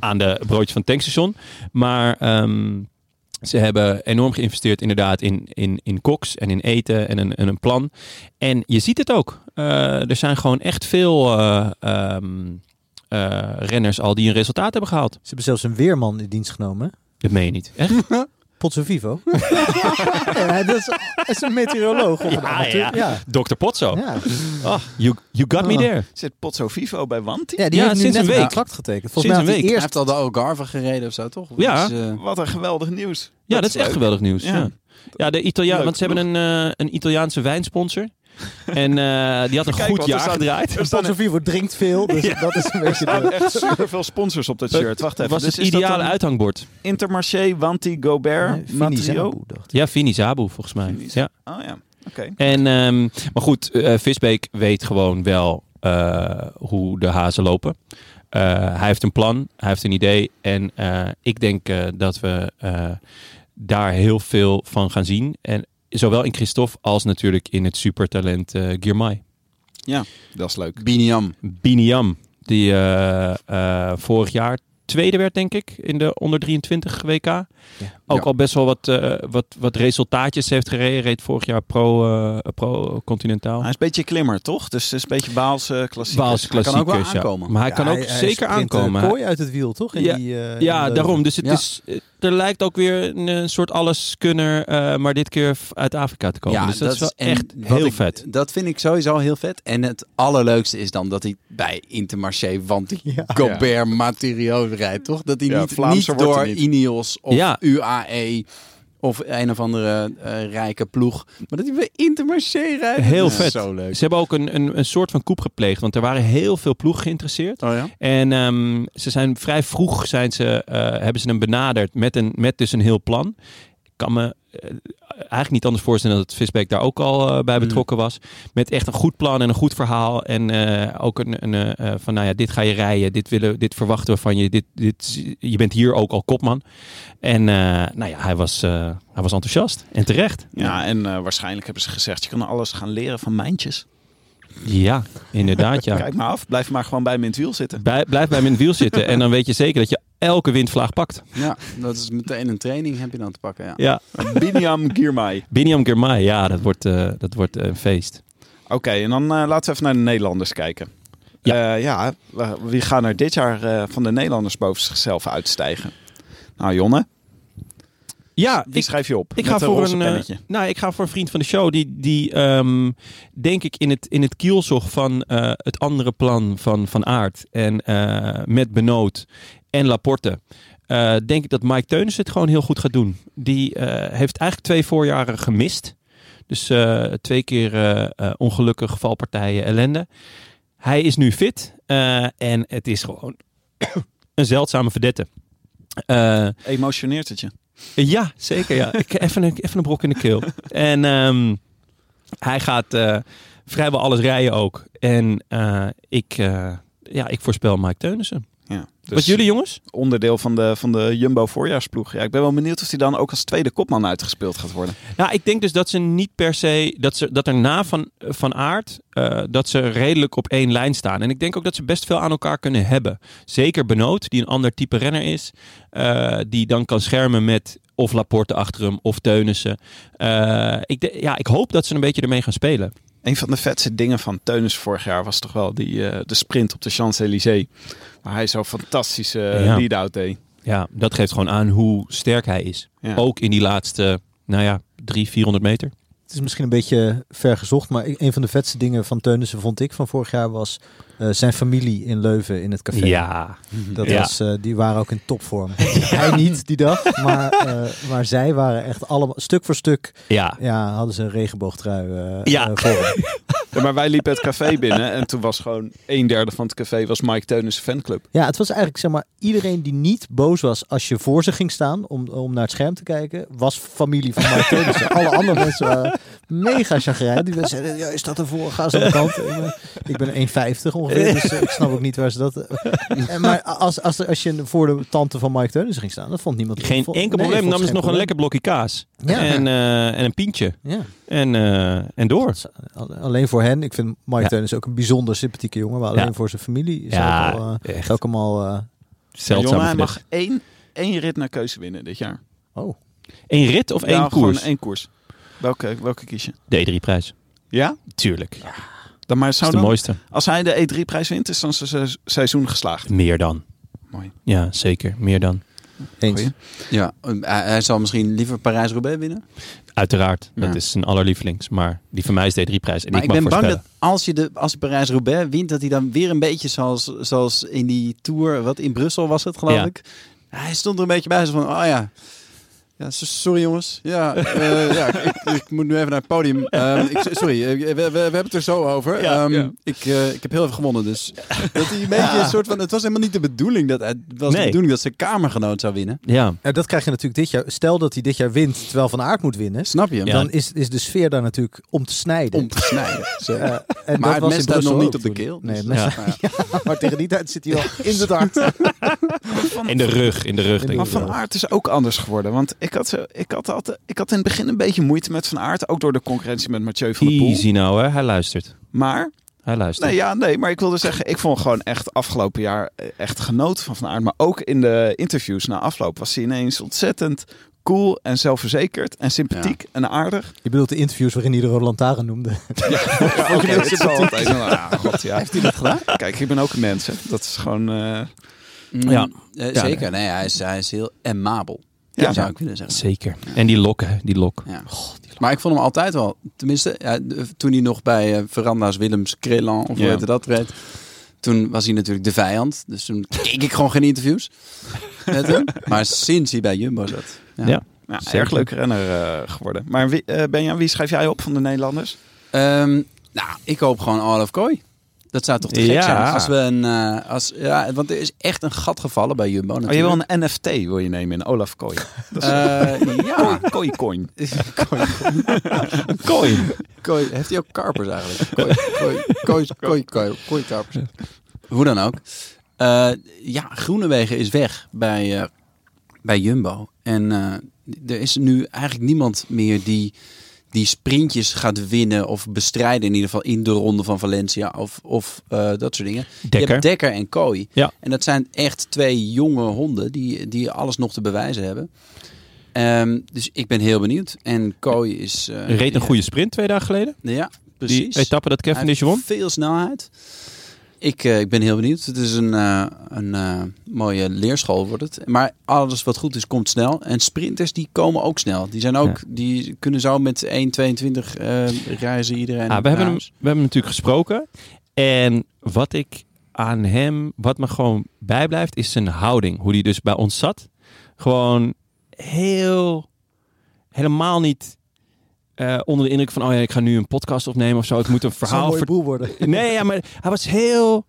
[SPEAKER 2] aan de broodje van het tankstation. Maar ehm, ze hebben enorm geïnvesteerd inderdaad in, in, in koks en in eten en een, en een plan. En je ziet het ook. Eh, er zijn gewoon echt veel eh, ehm, eh, renners al die een resultaat hebben gehaald.
[SPEAKER 3] Ze hebben zelfs een weerman in dienst genomen.
[SPEAKER 2] Dat meen je niet. Echt?
[SPEAKER 3] Potso Vivo. ja, dat is, dat is een meteoroloog. of
[SPEAKER 2] Ja,
[SPEAKER 3] een amateur.
[SPEAKER 2] ja.
[SPEAKER 3] ja.
[SPEAKER 2] Dr. Potso.
[SPEAKER 3] Ja.
[SPEAKER 2] Ah, you, you got me
[SPEAKER 3] Ah.
[SPEAKER 2] there.
[SPEAKER 1] Zit Potso Vivo bij Wanty?
[SPEAKER 3] Ja, die
[SPEAKER 2] Ja,
[SPEAKER 3] heeft nu
[SPEAKER 2] sinds
[SPEAKER 3] net
[SPEAKER 2] een
[SPEAKER 3] een
[SPEAKER 2] week.
[SPEAKER 3] contract getekend. Volgens
[SPEAKER 2] Sinds
[SPEAKER 3] mij
[SPEAKER 2] een
[SPEAKER 3] had
[SPEAKER 2] week.
[SPEAKER 3] hij
[SPEAKER 4] Hij
[SPEAKER 3] eerst...
[SPEAKER 4] heeft al de Algarve gereden of zo, toch?
[SPEAKER 2] Ja.
[SPEAKER 4] Dus, eh,
[SPEAKER 1] Wat een geweldig nieuws.
[SPEAKER 2] Ja, dat, is echt
[SPEAKER 1] leuk.
[SPEAKER 2] geweldig nieuws. Ja.
[SPEAKER 1] Ja.
[SPEAKER 2] Ja, de Italiaan,
[SPEAKER 1] Leuk
[SPEAKER 2] want ze hebben een, eh, een Italiaanse wijnsponsor. en eh, die had een
[SPEAKER 1] Kijk,
[SPEAKER 2] goed
[SPEAKER 1] want er
[SPEAKER 2] jaar
[SPEAKER 1] staat-
[SPEAKER 2] gedraaid.
[SPEAKER 1] Er staan
[SPEAKER 3] Potso Vivo drinkt veel, dus dat is een beetje... de-
[SPEAKER 1] echt superveel sponsors op dat shirt. Wacht even.
[SPEAKER 2] was
[SPEAKER 1] dus
[SPEAKER 2] het
[SPEAKER 1] is dat
[SPEAKER 2] ideale
[SPEAKER 1] dan
[SPEAKER 2] uithangbord.
[SPEAKER 1] Intermarché, Wanty, Gobert,
[SPEAKER 3] Fini
[SPEAKER 1] Matrio.
[SPEAKER 3] Zabu, dacht ik.
[SPEAKER 2] Ja, Vini Zabu volgens mij.
[SPEAKER 1] Vini
[SPEAKER 2] Ja.
[SPEAKER 1] Oh ja, oké.
[SPEAKER 2] En, ehm, maar goed, eh, Visbeek weet gewoon wel eh, hoe de hazen lopen. Eh, hij heeft een plan, hij heeft een idee. En eh, ik denk eh, dat we eh, daar heel veel van gaan zien. En zowel in Christophe als natuurlijk in het supertalent eh Girmay.
[SPEAKER 1] Dat is leuk.
[SPEAKER 4] Biniam.
[SPEAKER 2] Biniam, die eh, eh, vorig jaar tweede werd, denk ik, in de onder 23 WK. Ook
[SPEAKER 4] Ja.
[SPEAKER 2] al best wel wat, eh, wat, wat resultaatjes heeft gereden. Reed vorig jaar pro, eh, pro Continentaal.
[SPEAKER 1] Hij is een beetje klimmer, toch? Dus het is een beetje Waalse klassiek.
[SPEAKER 2] Waals
[SPEAKER 4] Hij kan ook
[SPEAKER 2] klassiekers,
[SPEAKER 4] wel
[SPEAKER 2] ja.
[SPEAKER 4] aankomen.
[SPEAKER 2] Maar hij kan
[SPEAKER 3] Ja,
[SPEAKER 2] ook zeker
[SPEAKER 3] sprint, eh,
[SPEAKER 2] aankomen.
[SPEAKER 3] kooi uit het wiel, toch? In die, eh, in
[SPEAKER 2] ja,
[SPEAKER 3] de-
[SPEAKER 2] daarom. Dus het
[SPEAKER 4] Ja.
[SPEAKER 2] is, eh, er lijkt ook weer een, eh, soort alleskunner, eh, maar dit keer f- uit Afrika te komen. dus dat, is wel
[SPEAKER 4] en
[SPEAKER 2] echt
[SPEAKER 4] wat
[SPEAKER 2] heel
[SPEAKER 4] ik-
[SPEAKER 2] vet.
[SPEAKER 4] Dat vind ik sowieso heel vet. En het allerleukste is dan dat hij bij Intermarché, want die
[SPEAKER 3] Ja.
[SPEAKER 4] Gobert Materio rijdt, toch? Dat hij
[SPEAKER 1] Ja,
[SPEAKER 4] niet,
[SPEAKER 1] Vlaamse
[SPEAKER 4] niet
[SPEAKER 1] wordt
[SPEAKER 4] door
[SPEAKER 1] er niet.
[SPEAKER 4] Ineos of
[SPEAKER 2] Ja.
[SPEAKER 4] UAE of een of andere eh, rijke ploeg, maar dat hij bij Intermarché rijdt.
[SPEAKER 2] Heel
[SPEAKER 4] Dat is
[SPEAKER 2] vet.
[SPEAKER 4] Zo leuk.
[SPEAKER 2] Ze hebben ook een, een, een soort van koep gepleegd, want er waren heel veel ploegen geïnteresseerd.
[SPEAKER 4] Oh ja?
[SPEAKER 2] En ehm, ze zijn vrij vroeg zijn ze, eh, hebben ze hem benaderd met, een, met dus een heel plan. Ik kan me eh, eigenlijk niet anders voorstellen dat Visbeek daar ook al eh, bij betrokken was. Met echt een goed plan en een goed verhaal. En eh, ook een, een eh, eh, van nou ja, dit ga je rijden, dit, willen, dit verwachten we van je. Dit, dit, je bent hier ook al kopman. En eh, nou ja, hij was, eh, hij was enthousiast. En terecht.
[SPEAKER 1] Ja, en eh, waarschijnlijk hebben ze gezegd, je kan alles gaan leren van mijntjes.
[SPEAKER 2] Ja, inderdaad ja.
[SPEAKER 1] Kijk maar af, blijf maar gewoon bij me in het wiel zitten.
[SPEAKER 2] Bij- blijf bij mijn wiel zitten en dan weet je zeker dat je elke windvlaag pakt.
[SPEAKER 4] Ja, dat is meteen een training heb je dan te pakken. Ja.
[SPEAKER 2] Ja.
[SPEAKER 1] Biniam Girmay.
[SPEAKER 2] Biniam Girmay, ja, dat wordt, eh, dat wordt een feest.
[SPEAKER 1] Oké, en dan eh, laten we even naar de Nederlanders kijken. Ja, ja we- wie gaan er dit jaar eh, van de Nederlanders boven zichzelf uitstijgen? Nou, Jonne,
[SPEAKER 2] Ja,
[SPEAKER 1] die
[SPEAKER 2] ik,
[SPEAKER 1] schrijf je op.
[SPEAKER 2] ik
[SPEAKER 1] met
[SPEAKER 2] ga voor
[SPEAKER 1] roze
[SPEAKER 2] een. eh,
[SPEAKER 1] pennetje.
[SPEAKER 2] nou, ik ga voor een vriend van de show die, die ehm, denk ik in het, in het kielzog van eh, het andere plan van Van Aert en eh, met Benoot en Laporte. eh, denk ik dat Mike Teunis het gewoon heel goed gaat doen. Die eh, heeft eigenlijk twee voorjaren gemist. Dus eh, twee keer eh, eh, ongelukkig, valpartijen, ellende. Hij is nu fit eh, en het is gewoon een zeldzame verdette. Eh
[SPEAKER 1] Emotioneert het je?
[SPEAKER 2] ja, zeker. Ja. Ik, even, een, even een brok in de keel. En ehm, hij gaat eh, vrijwel alles rijden ook. En eh, ik, eh, ja, ik voorspel Mike Teunissen.
[SPEAKER 1] Ja. Dus
[SPEAKER 2] Wat jullie jongens?
[SPEAKER 1] onderdeel van de, van de Jumbo voorjaarsploeg. Ja, ik ben wel benieuwd of hij dan ook als tweede kopman uitgespeeld gaat worden.
[SPEAKER 2] Nou, ik denk dus dat ze niet per se... Dat, ze, dat er na Van, van Aert... eh, dat ze redelijk op één lijn staan. En ik denk ook dat ze best veel aan elkaar kunnen hebben. Zeker Benoot, die een ander type renner is. eh, die dan kan schermen met of Laporte achter hem of Teunissen. Eh, ik, de- ja, ik hoop dat ze een beetje ermee gaan spelen.
[SPEAKER 1] Een van de vetste dingen van Teunis vorig jaar was toch wel die, eh, de sprint op de Champs-Élysées. Waar hij zo'n fantastische eh,
[SPEAKER 2] Ja.
[SPEAKER 1] lead-out deed.
[SPEAKER 2] Ja, dat geeft gewoon aan hoe sterk hij is.
[SPEAKER 1] Ja.
[SPEAKER 2] Ook in die laatste, nou ja, drie, 400 meter.
[SPEAKER 3] Het is misschien een beetje ver gezocht, maar ik- een van de vetste dingen van Teunissen vond ik van vorig jaar was eh, zijn familie in Leuven in het café.
[SPEAKER 2] Ja.
[SPEAKER 3] Dat
[SPEAKER 2] Ja.
[SPEAKER 3] was, eh, die waren ook in topvorm. Hij niet die dag, maar, eh, maar zij waren echt allemaal stuk voor stuk.
[SPEAKER 2] Ja.
[SPEAKER 3] Ja, hadden ze een regenboogtrui eh,
[SPEAKER 2] Ja.
[SPEAKER 3] eh, voor. hem.
[SPEAKER 1] Ja, maar wij liepen het café binnen en toen was gewoon een derde van het café was Mike Teunis' fanclub.
[SPEAKER 3] Ja, het was eigenlijk zeg maar iedereen die niet boos was als je voor ze ging staan om, om naar het scherm te kijken, was familie van Mark Teunissen. Alle andere mensen waren mega chagrijn. Die mensen zeiden, ja, is dat ervoor? Ga ze aan de kant. Ik ben- Ik ben 1,50 ongeveer, dus eh, ik snap ook niet waar ze dat... En Maar als, als, als je voor de tante van Mike Teunissen ging staan, dan vond niemand...
[SPEAKER 2] Geen
[SPEAKER 3] vond-
[SPEAKER 2] enkel
[SPEAKER 3] nee,
[SPEAKER 2] probleem.
[SPEAKER 3] vond
[SPEAKER 2] Nam
[SPEAKER 3] ze
[SPEAKER 2] eens
[SPEAKER 3] geen
[SPEAKER 2] nog een
[SPEAKER 3] probleem.
[SPEAKER 2] lekker blokje kaas.
[SPEAKER 3] Ja.
[SPEAKER 2] En, eh, en een pientje.
[SPEAKER 3] Ja.
[SPEAKER 2] En, eh, en door.
[SPEAKER 3] Al- Alleen voor hen. Ik vind Mike
[SPEAKER 2] Ja.
[SPEAKER 3] Teunissen ook een bijzonder sympathieke jongen, maar alleen
[SPEAKER 2] Ja.
[SPEAKER 3] voor zijn familie is
[SPEAKER 2] Ja,
[SPEAKER 3] hij ook al, eh,
[SPEAKER 2] echt.
[SPEAKER 3] ook allemaal... eh,
[SPEAKER 2] Zeldzaam.
[SPEAKER 1] Jonne, hij
[SPEAKER 2] mag...
[SPEAKER 1] mag één, één rit naar keuze winnen dit jaar.
[SPEAKER 3] oh,
[SPEAKER 2] Eén rit of
[SPEAKER 1] Ja,
[SPEAKER 2] één koers?
[SPEAKER 1] Gewoon één koers. Welke, welke kies je?
[SPEAKER 2] De E3-prijs.
[SPEAKER 1] Ja?
[SPEAKER 2] Tuurlijk. Dat
[SPEAKER 1] Dan maar
[SPEAKER 2] is
[SPEAKER 1] zou
[SPEAKER 2] de
[SPEAKER 1] dan,
[SPEAKER 2] mooiste.
[SPEAKER 1] als hij de E3-prijs wint, is dan zijn se- seizoen geslaagd.
[SPEAKER 2] Meer dan.
[SPEAKER 1] Mooi.
[SPEAKER 2] Ja, zeker. Meer dan.
[SPEAKER 3] eens.
[SPEAKER 1] Goeie.
[SPEAKER 4] Ja, eh, hij, hij zal misschien liever Parijs-Roubaix winnen.
[SPEAKER 2] Uiteraard.
[SPEAKER 4] Ja.
[SPEAKER 2] Dat is zijn allerlievelings. Maar die van mij is de E3-prijs. En
[SPEAKER 4] Maar
[SPEAKER 2] ik
[SPEAKER 4] ik,
[SPEAKER 2] mag
[SPEAKER 4] ben bang
[SPEAKER 2] voorspellen.
[SPEAKER 4] dat als je de, als hij Parijs-Roubaix wint, dat hij dan weer een beetje zoals, zoals in die tour, wat in Brussel was het geloof
[SPEAKER 2] Ja.
[SPEAKER 4] ik. Hij stond er een beetje bij, zo van, oh ja, ja so- sorry jongens, ja, eh, ja ik, ik moet nu even naar het podium. Ehm, ik, sorry, eh, we, we, we hebben het er zo over.
[SPEAKER 2] Ja,
[SPEAKER 4] Ehm,
[SPEAKER 2] ja.
[SPEAKER 4] Ik, eh, ik heb heel even gewonnen, dus dat hij een beetje een soort van, het was helemaal niet de bedoeling dat hij- het was
[SPEAKER 2] Nee.
[SPEAKER 4] de bedoeling dat zijn kamergenoot zou winnen.
[SPEAKER 2] Ja.
[SPEAKER 3] Ja, Nou, dat krijg je natuurlijk dit jaar. Stel dat hij dit jaar wint, terwijl Van Aert moet winnen.
[SPEAKER 4] Snap je hem?
[SPEAKER 2] Ja.
[SPEAKER 3] Dan is, is de sfeer daar natuurlijk om te snijden.
[SPEAKER 4] Om te snijden.
[SPEAKER 3] Zo, eh, en
[SPEAKER 4] Maar het
[SPEAKER 3] was
[SPEAKER 4] mes
[SPEAKER 3] in
[SPEAKER 4] staat
[SPEAKER 3] Brussel
[SPEAKER 4] nog
[SPEAKER 3] ook
[SPEAKER 4] niet op de
[SPEAKER 3] toen.
[SPEAKER 4] keel.
[SPEAKER 3] Nee, het
[SPEAKER 4] dus-
[SPEAKER 3] mes-
[SPEAKER 2] Ja.
[SPEAKER 4] Nou ja.
[SPEAKER 3] maar tegen die tijd zit hij al in de hart.
[SPEAKER 2] In de rug. In de rug. Denk
[SPEAKER 1] Maar
[SPEAKER 2] ik.
[SPEAKER 1] Van Aert is ook anders geworden. Want ik had, zo- ik had, altijd, ik had in het begin een beetje moeite met Van Aert. Ook door de concurrentie met Mathieu van der Poel.
[SPEAKER 2] Easy nou, hè. Hij luistert.
[SPEAKER 1] Maar,
[SPEAKER 2] Hij luistert.
[SPEAKER 1] nee, ja, nee, maar ik wilde zeggen, ik vond gewoon echt afgelopen jaar eh, echt genoten van Van Aert. Maar ook in de interviews na afloop was hij ineens ontzettend cool en zelfverzekerd en sympathiek en aardig.
[SPEAKER 3] Je bedoelt de interviews waarin hij de Roland Lantaarn noemde.
[SPEAKER 1] Ja, oké, dat is altijd. Nou, ja, god, ja. Heeft hij dat gedaan? Kijk, ik ben ook een mens. hè. Dat is gewoon... eh,
[SPEAKER 4] Mm,
[SPEAKER 2] Ja.
[SPEAKER 4] eh,
[SPEAKER 2] Ja,
[SPEAKER 4] zeker. Nee, hij, is, hij is heel amabel.
[SPEAKER 1] Ja.
[SPEAKER 4] zou ik willen zeggen.
[SPEAKER 2] Zeker. En die lok, hè. Die lok.
[SPEAKER 4] Ja. maar ik vond hem altijd wel, tenminste, ja, de- toen hij nog bij eh, Veranda's Willems Krelan of hoe
[SPEAKER 1] Ja.
[SPEAKER 4] heette dat reed, toen was hij natuurlijk de vijand. Dus toen keek ik gewoon geen interviews met hem. Maar sinds hij bij Jumbo zat. Ja.
[SPEAKER 2] Ja.
[SPEAKER 1] ja,
[SPEAKER 2] Zeker.
[SPEAKER 1] erg leuk renner eh, geworden. Maar wie, eh, Benja, wie schrijf jij op van de Nederlanders?
[SPEAKER 4] Ehm, nou, ik hoop gewoon Olaf Kooi. Dat zou toch te gek
[SPEAKER 2] Ja.
[SPEAKER 4] zijn als we een... eh, als, ja, want er is echt een gat gevallen bij Jumbo
[SPEAKER 1] Oh, je
[SPEAKER 4] natuurlijk.
[SPEAKER 1] wil een NFT wil je nemen in Olaf Kooi. Dat is
[SPEAKER 4] Eh, ja.
[SPEAKER 1] een kooi coin.
[SPEAKER 4] Kooi.
[SPEAKER 2] Kooi.
[SPEAKER 4] Kooi, heeft hij ook karpers eigenlijk? Kooi, kooi, kooi, kooi, kooi, kooi karpers. Hoe dan ook. Eh, ja, Groenewegen is weg bij, eh, bij Jumbo. En eh, er is nu eigenlijk niemand meer die, die sprintjes gaat winnen of bestrijden. In ieder geval in de ronde van Valencia of, of eh, dat soort dingen. Je
[SPEAKER 2] Dekker.
[SPEAKER 4] hebt Dekker en Kooi.
[SPEAKER 2] Ja.
[SPEAKER 4] En dat zijn echt twee jonge honden die, die alles nog te bewijzen hebben. Ehm, dus ik ben heel benieuwd. En Kooi is... eh,
[SPEAKER 2] Reed een goede sprint twee dagen geleden.
[SPEAKER 4] ja,
[SPEAKER 1] Precies.
[SPEAKER 2] Die etappe dat
[SPEAKER 1] Hij
[SPEAKER 2] Cavendish
[SPEAKER 1] heeft
[SPEAKER 2] won.
[SPEAKER 1] Veel snelheid.
[SPEAKER 4] Ik, eh, ik ben heel benieuwd. Het is een, eh, een eh, mooie leerschool wordt het. Maar alles wat goed is, komt snel. En sprinters die komen ook snel. Die, zijn ook, die kunnen zo met 1,22 eh, reizen iedereen.
[SPEAKER 2] Ah, we,
[SPEAKER 4] naar
[SPEAKER 2] hebben hem, we
[SPEAKER 4] huis.
[SPEAKER 2] hebben hem natuurlijk gesproken. En wat ik aan hem, wat me gewoon bijblijft, is zijn houding. Hoe die dus bij ons zat. Gewoon heel, helemaal niet eh, onder de indruk van, oh ja, ik ga nu een podcast opnemen of zo. Ik moet een
[SPEAKER 3] Zou een
[SPEAKER 2] verhaal
[SPEAKER 3] mooie
[SPEAKER 2] ver-
[SPEAKER 3] boel worden.
[SPEAKER 2] Nee, ja, maar hij was heel.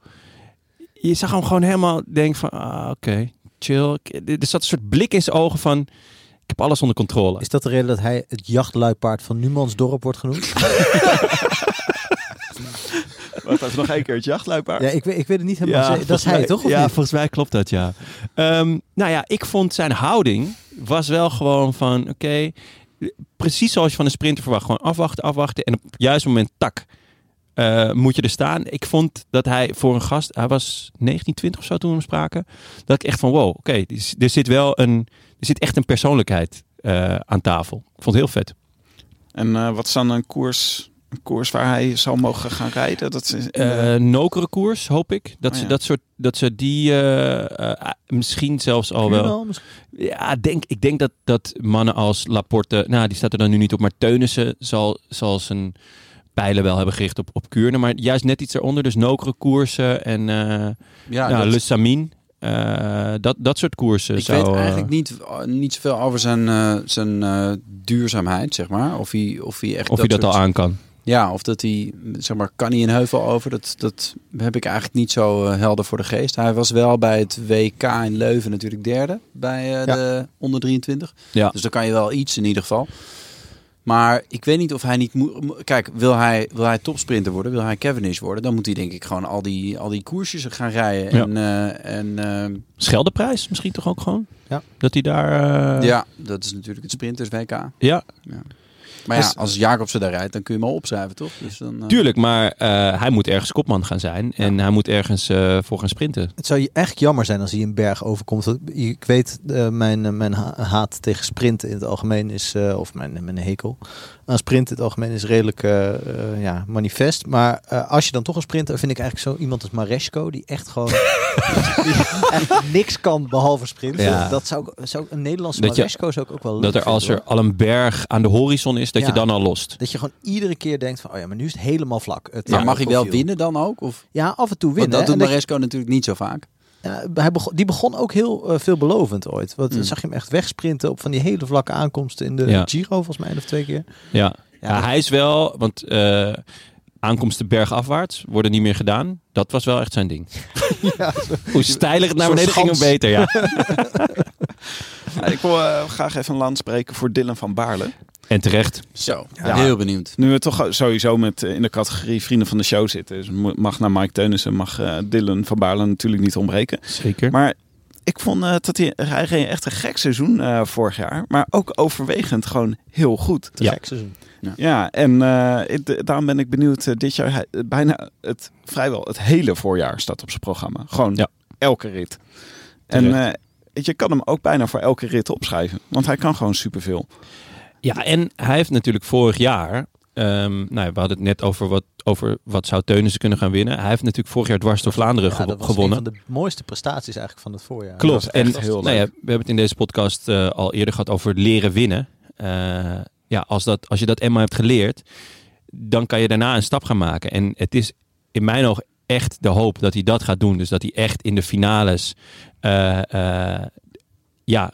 [SPEAKER 2] Je zag hem gewoon helemaal denken van, ah, oké, chill. Ik- Er zat een soort blik in zijn ogen van, ik heb alles onder controle.
[SPEAKER 3] Is dat de reden dat hij het jachtluipaard van Numansdorp wordt genoemd?
[SPEAKER 1] Wat even nog één keer het jachtluipaard.
[SPEAKER 3] ja, ik, weet- ik weet het niet helemaal. zeker. dat
[SPEAKER 2] volgens
[SPEAKER 3] is hij
[SPEAKER 2] mij-
[SPEAKER 3] toch? Of
[SPEAKER 2] Ja,
[SPEAKER 3] niet?
[SPEAKER 2] volgens mij klopt dat, ja. Ehm, nou ja, ik vond zijn houding was wel gewoon van, oké, precies zoals je van een sprinter verwacht. Gewoon afwachten, afwachten en op het juiste moment, tak, eh, moet je er staan. Ik vond dat hij voor een gast, hij was 19, 20 of zo toen we hem spraken, dat ik echt van, wow, oké, er- er zit wel een, er zit echt een persoonlijkheid eh, aan tafel. Ik vond het heel vet.
[SPEAKER 1] En eh, wat is dan een koers, een koers waar hij zou mogen gaan rijden? Dat is,
[SPEAKER 2] eh nokere koers, hoop ik. Dat,
[SPEAKER 1] Oh
[SPEAKER 2] ze,
[SPEAKER 1] ja.
[SPEAKER 2] dat, soort, dat ze die eh, eh, misschien zelfs al wel...
[SPEAKER 3] Jawel, misschien-
[SPEAKER 2] Ja, denk, ik denk dat, dat mannen als Laporte, nou die staat er dan nu niet op, maar Teunissen zal, zal zijn pijlen wel hebben gericht op, op Kuurne. Maar juist net iets eronder, dus nokere koersen en eh
[SPEAKER 4] Ja,
[SPEAKER 2] nou,
[SPEAKER 4] dat-
[SPEAKER 2] Lussamin. eh, dat, dat soort koersen
[SPEAKER 4] ik
[SPEAKER 2] zou...
[SPEAKER 4] weet
[SPEAKER 2] eh,
[SPEAKER 4] eigenlijk niet, niet zoveel over zijn, eh, zijn eh, duurzaamheid, zeg maar. Of hij, of hij echt
[SPEAKER 2] eh, of hij dat
[SPEAKER 4] soort-
[SPEAKER 2] al aan kan.
[SPEAKER 4] Ja, of dat hij, zeg maar, kan hij een heuvel over? Dat, dat heb ik eigenlijk niet zo eh, helder voor de geest. Hij was wel bij het WK in Leuven natuurlijk derde bij eh,
[SPEAKER 3] Ja.
[SPEAKER 4] de onder 23.
[SPEAKER 2] Ja.
[SPEAKER 4] Dus dan kan je wel iets in ieder geval. Maar ik weet niet of hij niet moet... mo- Kijk, wil hij, wil hij topsprinter worden, wil hij Cavendish worden... dan moet hij denk ik gewoon al die, al die koersjes gaan rijden.
[SPEAKER 2] Ja.
[SPEAKER 4] En, eh, en eh,
[SPEAKER 2] Scheldeprijs misschien toch ook gewoon?
[SPEAKER 3] Ja.
[SPEAKER 2] Dat hij daar... eh,
[SPEAKER 4] ja, dat is natuurlijk het sprinters WK.
[SPEAKER 2] ja,
[SPEAKER 4] Maar
[SPEAKER 2] Dus-
[SPEAKER 4] ja, als Jacobsen daar rijdt, dan kun je hem al opschrijven, toch? Dus dan, eh,
[SPEAKER 2] tuurlijk, maar eh, hij moet ergens kopman gaan zijn en hij moet ergens eh, voor gaan sprinten.
[SPEAKER 3] Het zou je echt jammer zijn als hij een berg overkomt. Want Ik weet, eh, mijn, eh, mijn ha- haat tegen sprinten in het algemeen is, eh, of mijn, mijn hekel aan sprinten in het algemeen is redelijk eh, eh, ja, manifest. Maar eh, als je dan toch een sprinter, vind ik eigenlijk zo iemand als Maresco, die echt gewoon die echt niks kan behalve sprinten.
[SPEAKER 2] Ja.
[SPEAKER 3] Dat zou, ik- zou ik- een Nederlandse
[SPEAKER 2] Dat je-
[SPEAKER 3] Maresco zou ik ook wel leuk
[SPEAKER 2] Dat er
[SPEAKER 3] vinden,
[SPEAKER 2] als er
[SPEAKER 3] hoor.
[SPEAKER 2] al een berg aan de horizon is, dat
[SPEAKER 3] Ja.
[SPEAKER 2] je dan al lost.
[SPEAKER 3] Dat je gewoon iedere keer denkt van, oh ja, maar nu is het helemaal vlak. Het,
[SPEAKER 4] maar
[SPEAKER 3] eh,
[SPEAKER 4] mag hij wel
[SPEAKER 3] profiel.
[SPEAKER 4] winnen dan ook? Of?
[SPEAKER 3] Ja, af en toe winnen.
[SPEAKER 4] Want
[SPEAKER 3] hè.
[SPEAKER 4] dat
[SPEAKER 3] En
[SPEAKER 4] doet
[SPEAKER 3] dat je-
[SPEAKER 4] Maresco natuurlijk niet zo vaak.
[SPEAKER 3] Ja, hij begon, die begon ook heel eh, veelbelovend ooit. Want dan
[SPEAKER 4] Mm.
[SPEAKER 3] zag je hem echt wegsprinten op van die hele vlakke aankomsten in de
[SPEAKER 2] Ja.
[SPEAKER 3] Giro, volgens mij, één of twee keer.
[SPEAKER 2] Ja, ja,
[SPEAKER 3] dat-
[SPEAKER 2] hij is wel, want eh, aankomsten bergafwaarts worden niet meer gedaan. Dat was wel echt zijn ding. Hoe steiler het naar
[SPEAKER 1] Zo'n
[SPEAKER 2] beneden ging, hoe
[SPEAKER 1] schans.
[SPEAKER 2] beter. Ja.
[SPEAKER 1] Ja, ik wil eh, graag even een land spreken voor Dylan van Baarle.
[SPEAKER 2] En terecht.
[SPEAKER 4] Zo,
[SPEAKER 1] Ja.
[SPEAKER 4] heel benieuwd.
[SPEAKER 1] Nu we toch sowieso met, eh, in de categorie vrienden van de show zitten. Dus mo- mag naar Mike Teunissen, mag eh, Dylan van Baarle natuurlijk niet ontbreken.
[SPEAKER 2] Zeker.
[SPEAKER 1] Maar ik vond eh, dat hij, hij reed echt een gek seizoen eh, vorig jaar. Maar ook overwegend gewoon heel goed.
[SPEAKER 3] Te
[SPEAKER 2] Ja.
[SPEAKER 3] gek seizoen.
[SPEAKER 1] Ja, en eh, ik- de- daarom ben ik benieuwd. eh, dit jaar hij- eh, bijna het, vrijwel het hele voorjaar staat op zijn programma. Gewoon
[SPEAKER 2] Ja.
[SPEAKER 1] elke rit. En eh, weet je kan hem ook bijna voor elke rit opschrijven. Want hij kan gewoon superveel.
[SPEAKER 2] Ja, en hij heeft natuurlijk vorig jaar. ehm, nou ja, we hadden het net over wat, over wat zou Teunissen kunnen gaan winnen. Hij heeft natuurlijk vorig jaar dwars door Vlaanderen
[SPEAKER 3] Ja,
[SPEAKER 2] gewo-
[SPEAKER 3] dat was
[SPEAKER 2] gewonnen.
[SPEAKER 3] een van de mooiste prestaties eigenlijk van het voorjaar.
[SPEAKER 2] Klopt.
[SPEAKER 1] Dat is
[SPEAKER 2] En
[SPEAKER 1] echt heel
[SPEAKER 2] nou ja,
[SPEAKER 1] leuk.
[SPEAKER 2] we hebben het in deze podcast eh, al eerder gehad over leren winnen. Eh, ja, als, dat, als je dat eenmaal hebt geleerd, dan kan je daarna een stap gaan maken. En het is in mijn oog echt de hoop dat hij dat gaat doen. Dus dat hij echt in de finales, eh, eh, ja,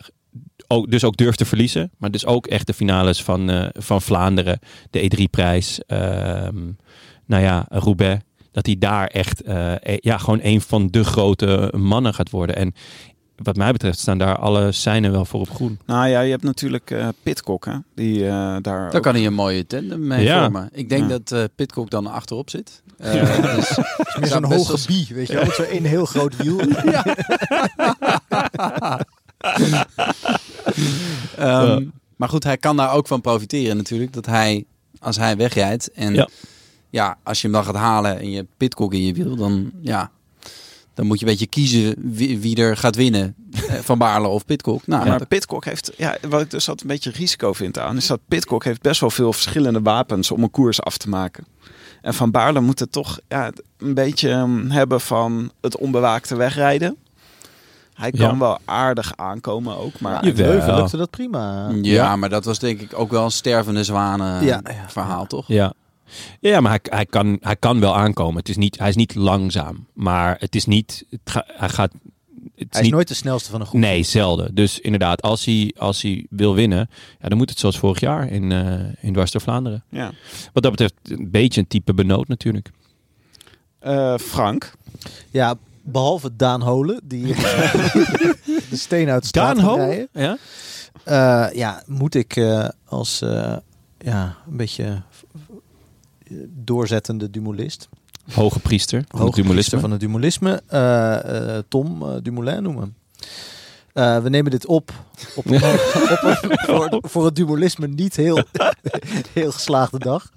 [SPEAKER 2] ook, dus ook durft te verliezen. Maar dus ook echt de finales van, eh, van Vlaanderen, de E3-prijs, nou ja, Roubaix. Dat hij daar echt eh, eh, ja, gewoon een van de grote mannen gaat worden. En wat mij betreft staan daar alle seinen wel voor op groen.
[SPEAKER 1] Nou ja, je hebt natuurlijk eh Pitcock, hè, die eh, daar
[SPEAKER 4] Daar
[SPEAKER 1] ook-
[SPEAKER 4] kan hij een mooie tandem mee
[SPEAKER 2] Ja.
[SPEAKER 4] vormen. Ik denk
[SPEAKER 1] Ja.
[SPEAKER 4] dat eh Pitcock dan achterop zit. Eh, dus
[SPEAKER 3] Het is meer
[SPEAKER 4] Ja,
[SPEAKER 3] zo'n
[SPEAKER 4] best
[SPEAKER 3] hoge
[SPEAKER 4] als-
[SPEAKER 3] bie, weet je wel. Met zo'n één heel groot wiel.
[SPEAKER 4] Ehm, Maar goed, hij kan daar ook van profiteren natuurlijk. Dat hij, als hij wegrijdt en
[SPEAKER 2] Ja.
[SPEAKER 4] ja. als je hem dan gaat halen en je hebt pitcock in je wiel, dan ja, dan moet je een beetje kiezen wie, wie er gaat winnen. Eh, Van Baarle of pitcock. Nou,
[SPEAKER 1] Ja, maar Pitcock heeft, ja, wat ik dus altijd een beetje risico vind aan, is dat Pitcock heeft best wel veel verschillende wapens om een koers af te maken. En Van Baarle moet het toch ja, een beetje ehm, hebben van het onbewaakte wegrijden. Hij kan
[SPEAKER 2] Ja.
[SPEAKER 1] wel aardig aankomen ook, maar
[SPEAKER 2] Ja.
[SPEAKER 3] in Leuven
[SPEAKER 2] Jawel. Mm.
[SPEAKER 3] lukte dat prima.
[SPEAKER 4] Ja, maar dat was denk ik ook wel een stervende zwanen
[SPEAKER 3] Ja.
[SPEAKER 4] verhaal, toch?
[SPEAKER 2] Ja. Ja, maar hij, hij, kan, hij kan wel aankomen. Het is niet, hij is niet langzaam. Maar het is niet. Het ga- hij gaat. Het is
[SPEAKER 3] Hij is
[SPEAKER 2] niet,
[SPEAKER 3] nooit de snelste van een groep.
[SPEAKER 2] Nee, zelden. Dus inderdaad, als hij, als hij wil winnen, ja, dan moet het zoals vorig jaar in, eh in Dwars door Vlaanderen.
[SPEAKER 1] ja.
[SPEAKER 2] Wat dat betreft, een beetje een type benoot natuurlijk.
[SPEAKER 1] Eh, Frank,
[SPEAKER 3] Ja, behalve Daan Holen, die de steen uit de straat
[SPEAKER 2] Daan Ho?
[SPEAKER 3] gaat rijden.
[SPEAKER 2] Ja?
[SPEAKER 3] Eh, ja, moet ik eh, als eh, ja, een beetje eh, doorzettende dumulist,
[SPEAKER 2] Hoge priester. van het
[SPEAKER 3] hoge priester
[SPEAKER 2] dualisme.
[SPEAKER 3] van het dumulisme, eh, eh, Tom eh, Dumoulin noemen. Eh, we nemen dit op, op, een- op een voor, voor het dumulisme niet heel, heel geslaagde dag.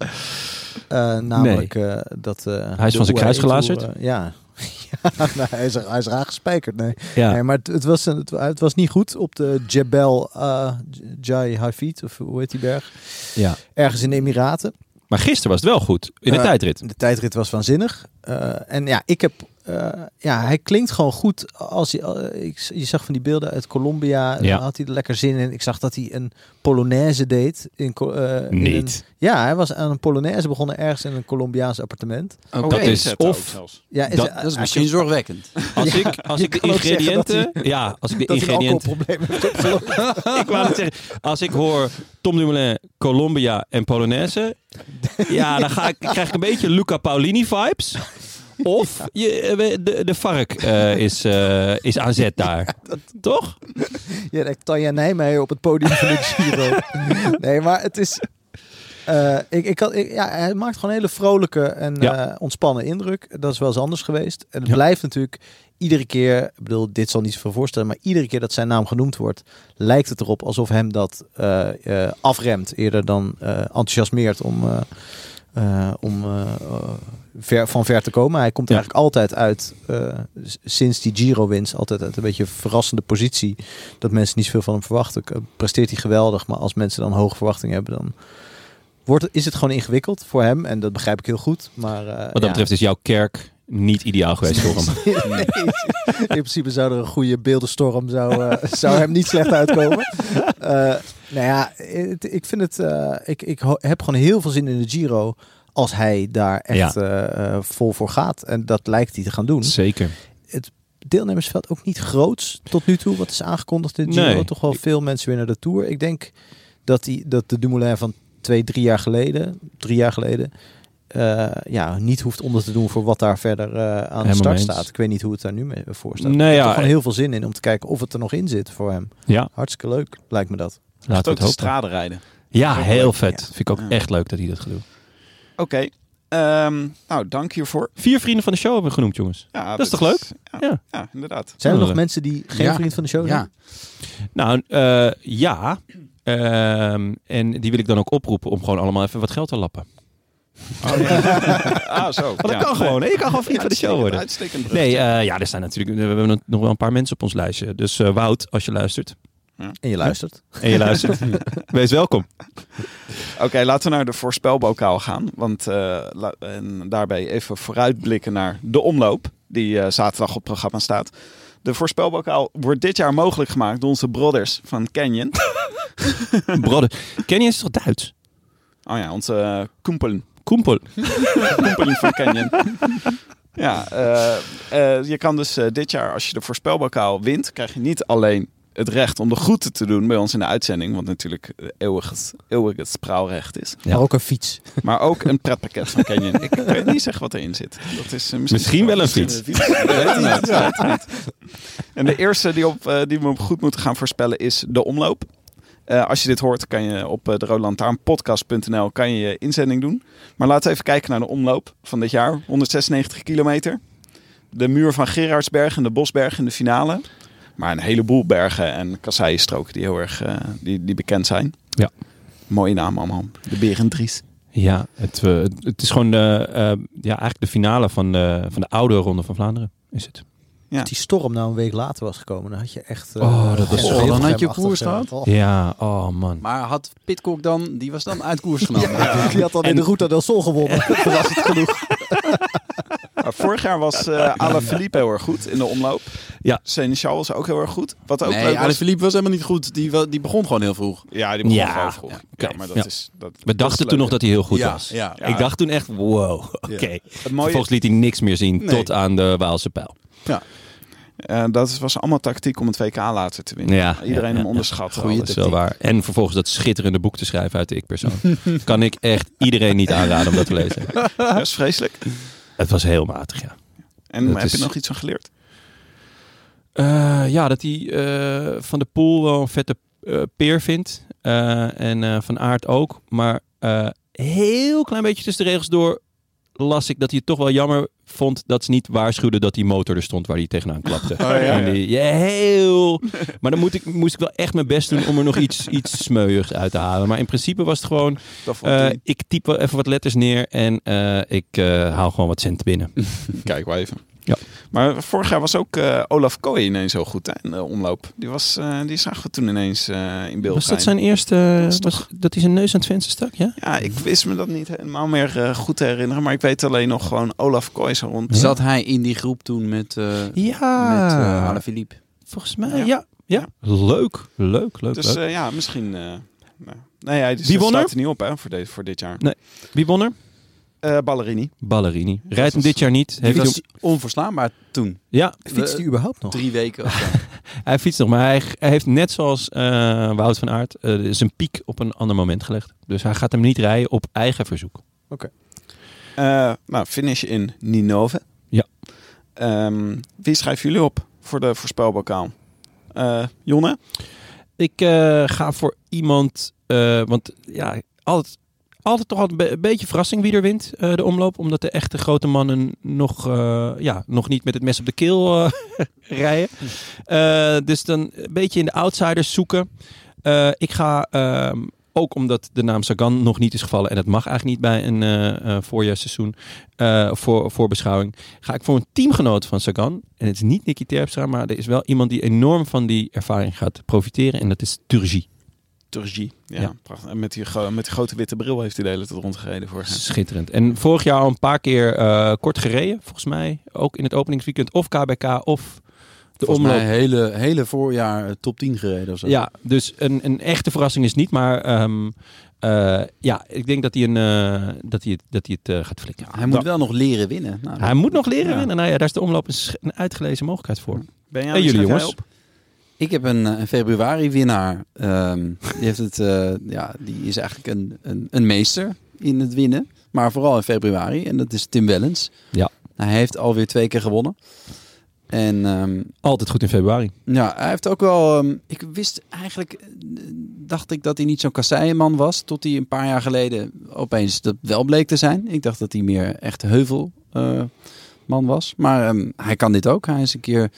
[SPEAKER 3] Eh, namelijk eh, dat... eh,
[SPEAKER 2] Hij is
[SPEAKER 3] de
[SPEAKER 2] van zijn
[SPEAKER 3] Oeh,
[SPEAKER 2] kruis
[SPEAKER 3] eh, Tour,
[SPEAKER 2] gelazerd?
[SPEAKER 3] eh, ja. ja nou, hij, is, hij is raar gespijkerd, nee.
[SPEAKER 2] Ja.
[SPEAKER 3] Nee, maar het, het was, een- het, wa- het was niet goed op de Jebel eh, J- Jai Hafid, of hoe heet die berg?
[SPEAKER 2] Ja.
[SPEAKER 3] Ergens in de Emiraten.
[SPEAKER 2] Maar gisteren was het wel goed in de
[SPEAKER 3] Eh,
[SPEAKER 2] tijdrit.
[SPEAKER 3] De tijdrit was waanzinnig. Eh, en ja, ik heb. eh, ja, hij klinkt gewoon goed. Als hij, eh, ik, je zag van die beelden uit Colombia. eh,
[SPEAKER 2] Ja.
[SPEAKER 3] Had hij er lekker zin in. Ik zag dat hij een Polonaise deed. In, Co- eh, in een-
[SPEAKER 2] Niet.
[SPEAKER 3] ja, hij was aan een Polonaise begonnen ergens in een Colombiaans appartement.
[SPEAKER 2] Dat is of
[SPEAKER 3] Ja, eh,
[SPEAKER 2] Dat-
[SPEAKER 4] Dat is misschien zorgwekkend.
[SPEAKER 2] als ik, als
[SPEAKER 3] je
[SPEAKER 2] ik de
[SPEAKER 3] kan ook zeggen
[SPEAKER 2] ingrediënten. Ja, als ik de
[SPEAKER 3] dat hij een
[SPEAKER 2] ingrediënten.
[SPEAKER 3] alcoholprobleem heeft opgelopen.
[SPEAKER 2] ik wou het zeggen. Als ik hoor Tom Dumoulin, Colombia en Polonaise. Ja, dan ga ik, krijg ik een beetje Luca Paolini vibes. Of je, eh, we- de, de vark eh, is, eh, is aan zet daar. Toch?
[SPEAKER 3] Ja, dat ik Tanja Nijmeijer op het podium van de Giro. nee, maar het is... eh, ik, ik had, ik- ja, hij maakt gewoon een hele vrolijke en
[SPEAKER 2] Ja.
[SPEAKER 3] eh, ontspannen indruk. Dat is wel eens anders geweest. En het
[SPEAKER 2] Ja.
[SPEAKER 3] blijft natuurlijk iedere keer... Ik bedoel, dit zal niet zoveel voorstellen... maar iedere keer dat zijn naam genoemd wordt... lijkt het erop alsof hem dat eh, eh, afremt... eerder dan eh, enthousiasmeert om... eh, eh, om eh, eh, ver, van ver te komen. Hij komt er
[SPEAKER 2] Ja.
[SPEAKER 3] eigenlijk altijd uit, eh, s- sinds die Giro-winst, altijd uit een beetje een verrassende positie. Dat mensen niet zoveel van hem verwachten. K- Presteert hij geweldig, maar als mensen dan hoge verwachtingen hebben, dan wordt, is het gewoon ingewikkeld voor hem. En dat begrijp ik heel goed. Maar, eh,
[SPEAKER 2] Wat dat
[SPEAKER 3] ja.
[SPEAKER 2] betreft is jouw kerk niet ideaal geweest voor hem.
[SPEAKER 3] Nee, in principe zou er een goede beeldenstorm zou, eh, zou hem niet slecht uitkomen. Eh, nou ja, het- ik vind het. eh, ik, ik ho- heb gewoon heel veel zin in de Giro. Als hij daar echt eh, eh, vol voor gaat. En dat lijkt hij te gaan doen.
[SPEAKER 2] Zeker.
[SPEAKER 3] Deelnemersveld ook niet groots tot nu toe. Wat is aangekondigd in de Giro.
[SPEAKER 2] Nee.
[SPEAKER 3] Toch wel veel mensen weer naar de Tour. Ik denk dat, die, dat de Dumoulin van twee, drie jaar geleden. Drie jaar geleden. eh, ja, niet hoeft onder te doen voor wat daar verder eh, aan de
[SPEAKER 2] mee
[SPEAKER 3] start
[SPEAKER 2] eens.
[SPEAKER 3] staat. Ik weet niet hoe het daar nu mee eh, voor staat.
[SPEAKER 2] Nou
[SPEAKER 3] ik heb
[SPEAKER 2] ja,
[SPEAKER 3] er gewoon heel veel zin in om te kijken of het er nog in zit voor hem.
[SPEAKER 2] Ja,
[SPEAKER 3] Hartstikke leuk, lijkt me dat.
[SPEAKER 2] laten we
[SPEAKER 1] ook
[SPEAKER 2] het
[SPEAKER 1] de
[SPEAKER 2] hopen.
[SPEAKER 1] straden rijden.
[SPEAKER 2] Ja,
[SPEAKER 1] Ook
[SPEAKER 2] heel
[SPEAKER 1] leuk.
[SPEAKER 2] vet. Vind ik ook
[SPEAKER 1] Ja.
[SPEAKER 2] echt leuk dat hij dat gaat doen.
[SPEAKER 1] Oké, ehm, nou dank hiervoor.
[SPEAKER 2] Vier vrienden van de show hebben we genoemd, jongens.
[SPEAKER 1] Ja,
[SPEAKER 2] Dat is toch
[SPEAKER 1] ja,
[SPEAKER 2] Ja.
[SPEAKER 1] ja. inderdaad.
[SPEAKER 3] Zijn er
[SPEAKER 2] Oh,
[SPEAKER 3] nog
[SPEAKER 2] leuk.
[SPEAKER 3] mensen die geen
[SPEAKER 4] Ja.
[SPEAKER 3] vriend van de show zijn?
[SPEAKER 4] Ja.
[SPEAKER 2] Nou, eh, ja. Ehm, en die wil ik dan ook oproepen om gewoon allemaal even wat geld te lappen.
[SPEAKER 1] Ah, zo.
[SPEAKER 2] Want dat
[SPEAKER 1] ja.
[SPEAKER 2] kan gewoon. hè? Je kan gewoon vriend van de show worden.
[SPEAKER 1] Uitstekend brug.
[SPEAKER 2] Nee, eh, ja, er staan natuurlijk. We hebben nog- nog wel een paar mensen op ons lijstje. Dus eh, Wout, als je luistert.
[SPEAKER 3] En je luistert.
[SPEAKER 2] En je luistert. wees welkom.
[SPEAKER 1] Oké, laten we naar de voorspelbokaal gaan. Want eh, la- en daarbij even vooruitblikken naar de omloop die eh, zaterdag op het programma staat. De voorspelbokaal wordt dit jaar mogelijk gemaakt door onze brothers van Canyon.
[SPEAKER 2] Brodde. Ken je is toch Duits?
[SPEAKER 1] Oh ja, onze eh, koempelen.
[SPEAKER 2] Koempel.
[SPEAKER 1] Company van Canyon. Ja, eh, eh, je kan dus eh, dit jaar, als je de voorspelbokaal wint, krijg je niet alleen het recht om de groeten te doen bij ons in de uitzending, wat natuurlijk eh, eeuwig het, eeuwig het spraalrecht is,
[SPEAKER 2] Ja.
[SPEAKER 3] Maar ook een fiets.
[SPEAKER 1] maar ook een pretpakket van Canyon. Ik weet niet zeggen wat erin zit. Dat is, eh, misschien,
[SPEAKER 2] Misschien wel een fiets.
[SPEAKER 1] We weten het, we weten het. En de eerste die, op, eh, die we goed moeten gaan voorspellen is de omloop. Eh, als je dit hoort, kan je op eh, de roodlantaarnpodcast.nl kan je je inzending doen. Maar laten we even kijken naar de omloop van dit jaar. 196 kilometer. De muur van Gerardsberg en de Bosberg in de finale. Maar een heleboel bergen en kasseienstroken die heel erg eh, die, die bekend zijn.
[SPEAKER 2] Ja.
[SPEAKER 1] Mooie naam allemaal. De Berendries.
[SPEAKER 2] Ja, het, eh, het- het is gewoon de, eh, ja, eigenlijk de finale van de, van de oude Ronde van Vlaanderen. Is het.
[SPEAKER 1] Ja.
[SPEAKER 3] Als die storm nou een week later was gekomen, dan had je echt... eh,
[SPEAKER 2] Oh, dat was-
[SPEAKER 3] Gent-
[SPEAKER 1] Oh, dan had je
[SPEAKER 3] Gent-
[SPEAKER 1] koers
[SPEAKER 3] Gent-
[SPEAKER 1] gehad.
[SPEAKER 3] Oh.
[SPEAKER 2] Ja, oh man.
[SPEAKER 4] Maar had Pitcock dan, die was dan uit koers genomen.
[SPEAKER 3] Die had dan in de Route del Sol gewonnen. Verrassend genoeg.
[SPEAKER 1] Maar vorig jaar was eh Alain Philippe heel erg goed in de omloop.
[SPEAKER 2] Ja.
[SPEAKER 1] Seneschal was ook heel erg goed. Wat ook leuk
[SPEAKER 4] Nee,
[SPEAKER 1] was.
[SPEAKER 4] Alain Philippe was helemaal niet goed. Die, wa- die begon gewoon heel vroeg.
[SPEAKER 1] Ja, die begon
[SPEAKER 2] Ja.
[SPEAKER 1] gewoon vroeg. Ja,
[SPEAKER 2] Ja, oké.
[SPEAKER 1] maar dat
[SPEAKER 2] Ja.
[SPEAKER 1] is... Dat,
[SPEAKER 2] We dachten toen nog dat hij heel goed
[SPEAKER 4] Ja,
[SPEAKER 2] was.
[SPEAKER 4] ja.
[SPEAKER 2] Ik dacht toen echt, wow, oké.
[SPEAKER 1] Het mooie
[SPEAKER 2] Vervolgens liet hij niks meer zien
[SPEAKER 1] Nee.
[SPEAKER 2] tot aan de Waalse pijl.
[SPEAKER 1] eh, dat was allemaal tactiek om het WK later te winnen.
[SPEAKER 2] Ja,
[SPEAKER 1] Iedereen
[SPEAKER 2] ja,
[SPEAKER 1] hem
[SPEAKER 2] ja,
[SPEAKER 1] onderschat.
[SPEAKER 2] Dat
[SPEAKER 1] alles.
[SPEAKER 2] is wel waar. En vervolgens dat schitterende boek te schrijven uit de ik-persoon. kan ik echt iedereen niet aanraden om dat te lezen.
[SPEAKER 1] Dat is vreselijk.
[SPEAKER 2] Het was heel matig, ja.
[SPEAKER 1] En
[SPEAKER 2] Dat
[SPEAKER 1] heb je
[SPEAKER 2] is-
[SPEAKER 1] nog iets van geleerd?
[SPEAKER 2] Eh, ja, dat hij eh, Van de Poel wel een vette eh, peer vindt. Eh, en eh, Van Aert ook. Maar eh, heel klein beetje tussen de regels door las ik dat hij het toch wel jammer vond dat ze niet waarschuwden dat die motor er stond waar hij tegenaan klapte.
[SPEAKER 1] Oh, ja.
[SPEAKER 2] En die, ja, heel... Maar dan moet ik, moest ik wel echt mijn best doen om er nog iets, iets smeuigs uit te halen. Maar in principe was het gewoon,
[SPEAKER 1] Dat vond
[SPEAKER 2] eh,
[SPEAKER 1] hij-
[SPEAKER 2] ik typ wel even wat letters neer en eh, ik eh, haal gewoon wat cent binnen.
[SPEAKER 1] Kijk wel even.
[SPEAKER 2] Ja.
[SPEAKER 1] Maar vorig jaar was ook eh, Olaf Kooi ineens heel goed hè, in de omloop. Die, was, eh, die zagen we toen ineens eh, in beeld.
[SPEAKER 2] Was dat
[SPEAKER 1] zijn?
[SPEAKER 2] zijn eerste...
[SPEAKER 1] Dat is
[SPEAKER 2] Was
[SPEAKER 1] toch-
[SPEAKER 2] dat hij zijn neus aan het venster stak, ja?
[SPEAKER 1] Ja, ik wist me dat niet helemaal meer eh, goed te herinneren. Maar ik weet alleen nog gewoon Olaf Kooi zo rond.
[SPEAKER 4] Zat hij in die groep toen met, eh met eh,
[SPEAKER 2] Ja,
[SPEAKER 4] Alain Philippe?
[SPEAKER 2] volgens mij.
[SPEAKER 1] Ja.
[SPEAKER 2] Ja. Ja. leuk, leuk, leuk.
[SPEAKER 1] Dus
[SPEAKER 2] leuk.
[SPEAKER 1] eh, ja, misschien... eh nou, nee, hij dus
[SPEAKER 2] Wie
[SPEAKER 1] hij
[SPEAKER 2] won er?
[SPEAKER 1] staat er niet op hè, voor, dit voor dit jaar.
[SPEAKER 2] Wie won er?
[SPEAKER 1] Eh, Ballerini.
[SPEAKER 2] Ballerini. Rijdt hem
[SPEAKER 1] was-
[SPEAKER 2] dit jaar niet.
[SPEAKER 4] Die
[SPEAKER 2] Heeft hij,
[SPEAKER 4] was onverslaanbaar toen.
[SPEAKER 2] ja,
[SPEAKER 3] Fietst die überhaupt nog?
[SPEAKER 4] Drie weken of zo.
[SPEAKER 2] hij fietst nog, maar hij, hij heeft net zoals eh, Wout van Aert eh, zijn piek op een ander moment gelegd. Dus hij gaat hem niet rijden op eigen verzoek.
[SPEAKER 1] Eh, nou, finish in Ninove.
[SPEAKER 2] Ja.
[SPEAKER 1] Ehm, wie schrijven jullie op voor de voorspelbokaal? Eh, Jonne?
[SPEAKER 2] Ik eh, ga voor iemand, eh, want ja, altijd, altijd toch altijd een be- een beetje verrassing wie er wint eh, de omloop. Omdat de echte grote mannen nog, eh, ja, nog niet met het mes op de keel eh, rijden. Eh, dus dan een beetje in de outsiders zoeken. Eh, ik ga, ehm, ook omdat de naam Sagan nog niet is gevallen en dat mag eigenlijk niet bij een eh, eh, voorjaarsseizoen, eh, voor, voorbeschouwing, ga ik voor een teamgenoot van Sagan. En het is niet Nicky Terpstra, maar er is wel iemand die enorm van die ervaring gaat profiteren en dat is Turgie.
[SPEAKER 1] Turgie. Ja,
[SPEAKER 2] Ja.
[SPEAKER 1] prachtig. En met die, gro- met die grote witte bril heeft hij de hele tijd rondgereden voor hem.
[SPEAKER 2] Schitterend. En vorig jaar al een paar keer eh, kort gereden, volgens mij. Ook in het openingsweekend of KBK of de
[SPEAKER 4] Volgens
[SPEAKER 2] omloop.
[SPEAKER 4] mij hele, hele voorjaar eh, top 10 gereden of zo.
[SPEAKER 2] Ja, dus een, een echte verrassing is niet, maar ehm, eh, ja, ik denk dat hij, een, eh, dat hij het, dat hij het eh, gaat flikken.
[SPEAKER 4] Hij moet wel nog leren winnen. Nou,
[SPEAKER 2] Hij moet nog leren
[SPEAKER 1] Ja.
[SPEAKER 2] winnen. Nou ja, daar is de omloop een, sch- een uitgelezen mogelijkheid voor.
[SPEAKER 1] Ben jij
[SPEAKER 2] en jullie
[SPEAKER 1] schrijf jij
[SPEAKER 2] jongens?
[SPEAKER 1] op?
[SPEAKER 4] Ik heb een, eh, een februari-winnaar. Ehm, die, heeft het, eh, ja, die is eigenlijk een, een, een meester in het winnen. Maar vooral in februari. En dat is Tim Wellens. Nou,
[SPEAKER 2] Ja.
[SPEAKER 4] Hij heeft alweer twee keer gewonnen. En ehm,
[SPEAKER 2] Altijd goed in februari.
[SPEAKER 4] ja, hij heeft ook wel... ehm, ik wist eigenlijk... eh, Dacht ik dat hij niet zo'n kasseienman was. Tot hij een paar jaar geleden opeens dat wel bleek te zijn. Ik dacht dat hij meer echt heuvelman was. Maar ehm, hij kan dit ook. Hij is een keer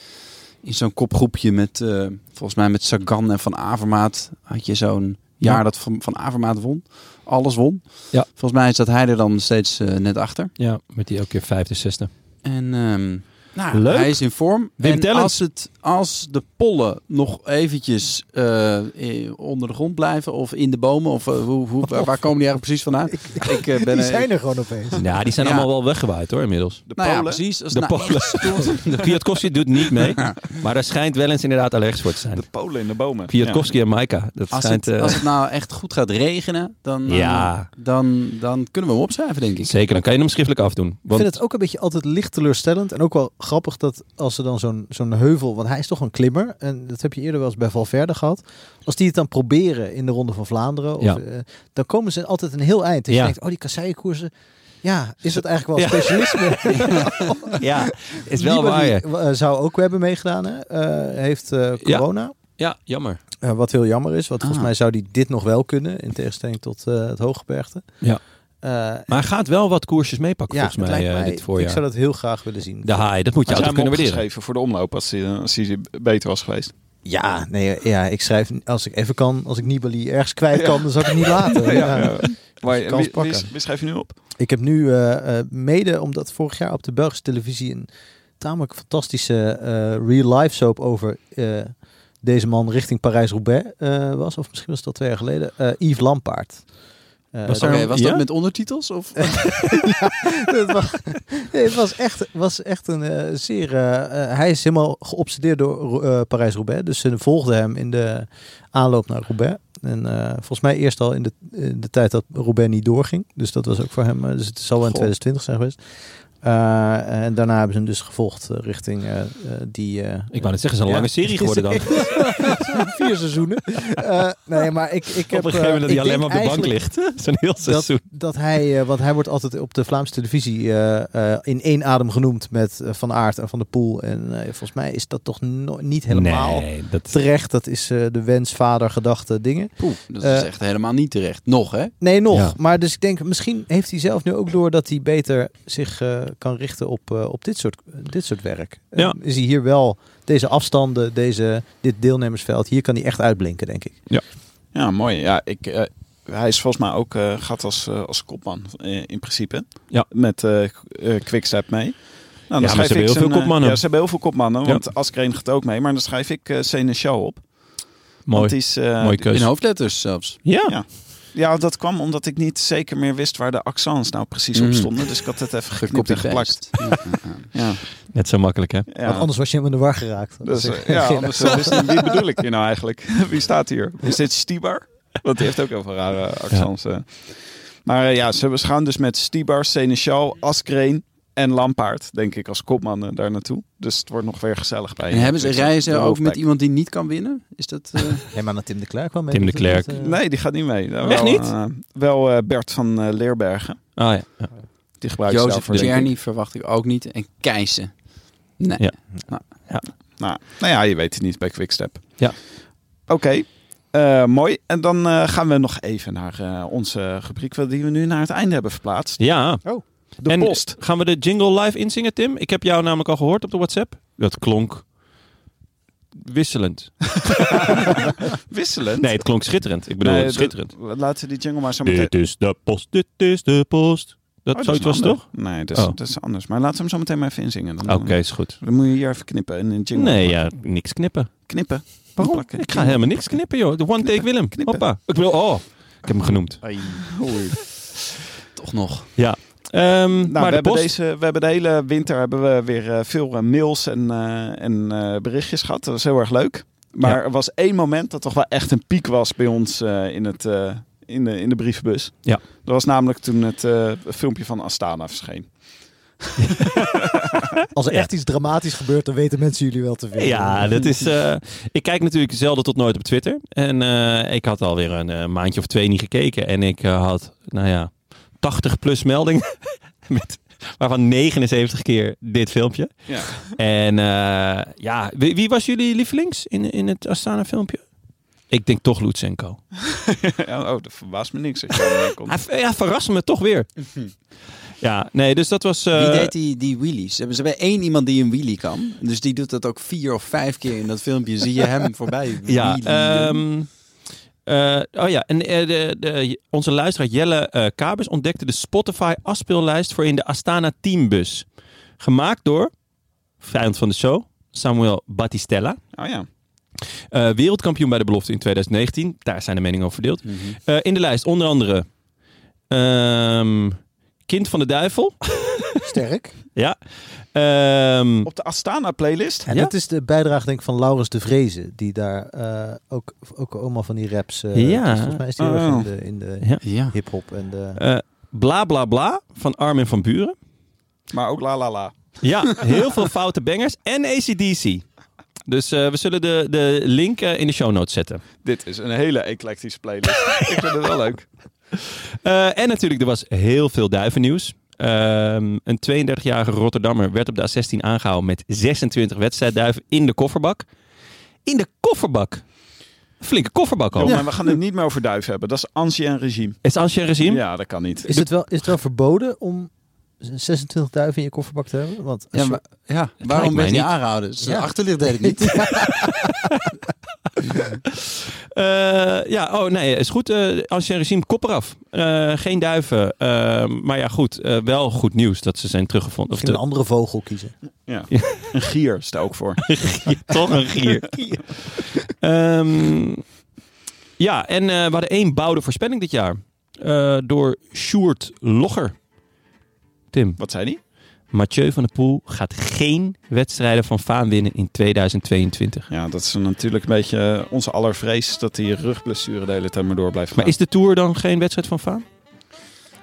[SPEAKER 4] in zo'n kopgroepje met... eh, volgens mij met Sagan en Van Avermaat. Had je zo'n
[SPEAKER 2] Ja.
[SPEAKER 4] jaar dat Van, van Avermaat won. Alles won.
[SPEAKER 2] Ja.
[SPEAKER 4] Volgens mij staat hij er dan steeds eh, net achter.
[SPEAKER 2] Ja, met die elke keer vijfde, zesde.
[SPEAKER 4] En ehm, nou,
[SPEAKER 2] Leuk.
[SPEAKER 4] hij is in vorm.
[SPEAKER 2] Wim
[SPEAKER 4] en
[SPEAKER 2] Tellens.
[SPEAKER 4] als, het, als de pollen nog eventjes eh, eh, onder de grond blijven of in de bomen, of eh, hoe, hoe, waar, waar komen die eigenlijk precies vandaan? Ik eh, ben
[SPEAKER 3] Die
[SPEAKER 4] eh,
[SPEAKER 3] zijn er gewoon opeens.
[SPEAKER 2] Ja, die zijn
[SPEAKER 4] Ja.
[SPEAKER 2] allemaal wel weggewaaid hoor inmiddels.
[SPEAKER 1] De
[SPEAKER 4] nou ja,
[SPEAKER 1] Polen?
[SPEAKER 4] precies. Als
[SPEAKER 2] De
[SPEAKER 4] het nou
[SPEAKER 2] Polen.
[SPEAKER 4] echt stoort-
[SPEAKER 2] De Kwiatkowski doet niet mee, maar daar schijnt wel eens inderdaad allergisch voor te zijn.
[SPEAKER 1] de Polen in de bomen.
[SPEAKER 2] Kwiatkowski en Maika, dat
[SPEAKER 4] Als
[SPEAKER 2] schijnt...
[SPEAKER 4] het,
[SPEAKER 2] eh,
[SPEAKER 4] als het nou echt goed gaat regenen, dan, eh,
[SPEAKER 2] Ja.
[SPEAKER 4] dan, dan kunnen we hem opschrijven, denk ik.
[SPEAKER 2] Zeker, dan kan je hem schriftelijk afdoen.
[SPEAKER 3] Ik
[SPEAKER 2] Want
[SPEAKER 3] vind het ook een beetje altijd licht teleurstellend. En ook wel grappig dat als ze dan zo'n zo'n heuvel... Want hij is toch een klimmer. En dat heb je eerder wel eens bij Valverde gehad. Als die het dan proberen in de Ronde van Vlaanderen... Of,
[SPEAKER 2] Ja.
[SPEAKER 3] eh, dan komen ze altijd een heel eind. Dus
[SPEAKER 2] Ja.
[SPEAKER 3] je denkt, oh, die kasseienkoersen... Ja, is dat eigenlijk wel specialisme?
[SPEAKER 2] ja, is wel waar.
[SPEAKER 3] Nibali,
[SPEAKER 2] ja.
[SPEAKER 3] eh, Zou ook hebben meegedaan, hè? Eh, heeft eh,
[SPEAKER 2] Ja.
[SPEAKER 3] corona.
[SPEAKER 2] Ja, jammer.
[SPEAKER 3] Eh, wat heel jammer is, want
[SPEAKER 4] Ah.
[SPEAKER 3] volgens mij zou die dit nog wel kunnen, in tegenstelling tot eh, het hooggebergte.
[SPEAKER 2] Ja.
[SPEAKER 3] Eh,
[SPEAKER 2] Maar hij gaat wel wat koersjes meepakken
[SPEAKER 3] ja, het
[SPEAKER 2] volgens mij,
[SPEAKER 3] lijkt
[SPEAKER 2] eh,
[SPEAKER 3] mij
[SPEAKER 2] dit
[SPEAKER 3] ik
[SPEAKER 2] voorjaar.
[SPEAKER 3] zou dat heel graag willen zien.
[SPEAKER 2] De haai, dat moet je
[SPEAKER 1] Had jij
[SPEAKER 2] altijd
[SPEAKER 1] hem
[SPEAKER 2] kunnen waarderen.
[SPEAKER 1] opgeschreven voor de omloop als hij, eh, als hij beter was geweest?
[SPEAKER 3] Ja, nee, ja, ik schrijf als ik even kan, als ik Nibali ergens kwijt kan, dan zal ik het niet laten. Ja. Dus
[SPEAKER 1] Maar,
[SPEAKER 3] kans
[SPEAKER 1] wie, wie,
[SPEAKER 3] pakken.
[SPEAKER 1] wie schrijf je nu op?
[SPEAKER 3] Ik heb nu eh, eh, mede omdat vorig jaar op de Belgische televisie een tamelijk fantastische eh, real-life soap over eh, deze man richting Parijs-Roubaix eh, was. Of misschien was dat twee jaar geleden. eh Yves Lampaard. Eh,
[SPEAKER 4] Was, daar-
[SPEAKER 3] dat-
[SPEAKER 4] was
[SPEAKER 3] Ja?
[SPEAKER 4] dat met ondertitels? Of?
[SPEAKER 3] het, was, nee, het was echt, was echt een eh, zeer. eh, eh, hij is helemaal geobsedeerd door eh, Parijs-Roubaix. Dus ze volgden hem in de aanloop naar Roubaix. En eh, volgens mij eerst al in de, in de tijd dat Roubaix niet doorging. Dus dat was ook voor hem. eh, dus het zal wel in
[SPEAKER 4] Goh.
[SPEAKER 3] 2020 zijn geweest. Eh, en daarna hebben ze hem dus gevolgd eh, richting eh, eh, die. eh,
[SPEAKER 2] Ik wou net zeggen, het is een
[SPEAKER 3] Ja.
[SPEAKER 2] lange serie geworden dan. Op
[SPEAKER 3] vier seizoenen. Eh, nee, maar ik, ik
[SPEAKER 2] een
[SPEAKER 3] heb.
[SPEAKER 2] gegeven moment dat hij alleen maar op de bank ligt.
[SPEAKER 3] ligt
[SPEAKER 2] Dat is een heel seizoen.
[SPEAKER 3] dat hij, eh, want hij wordt altijd op de Vlaamse televisie eh, eh, in één adem genoemd met eh, Van Aert en Van der Poel. En eh, volgens mij is dat toch no- niet helemaal
[SPEAKER 2] Nee, dat,
[SPEAKER 3] terecht. Dat is eh, de wens, vader, gedachte, dingen.
[SPEAKER 4] Poeh, dat is
[SPEAKER 3] Eh.
[SPEAKER 4] echt helemaal niet terecht. Nog, hè?
[SPEAKER 3] Nee, nog.
[SPEAKER 2] Ja.
[SPEAKER 3] Maar dus ik denk, misschien heeft hij zelf nu ook door dat hij beter zich eh, kan richten op, eh, op dit, soort, dit soort werk. Eh,
[SPEAKER 2] Ja.
[SPEAKER 3] is hij hier wel deze afstanden, deze, dit deelnemersveld, hier kan hij echt uitblinken, denk ik.
[SPEAKER 1] Ja, mooi. Ja, ik, eh, hij is volgens mij ook eh, gaat als, eh, als kopman eh, in principe.
[SPEAKER 2] Ja.
[SPEAKER 1] Met eh Qu- eh, Quickstep mee. Nou,
[SPEAKER 2] maar ze
[SPEAKER 1] schrijf
[SPEAKER 2] hebben
[SPEAKER 1] ik
[SPEAKER 2] heel
[SPEAKER 1] zijn,
[SPEAKER 2] veel
[SPEAKER 1] eh,
[SPEAKER 2] kopmannen.
[SPEAKER 1] Ja, ze hebben heel veel kopmannen.
[SPEAKER 2] Ja.
[SPEAKER 1] Want Askreen gaat ook mee. Maar dan schrijf ik eh Seneschal op. Want die
[SPEAKER 2] mooi.
[SPEAKER 1] is, eh,
[SPEAKER 2] Mooie
[SPEAKER 4] In
[SPEAKER 2] keuze.
[SPEAKER 4] hoofdletters zelfs.
[SPEAKER 2] Ja,
[SPEAKER 1] Ja. Ja, dat kwam omdat ik niet zeker meer wist waar de accents nou precies op
[SPEAKER 4] Mm.
[SPEAKER 1] stonden. Dus ik had het even geknipt en geplakt.
[SPEAKER 4] Gecopy-paste. Ja, ja, ja.
[SPEAKER 1] Ja,
[SPEAKER 2] net zo makkelijk hè.
[SPEAKER 3] Want
[SPEAKER 1] ja.
[SPEAKER 3] anders was je hem in de war geraakt.
[SPEAKER 1] Dus, eh, ja, anders eh, wist ik, wie bedoel ik hier nou eigenlijk? Wie staat hier? Is dit Stibar? Want die heeft ook heel veel rare accents. eh. Maar eh, ja, ze ze gaan dus met Stibar, Seneschal, Askreen en Lampaard, denk ik, als kopman eh, daar naartoe. Dus het wordt nog weer gezellig bij. eh,
[SPEAKER 4] En hebben ze
[SPEAKER 1] Ik zeg, de
[SPEAKER 4] reizen ook met
[SPEAKER 1] hoofdpek.
[SPEAKER 4] iemand die niet kan winnen? Is dat... eh,
[SPEAKER 3] Nee, maar naar Tim de Klerk wel mee.
[SPEAKER 2] Tim de Klerk.
[SPEAKER 3] eh,
[SPEAKER 1] Nee, die gaat niet mee. Nou,
[SPEAKER 2] Echt
[SPEAKER 1] wel,
[SPEAKER 2] niet?
[SPEAKER 1] eh, wel eh, Bert van eh, Leerbergen.
[SPEAKER 2] Ah ja, ja.
[SPEAKER 1] Die gebruikt ze
[SPEAKER 4] Jozef
[SPEAKER 1] daarvoor, denk ik.
[SPEAKER 4] Czerny verwacht ik ook niet. En Keijsen. Nee.
[SPEAKER 2] Ja.
[SPEAKER 1] Nou, nou ja, je weet het niet bij Quickstep.
[SPEAKER 2] Ja.
[SPEAKER 1] Oké, eh, mooi. En dan eh, gaan we nog even naar eh, onze rubriek, wel die we nu naar het einde hebben verplaatst.
[SPEAKER 2] ja.
[SPEAKER 1] Oh, De
[SPEAKER 2] en
[SPEAKER 1] post.
[SPEAKER 2] gaan we de jingle live inzingen, Tim? Ik heb jou namelijk al gehoord op de WhatsApp. Dat klonk wisselend.
[SPEAKER 1] Wisselend.
[SPEAKER 2] Nee, het klonk schitterend. Ik bedoel,
[SPEAKER 1] Nee, dat-
[SPEAKER 2] schitterend.
[SPEAKER 1] Laten we die jingle maar zo meteen...
[SPEAKER 2] Dit is de post, dit is de post. Dat
[SPEAKER 1] Oh,
[SPEAKER 2] zoiets
[SPEAKER 1] is
[SPEAKER 2] was
[SPEAKER 1] een
[SPEAKER 2] het, toch?
[SPEAKER 1] ander. Nee, dat is,
[SPEAKER 2] Oh.
[SPEAKER 1] dat is anders. Maar laten we hem zo meteen maar even inzingen. Dan,
[SPEAKER 2] Oké, is goed.
[SPEAKER 1] Dan moet je hier even knippen in een jingle.
[SPEAKER 2] Nee, ja, niks knippen.
[SPEAKER 1] Knippen.
[SPEAKER 2] Waarom?
[SPEAKER 1] Plakken.
[SPEAKER 2] Ik ga helemaal niks knippen, joh. De one take Willem.
[SPEAKER 1] knippen. Nou,
[SPEAKER 2] Hoppa. Ik wil, oh, ik heb hem genoemd.
[SPEAKER 1] Oei.
[SPEAKER 4] Toch nog.
[SPEAKER 2] Ehm,
[SPEAKER 1] Nou,
[SPEAKER 2] maar
[SPEAKER 1] we
[SPEAKER 2] de
[SPEAKER 1] hebben,
[SPEAKER 2] post,
[SPEAKER 1] deze, we hebben de hele winter hebben we weer eh, veel eh, mails en, eh, en eh, berichtjes gehad. Dat was heel erg leuk. Maar
[SPEAKER 2] Ja.
[SPEAKER 1] er was één moment dat toch wel echt een piek was bij ons eh, in, het, eh, in, de, in de brievenbus.
[SPEAKER 2] Ja.
[SPEAKER 1] Dat was namelijk toen het eh, filmpje van Astana verscheen.
[SPEAKER 3] Als er
[SPEAKER 2] Ja.
[SPEAKER 3] echt iets dramatisch gebeurt, dan weten mensen jullie wel te vinden.
[SPEAKER 2] Ja, dat is. eh, ik kijk natuurlijk zelden tot nooit op Twitter. En eh, ik had alweer een eh, maandje of twee niet gekeken. En ik eh, had, nou ja, 80 plus meldingen. met, waarvan 79 keer dit filmpje.
[SPEAKER 1] Ja.
[SPEAKER 2] En eh, ja, wie, wie was jullie lievelings in, in het Astana filmpje? Ik denk toch Lutsenko.
[SPEAKER 1] oh, dat verbaast me niks. dat je daarmee komt.
[SPEAKER 2] Hij ver- ja, verraste me toch weer. ja, nee, dus dat was. eh,
[SPEAKER 4] Wie deed die, die wheelies? Ze hebben ze bij één iemand die een wheelie kan. Dus die doet dat ook vier of vijf keer in dat filmpje. Zie je hem voorbij
[SPEAKER 2] Ja,
[SPEAKER 4] wheelien.
[SPEAKER 2] ehm, eh, oh ja, en eh, de, de, onze luisteraar Jelle eh Kabers ontdekte de Spotify afspeellijst voor in de Astana Teambus. Gemaakt door, vijand van de show, Samuel Battistella.
[SPEAKER 1] Oh ja.
[SPEAKER 2] Eh, wereldkampioen bij de belofte in 2019. Daar zijn de meningen over verdeeld. Eh, in de lijst onder andere ehm, Kind van de Duivel.
[SPEAKER 3] sterk.
[SPEAKER 2] ja. Ehm,
[SPEAKER 1] Op de Astana playlist.
[SPEAKER 3] En
[SPEAKER 2] Ja?
[SPEAKER 3] dat is de bijdrage denk ik van Laurens de Vreese, die daar eh, ook, ook allemaal van die raps... eh,
[SPEAKER 2] Ja.
[SPEAKER 3] dus Volgens mij is die heel erg
[SPEAKER 1] Oh.
[SPEAKER 3] in de, in de
[SPEAKER 2] Ja.
[SPEAKER 4] Ja.
[SPEAKER 3] hip-hop en de...
[SPEAKER 2] eh, bla bla bla van Armin van Buren.
[SPEAKER 1] Maar ook la la la.
[SPEAKER 2] Ja, heel veel foute bangers en ACDC. Dus eh, we zullen de, de link eh, in de show notes zetten.
[SPEAKER 1] Dit is een hele eclectische playlist. Ik vind het wel leuk.
[SPEAKER 2] Eh, en natuurlijk, er was heel veel duivennieuws. Ehm, een 32-jarige Rotterdammer werd op de A16 aangehouden met 26 wedstrijdduiven in de kofferbak. In de kofferbak. Flinke kofferbak al.
[SPEAKER 1] Kom, maar we gaan het niet meer over duif hebben. Dat is ancien regime.
[SPEAKER 2] Is Ancien regime?
[SPEAKER 1] Ja, dat kan niet.
[SPEAKER 3] Is het, wel, is het wel verboden om 26 duiven in je kofferbak te hebben? Want
[SPEAKER 4] Ja, maar- ja. Waarom
[SPEAKER 2] mij
[SPEAKER 4] werd hij
[SPEAKER 2] niet.
[SPEAKER 4] aangehouden? Dus
[SPEAKER 3] Ja.
[SPEAKER 4] De achterlicht deed het niet.
[SPEAKER 2] Eh, ja, oh nee, is goed. Eh Ancien regime, kop eraf. Eh, geen duiven. Eh, maar ja, goed. eh, wel goed nieuws dat ze zijn teruggevonden. Of
[SPEAKER 3] Misschien een
[SPEAKER 2] de,
[SPEAKER 3] andere vogel kiezen.
[SPEAKER 1] Ja. Een gier stel ik voor.
[SPEAKER 2] toch een gier. Ehm, ja, en eh, we hadden één bouwde voorspelling dit jaar. Eh, door Sjoerd Logger. Tim,
[SPEAKER 1] Wat zei die?
[SPEAKER 2] Mathieu van der Poel gaat geen wedstrijden van Vaan winnen in 2022.
[SPEAKER 1] Ja, dat is natuurlijk een beetje eh, onze allervrees dat die rugblessure de hele tijd maar door blijft gaan.
[SPEAKER 2] Maar is de Tour dan geen wedstrijd van Vaan?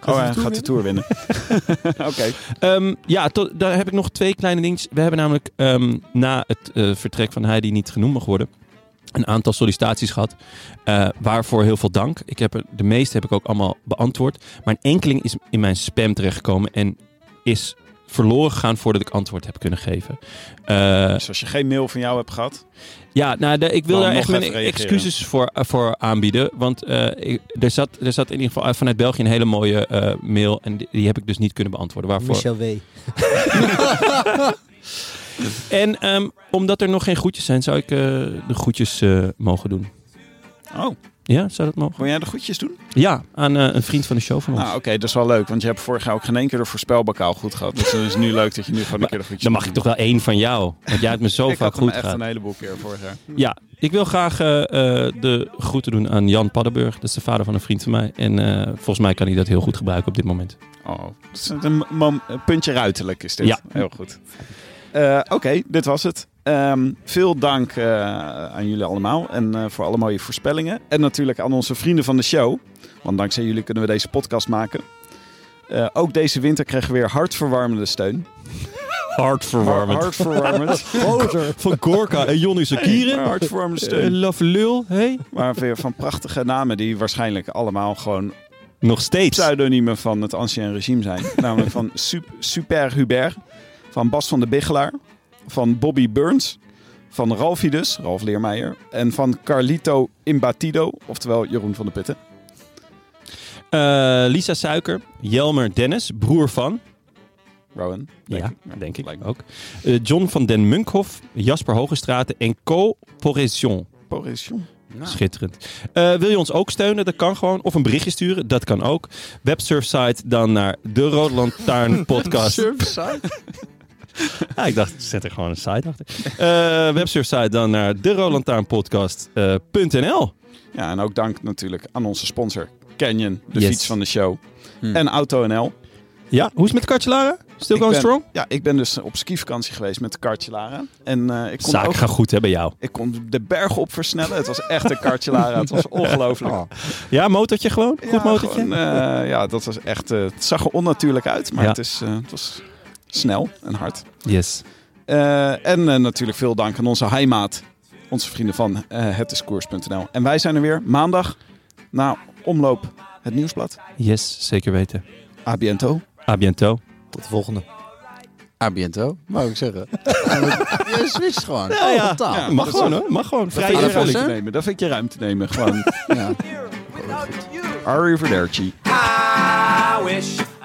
[SPEAKER 1] oh, hij gaat de Tour winnen. Oké.
[SPEAKER 2] Ehm, ja, tot, daar heb ik nog twee kleine dingetjes. We hebben namelijk ehm, na het eh, vertrek van Heidi niet genoemd mag worden... een aantal sollicitaties gehad. eh, waarvoor heel veel dank. Ik heb er, de meeste heb ik ook allemaal beantwoord. Maar een enkeling is in mijn spam terechtgekomen... en is verloren gegaan voordat ik antwoord heb kunnen geven. Eh,
[SPEAKER 1] Dus als je geen mail van jou hebt gehad,
[SPEAKER 2] ja, nou, de- ik wil
[SPEAKER 1] Nou,
[SPEAKER 2] daar
[SPEAKER 1] nog
[SPEAKER 2] echt mijn
[SPEAKER 1] even reageren.
[SPEAKER 2] excuses voor, eh, voor aanbieden. Want eh, ik- er, zat, er zat in ieder geval uit- vanuit België een hele mooie eh, mail... en die, die heb ik dus niet kunnen beantwoorden. Waarvoor...
[SPEAKER 3] Michel W.
[SPEAKER 2] En ehm, omdat er nog geen groetjes zijn, zou ik eh, de groetjes eh, mogen doen.
[SPEAKER 1] Oh.
[SPEAKER 2] Ja, zou dat mogen?
[SPEAKER 1] wil jij de goedjes doen?
[SPEAKER 2] Ja, aan eh, een vriend van de show van ons.
[SPEAKER 1] Nou, oké, dat is wel leuk. Want je hebt vorig jaar ook geen één keer de voorspelbokaal goed gehad. Dus het is nu leuk dat je nu gewoon een keer de goedjes
[SPEAKER 2] Dan mag ik toch wel één van jou. Want jij hebt me zo
[SPEAKER 1] Ik
[SPEAKER 2] vaak
[SPEAKER 1] had hem
[SPEAKER 2] goed
[SPEAKER 1] echt
[SPEAKER 2] gehad.
[SPEAKER 1] een heleboel keer vorig jaar.
[SPEAKER 2] Ja, ik wil graag eh, eh, de groeten doen aan Jan Paddenburg. Dat is de vader van een vriend van mij. En eh, volgens mij kan hij dat heel goed gebruiken op dit moment.
[SPEAKER 1] Oh, dat is een mom- een puntje ruiterlijk is dit.
[SPEAKER 2] Ja.
[SPEAKER 1] Heel goed. Eh, Oké, dit was het. Ehm, veel dank eh, aan jullie allemaal en eh, voor alle mooie voorspellingen. En natuurlijk aan onze vrienden van de show. Want dankzij jullie kunnen we deze podcast maken. Eh, ook deze winter kregen we weer hartverwarmende steun.
[SPEAKER 2] Hartverwarmend.
[SPEAKER 1] Hartverwarmend.
[SPEAKER 2] Van Gorka en Jonny
[SPEAKER 1] Maar
[SPEAKER 2] Sakieren.
[SPEAKER 1] hartverwarmende
[SPEAKER 2] Eh,
[SPEAKER 1] steun.
[SPEAKER 2] Love Lul, hey.
[SPEAKER 1] Maar weer van prachtige namen die waarschijnlijk allemaal gewoon
[SPEAKER 2] Nog steeds.
[SPEAKER 1] pseudoniemen van het ancien regime zijn. Namelijk van Sup- Super Hubert, van Bas van de Biggelaar, van Bobby Burns, van Ralfie dus, Ralf Leermeijer, en van Carlito Imbatido, oftewel Jeroen van de Putten.
[SPEAKER 2] Eh, Lisa Suiker, Jelmer Dennis, broer van.
[SPEAKER 1] Rowan, denk
[SPEAKER 2] ja,
[SPEAKER 1] ik.
[SPEAKER 2] denk ik
[SPEAKER 1] lijkt me.
[SPEAKER 2] ook. Eh, John van den Munkhoff, Jasper Hogestraten en Co. Poression.
[SPEAKER 1] Boris Jong.
[SPEAKER 2] Schitterend. Eh, wil je ons ook steunen? Dat kan gewoon. Of een berichtje sturen? Dat kan ook. Websurfsite dan naar de Rode Lantaarn podcast. Ja, ik dacht, zet er gewoon een site achter. Eh, websurfsite dan naar de eh,
[SPEAKER 1] Ja, en ook dank natuurlijk aan onze sponsor Canyon, de
[SPEAKER 2] Yes.
[SPEAKER 1] fiets van de show. En AutoNL.
[SPEAKER 2] Ja, hoe is het met Kartjelara? Still
[SPEAKER 1] Ik
[SPEAKER 2] going
[SPEAKER 1] ben-
[SPEAKER 2] strong?
[SPEAKER 1] Ja, ik ben dus op skivakantie geweest met de kartje Lara. En eh, ik kon
[SPEAKER 2] Zaak
[SPEAKER 1] ook
[SPEAKER 2] gaat goed hè, bij jou.
[SPEAKER 1] Ik kon de bergen op versnellen. Het was echt een kartje, Lara. Het was ongelooflijk.
[SPEAKER 2] Ja, motortje gewoon? Goed
[SPEAKER 1] Ja,
[SPEAKER 2] motortje?
[SPEAKER 1] gewoon, eh, ja, dat was echt... eh, het zag er onnatuurlijk uit, maar
[SPEAKER 2] Ja.
[SPEAKER 1] het, is, eh, het was snel en hard.
[SPEAKER 2] Yes.
[SPEAKER 1] Eh, en eh, natuurlijk veel dank aan onze heimaat. Onze vrienden van eh hetdiscours.nl. En wij zijn er weer maandag na omloop het nieuwsblad.
[SPEAKER 2] Yes, zeker weten.
[SPEAKER 1] A biento.
[SPEAKER 2] A bientôt.
[SPEAKER 3] Tot de volgende.
[SPEAKER 4] Abiento, mag ik zeggen. Je switcht gewoon. Ja,
[SPEAKER 2] ja.
[SPEAKER 4] Totaal.
[SPEAKER 1] Ja.
[SPEAKER 2] Mag
[SPEAKER 1] dat
[SPEAKER 2] gewoon
[SPEAKER 1] is-
[SPEAKER 2] hoor, mag gewoon.
[SPEAKER 1] Dat
[SPEAKER 2] Vrij
[SPEAKER 1] vind je
[SPEAKER 4] Fraaie
[SPEAKER 1] ruimte
[SPEAKER 4] vossen.
[SPEAKER 1] nemen. Dat vind ik je ruimte nemen. Gewoon.
[SPEAKER 4] Ja.
[SPEAKER 1] Arrivederci.
[SPEAKER 6] I wish